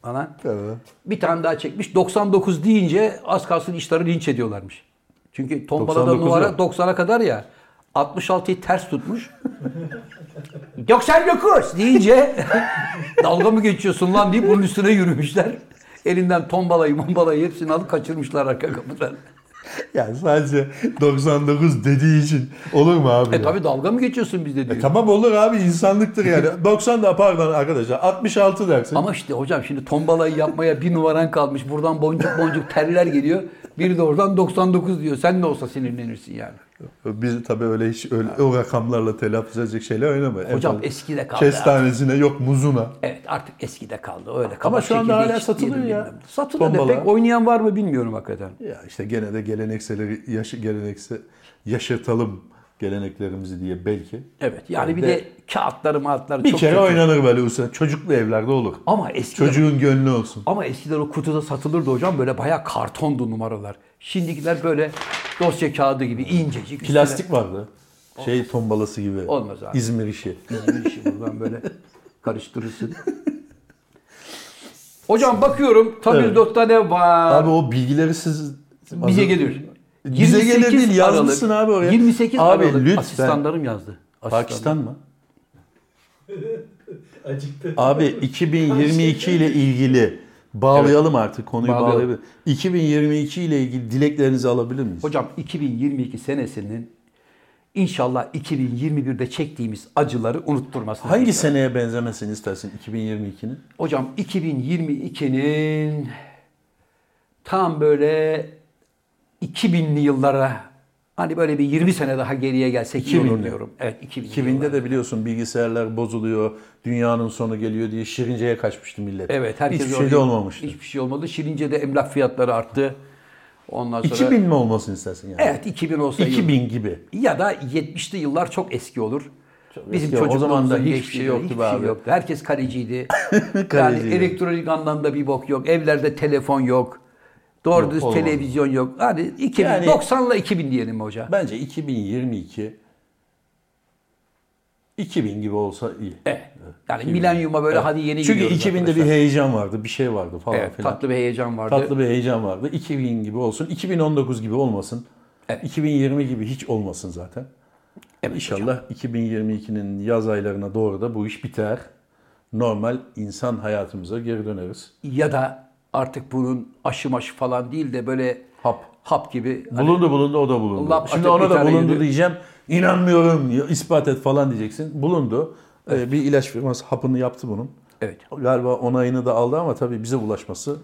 Speaker 1: falan.
Speaker 2: Tamam.
Speaker 1: Bir tane daha çekmiş. 99 deyince az kalsın işleri linç ediyorlarmış. Çünkü tombalada
Speaker 2: 99
Speaker 1: numara
Speaker 2: yok.
Speaker 1: 90'a kadar ya. 66'yı ters tutmuş. 99 deyince dalga mı geçiyorsun lan deyip bunun üstüne yürümüşler. Elinden tombalayı mombalayı hepsini alıp kaçırmışlar arka kapıdan. E
Speaker 2: Yani sadece 99 dediği için olur mu abi?
Speaker 1: E
Speaker 2: ya? E,
Speaker 1: tabi dalga mı geçiyorsun bizde diyor.
Speaker 2: Tamam olur abi insanlıktır yani. 90 da pardon arkadaşlar 66 dersin.
Speaker 1: Ama işte hocam şimdi tombalayı yapmaya bir numaran kalmış. Buradan boncuk boncuk terler geliyor. Biri de oradan 99 diyor. Sen de olsa sinirlenirsin yani.
Speaker 2: Biz tabii öyle hiç öyle, o rakamlarla telaffuz edecek şeyler oynamayız.
Speaker 1: Hocam
Speaker 2: Efendim,
Speaker 1: eskide kaldı.
Speaker 2: Kestanesine yok muzuna.
Speaker 1: Evet artık eskide kaldı öyle.
Speaker 2: Ama
Speaker 1: kaba
Speaker 2: şu anda
Speaker 1: şekilde
Speaker 2: hala
Speaker 1: hiç
Speaker 2: satılıyor
Speaker 1: yerim
Speaker 2: ya.
Speaker 1: bilmem. Satılıyor da
Speaker 2: Tombala.
Speaker 1: pek oynayan var mı bilmiyorum hakikaten.
Speaker 2: Ya işte gene de gelenekseleri yaşı, gelenekse yaşatalım geleneklerimizi diye belki.
Speaker 1: Evet yani bir de kağıtları mağıtları
Speaker 2: Bir
Speaker 1: çok
Speaker 2: kere
Speaker 1: kötü.
Speaker 2: oynanır böyle usta. Çocuklu evlerde olur.
Speaker 1: Ama eskiden,
Speaker 2: Çocuğun gönlü olsun.
Speaker 1: ama eskiden o kutuda satılırdı hocam böyle bayağı kartondu numaralar. Şimdikiler böyle dosya kağıdı gibi incecik. üstüne-
Speaker 2: Plastik vardı. Şey tombalası gibi.
Speaker 1: Olmaz abi.
Speaker 2: İzmir işi.
Speaker 1: İzmir işi şey buradan böyle karıştırırsın. Hocam bakıyorum tabildota ne var?
Speaker 2: Abi o bilgileri siz...
Speaker 1: Bize gelir.
Speaker 2: Bize gelir
Speaker 1: 28
Speaker 2: değil yazmışsın
Speaker 1: Aralık.
Speaker 2: abi oraya.
Speaker 1: 28
Speaker 2: abi,
Speaker 1: Aralık
Speaker 2: lütfen.
Speaker 1: asistanlarım yazdı. Asistanlarım.
Speaker 2: Pakistan mı?
Speaker 3: Acıktı.
Speaker 2: Abi 2022 ile ilgili bağlayalım artık konuyu
Speaker 1: Bağlayalım.
Speaker 2: bağlayalım. 2022 ile ilgili dileklerinizi alabilir miyiz?
Speaker 1: Hocam 2022 senesinin inşallah 2021'de çektiğimiz acıları unutturmasını.
Speaker 2: Hangi
Speaker 1: diliyorum.
Speaker 2: seneye benzemesin istersin 2022'nin?
Speaker 1: Hocam 2022'nin tam böyle 2000'li yıllara hani böyle bir 20 sene daha geriye gelsek iyi
Speaker 2: 2000'li.
Speaker 1: olur diyorum. Evet 2000'li
Speaker 2: 2000'de
Speaker 1: yıllar.
Speaker 2: de biliyorsun bilgisayarlar bozuluyor, dünyanın sonu geliyor diye Şirince'ye kaçmıştı millet.
Speaker 1: Evet herkes
Speaker 2: Hiçbir
Speaker 1: oraya-
Speaker 2: şey de olmamıştı.
Speaker 1: Hiçbir şey olmadı. Şirince'de emlak fiyatları arttı. Ondan sonra
Speaker 2: 2000 mi olmasın istersin yani?
Speaker 1: şey- Evet 2000 olsa iyi olur.
Speaker 2: 2000 gibi.
Speaker 1: Ya da 70'li yıllar çok eski olur. Bizim
Speaker 2: eski. O
Speaker 1: çocukluğumuzun
Speaker 2: zaman da hiçbir
Speaker 1: geçtiği
Speaker 2: şey
Speaker 1: yıllar
Speaker 2: yoktu
Speaker 1: hiçbir
Speaker 2: be
Speaker 1: şey
Speaker 2: abi.
Speaker 1: yoktu. Herkes kaleciydi. yani
Speaker 2: Kaleciydi.
Speaker 1: elektronik anlamda bir bok yok. Evlerde telefon yok. Doğru
Speaker 2: Yok,
Speaker 1: düz
Speaker 2: olmadı.
Speaker 1: televizyon yok. Hani 2000,
Speaker 2: Yani-
Speaker 1: 90'la 2000 diyelim hoca.
Speaker 2: Bence 2022 2000 gibi olsa iyi.
Speaker 1: Evet. Yani milenyuma böyle hadi yeni
Speaker 2: Çünkü
Speaker 1: gidiyoruz
Speaker 2: 2000'de bir
Speaker 1: arkadaşlar.
Speaker 2: heyecan vardı, bir şey vardı falan
Speaker 1: Evet,
Speaker 2: filan.
Speaker 1: tatlı bir heyecan vardı.
Speaker 2: Tatlı bir heyecan vardı. 2000 gibi olsun. 2019 gibi olmasın. 2020 gibi hiç olmasın zaten.
Speaker 1: Evet
Speaker 2: İnşallah 2022'nin yaz aylarına doğru da bu iş biter. Normal insan hayatımıza geri döneriz.
Speaker 1: Ya da artık bunun aşı maşı falan değil de böyle
Speaker 2: Hap.
Speaker 1: hap gibi hani
Speaker 2: Bulundu bulundu o da bulundu.
Speaker 1: Allah
Speaker 2: Şimdi
Speaker 1: atıp
Speaker 2: ona da
Speaker 1: bir tane
Speaker 2: bulundu
Speaker 1: yürü.
Speaker 2: diyeceğim. İnanmıyorum ya, ispat et falan diyeceksin. Bulundu. Ee, bir ilaç firması hapını yaptı bunun.
Speaker 1: evet.
Speaker 2: Galiba onayını da aldı ama tabii bize ulaşması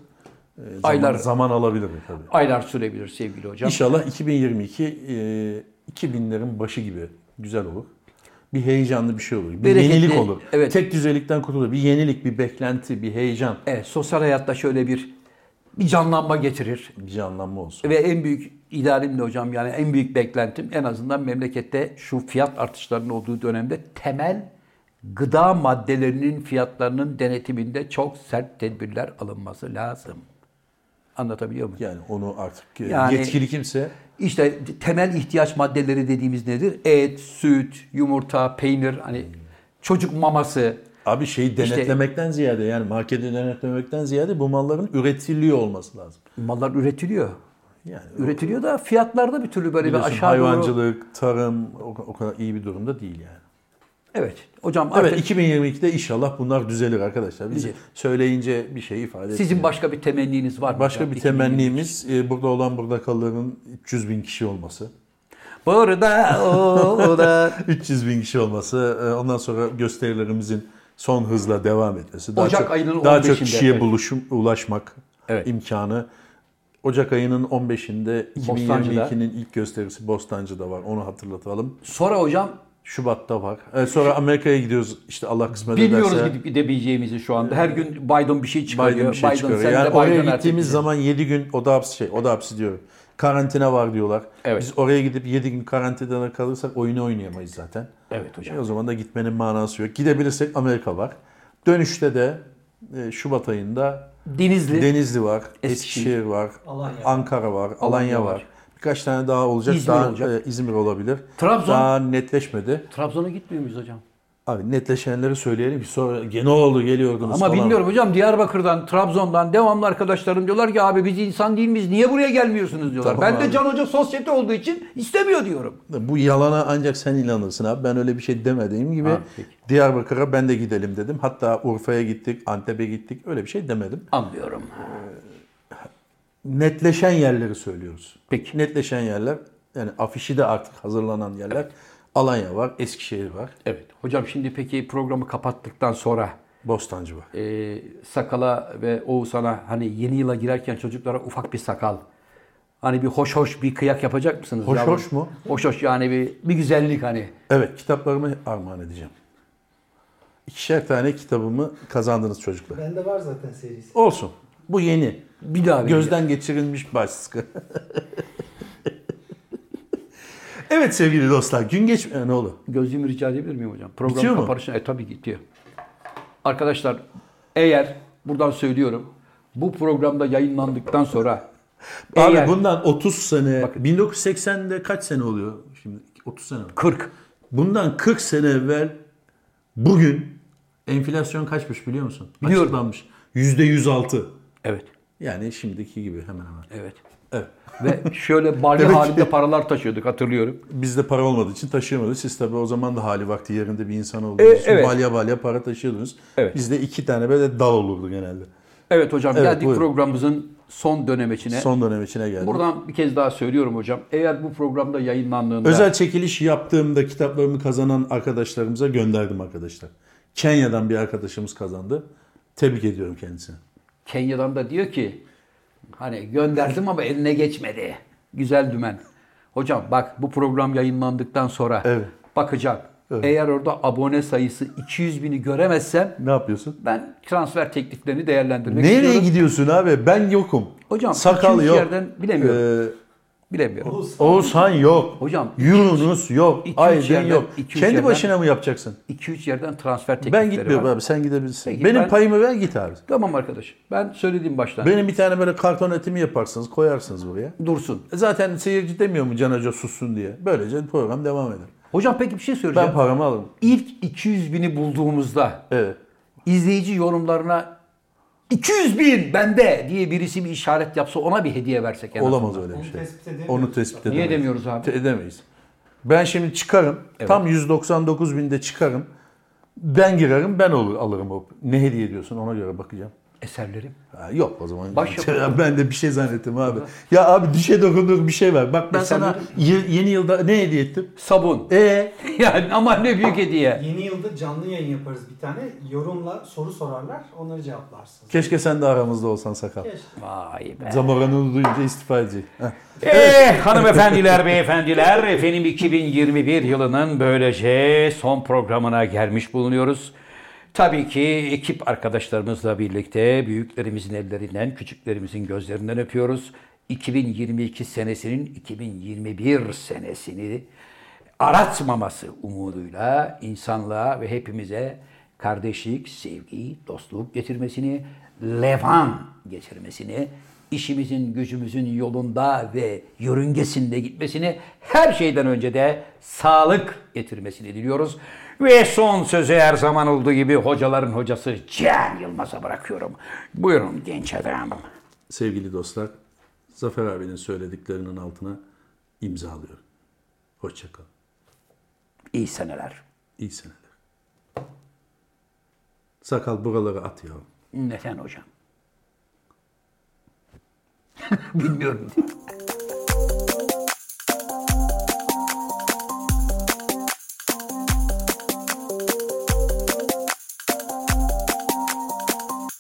Speaker 2: e, zaman,
Speaker 1: Aylar.
Speaker 2: zaman alabilir tabii.
Speaker 1: Aylar sürebilir sevgili hocam.
Speaker 2: İnşallah 2022 e, 2000'lerin başı gibi güzel olur. Bir heyecanlı bir şey olur. Bir
Speaker 1: Bereketli,
Speaker 2: yenilik olur.
Speaker 1: evet.
Speaker 2: Tek düzelikten kurtulur. Bir yenilik, bir beklenti, bir heyecan,
Speaker 1: Evet, sosyal hayatta şöyle bir bir canlanma getirir.
Speaker 2: bir canlanma olsun.
Speaker 1: Ve en büyük idealim de hocam yani en büyük beklentim en azından memlekette şu fiyat artışlarının olduğu dönemde temel gıda maddelerinin fiyatlarının denetiminde çok sert tedbirler alınması lazım. Anlatabiliyor muyum?
Speaker 2: Yani onu artık e,
Speaker 1: Yani-
Speaker 2: yetkili kimse
Speaker 1: İşte temel ihtiyaç maddeleri dediğimiz nedir? Et, süt, yumurta, peynir, hani çocuk maması.
Speaker 2: abi şeyi
Speaker 1: İşte-
Speaker 2: denetlemekten ziyade yani marketi denetlemekten ziyade bu malların üretiliyor olması lazım.
Speaker 1: Mallar üretiliyor.
Speaker 2: Yani
Speaker 1: Üretiliyor da fiyatlarda bir türlü böyle bir
Speaker 2: biliyorsun
Speaker 1: aşağı doğru.
Speaker 2: hayvancılık, tarım o, o kadar iyi bir durumda değil yani.
Speaker 1: Evet. Hocam artık
Speaker 2: Evet 2022'de inşallah bunlar düzelir arkadaşlar. Biz
Speaker 1: Düzelir.
Speaker 2: söyleyince bir şey ifade
Speaker 1: sizin başka bir temenniniz var mı? hocam?
Speaker 2: Başka bir
Speaker 1: 2000
Speaker 2: temennimiz e, burada olan burada kalanın 300 bin kişi olması.
Speaker 1: Burada o da.
Speaker 2: 300 bin kişi olması e, ondan sonra gösterilerimizin son hızla devam etmesi. Daha
Speaker 1: Ocak
Speaker 2: çok,
Speaker 1: ayının
Speaker 2: Daha çok
Speaker 1: 15'inde,
Speaker 2: kişiye
Speaker 1: evet.
Speaker 2: buluşum, ulaşmak
Speaker 1: Evet.
Speaker 2: imkanı. Ocak ayının 15'inde
Speaker 1: Bostancı'da.
Speaker 2: 2022'nin ilk gösterisi Bostancı'da var onu hatırlatalım.
Speaker 1: Sonra hocam
Speaker 2: Şubat'ta var. E, sonra Amerika'ya gidiyoruz işte Allah kısmet
Speaker 1: bilmiyoruz
Speaker 2: ederse.
Speaker 1: gidip gidebileceğimizi şu anda. Her gün Biden bir şey çıkarıyor.
Speaker 2: Biden bir şey çıkarıyor. yani
Speaker 1: sen de
Speaker 2: oraya
Speaker 1: Biden artık
Speaker 2: gittiğimiz
Speaker 1: bize.
Speaker 2: zaman 7 gün oda hapsi şey, oda hapsi diyorum. Karantina var diyorlar.
Speaker 1: Evet.
Speaker 2: Biz oraya gidip 7 gün karantinada kalırsak oyunu oynayamayız zaten.
Speaker 1: Evet hocam.
Speaker 2: E, o zaman da gitmenin manası yok. Gidebilirsek Amerika var. Dönüşte de e, Şubat ayında
Speaker 1: Denizli.
Speaker 2: Denizli var,
Speaker 1: Eskişehir.
Speaker 2: Eskişehir var,
Speaker 3: Alanya.
Speaker 2: Ankara var, Alanya var.
Speaker 1: var.
Speaker 2: Birkaç tane daha olacak.
Speaker 1: İzmir
Speaker 2: daha,
Speaker 1: olacak.
Speaker 2: e, İzmir olabilir.
Speaker 1: Trabzon.
Speaker 2: Daha netleşmedi.
Speaker 1: Trabzon'a gitmiyor muyuz hocam?
Speaker 2: Abi netleşenleri söyleyelim ki sonra gene oldu geliyordunuz
Speaker 1: Ama
Speaker 2: falan.
Speaker 1: bilmiyorum hocam Diyarbakır'dan, Trabzon'dan devamlı arkadaşlarım diyorlar ki abi biz insan değil miyiz? Niye buraya gelmiyorsunuz diyorlar.
Speaker 2: Tamam
Speaker 1: ben de
Speaker 2: abi.
Speaker 1: Can Hoca sosyete olduğu için istemiyor diyorum.
Speaker 2: Bu yalana ancak sen inanırsın abi. Ben öyle bir şey demediğim gibi
Speaker 1: Ha, peki.
Speaker 2: Diyarbakır'a ben de gidelim dedim. Hatta Urfa'ya gittik, Antep'e gittik. Öyle bir şey demedim.
Speaker 1: Anlıyorum.
Speaker 2: Netleşen yerleri söylüyoruz.
Speaker 1: Peki.
Speaker 2: Netleşen yerler yani afişi de artık hazırlanan yerler. Alanya var, Eskişehir var,
Speaker 1: Evet. Hocam şimdi peki programı kapattıktan sonra
Speaker 2: Bostancı var.
Speaker 1: e, sakala ve Oğuzhan'a hani yeni yıla girerken çocuklara ufak bir sakal. Hani bir hoş hoş bir kıyak yapacak mısınız?
Speaker 2: Hoş
Speaker 1: yavrum?
Speaker 2: hoş mu?
Speaker 1: Hoş hoş yani bir, bir güzellik hani.
Speaker 2: Evet kitaplarımı armağan edeceğim. İkişer tane kitabımı kazandınız çocuklar.
Speaker 3: Bende var zaten serisi.
Speaker 2: Olsun. Bu yeni.
Speaker 1: Bir daha bir
Speaker 2: Gözden geçirilmiş baskı. Evet sevgili dostlar gün geçmiyor. Ne olur?
Speaker 1: Gözlüğümü rica edebilir miyim hocam? Program
Speaker 2: Bitiyor mu?
Speaker 1: kapanışına. E tabii gidiyor. Arkadaşlar eğer buradan söylüyorum bu programda yayınlandıktan sonra
Speaker 2: Abi
Speaker 1: eğer-
Speaker 2: bundan 30 sene,
Speaker 1: Bakın.
Speaker 2: 1980'de kaç sene oluyor şimdi? 30 sene mi?
Speaker 1: 40
Speaker 2: Bundan 40 sene evvel bugün enflasyon kaçmış biliyor musun?
Speaker 1: Biliyorum.
Speaker 2: Açıklanmış. %106.
Speaker 1: evet
Speaker 2: Yani şimdiki gibi hemen hemen.
Speaker 1: evet
Speaker 2: Evet.
Speaker 1: ve şöyle balya
Speaker 2: Demek ki-
Speaker 1: halinde paralar taşıyorduk hatırlıyorum.
Speaker 2: Bizde para olmadığı için taşıyamadık. Siz tabii o zaman da hali vakti yerinde bir insan
Speaker 1: E,
Speaker 2: olduğunuz için
Speaker 1: evet.
Speaker 2: balya balya para taşıyordunuz.
Speaker 1: Evet.
Speaker 2: Bizde iki tane böyle dal olurdu genelde.
Speaker 1: Evet hocam
Speaker 2: Evet,
Speaker 1: geldik
Speaker 2: buyurun.
Speaker 1: programımızın son dönemeçine.
Speaker 2: Son dönem içine geldik.
Speaker 1: Buradan bir kez daha söylüyorum hocam. Eğer bu programda yayınlandığında
Speaker 2: Özel çekiliş yaptığımda kitaplarımı kazanan arkadaşlarımıza gönderdim arkadaşlar. Kenya'dan bir arkadaşımız kazandı. Tebrik ediyorum kendisini.
Speaker 1: Kenya'dan da diyor ki hani gönderdim ama eline geçmedi. Güzel dümen. Hocam bak bu program yayınlandıktan sonra
Speaker 2: Evet.
Speaker 1: bakacağım. Eğer orada abone sayısı 200 bini göremezsem
Speaker 2: Ne yapıyorsun?
Speaker 1: ben transfer tekliflerini değerlendirmek
Speaker 2: Nereye
Speaker 1: istiyorum.
Speaker 2: gidiyorsun abi? Ben yokum.
Speaker 1: Hocam,
Speaker 2: sakal
Speaker 1: ikinci
Speaker 2: yok.
Speaker 1: yerden bilemiyorum.
Speaker 2: Ee,
Speaker 1: Bilemiyorum.
Speaker 2: Oğuzhan yok.
Speaker 1: Hocam,
Speaker 2: Yunus yok.
Speaker 1: iki üç
Speaker 2: Aydın
Speaker 1: yerden-
Speaker 2: yok.
Speaker 1: iki üç
Speaker 2: Kendi
Speaker 1: yerden-
Speaker 2: başına mı yapacaksın?
Speaker 1: 2-3 yerden transfer teklifleri
Speaker 2: Ben gitmiyorum
Speaker 1: var.
Speaker 2: abi. Sen gidebilirsin.
Speaker 1: Peki,
Speaker 2: Benim
Speaker 1: ben-
Speaker 2: payımı ver git abi.
Speaker 1: Tamam arkadaş. Ben söylediğim baştan.
Speaker 2: Benim bir tane böyle karton etimi yaparsınız, koyarsınız buraya. E
Speaker 1: Dursun.
Speaker 2: Zaten seyirci demiyor mu Can Hoca sussun diye. Böylece program devam eder.
Speaker 1: Hocam peki bir şey söyleyeceğim.
Speaker 2: Ben paramı alırım.
Speaker 1: İlk 200 bini bulduğumuzda
Speaker 2: Evet.
Speaker 1: izleyici yorumlarına 200 bin bende diye birisi bir işaret yapsa ona bir hediye versek. en
Speaker 2: Olamaz
Speaker 1: azından.
Speaker 2: öyle bir
Speaker 3: Onu
Speaker 2: şey.
Speaker 3: tespit edemiyoruz.
Speaker 2: Onu tespit edemeyiz.
Speaker 1: Niye demiyoruz abi?
Speaker 2: Te- Edemeyiz. Ben şimdi çıkarım. Tam 199 binde çıkarım. Ben girerim ben olur, alırım. o. Ne hediye ediyorsun ona göre bakacağım.
Speaker 1: Eserlerim.
Speaker 2: Ha, yok o zaman.
Speaker 1: Başyapıt.
Speaker 2: ben de bir şey zannettim abi. Ya abi dişe dokunur bir şey var. Bak ben
Speaker 1: E, sen
Speaker 2: sana ye- yeni yılda ne hediye ettim?
Speaker 1: Sabun.
Speaker 2: E
Speaker 1: yani ama ne büyük hediye.
Speaker 3: Yeni yılda canlı yayın yaparız bir tane. Yorumla soru sorarlar. Onları cevaplarsınız.
Speaker 2: keşke sen de aramızda olsan sakal.
Speaker 3: Keşke.
Speaker 1: Vay be.
Speaker 2: Zamoran'ı duyunca istifa edecek. Heh.
Speaker 6: Eh hanımefendiler, beyefendiler, efendim 2021 yılının böylece son programına gelmiş bulunuyoruz. Tabii ki ekip arkadaşlarımızla birlikte büyüklerimizin ellerinden, küçüklerimizin gözlerinden öpüyoruz. 2022 senesinin 2021 senesini aratmaması umuduyla insanlığa ve hepimize kardeşlik, sevgi, dostluk getirmesini, levan getirmesini, işimizin, gücümüzün yolunda ve yörüngesinde gitmesini, her şeyden önce de sağlık getirmesini diliyoruz. Ve son sözü her zaman olduğu gibi hocaların hocası Cihan Yılmaz'a bırakıyorum. Buyurun genç adam.
Speaker 2: Sevgili dostlar, Zafer abinin söylediklerinin altına imzalıyorum. Hoşçakalın.
Speaker 6: İyi seneler.
Speaker 2: İyi seneler. Sakal buraları at yavrum.
Speaker 6: Neden hocam?
Speaker 1: Bilmiyorum.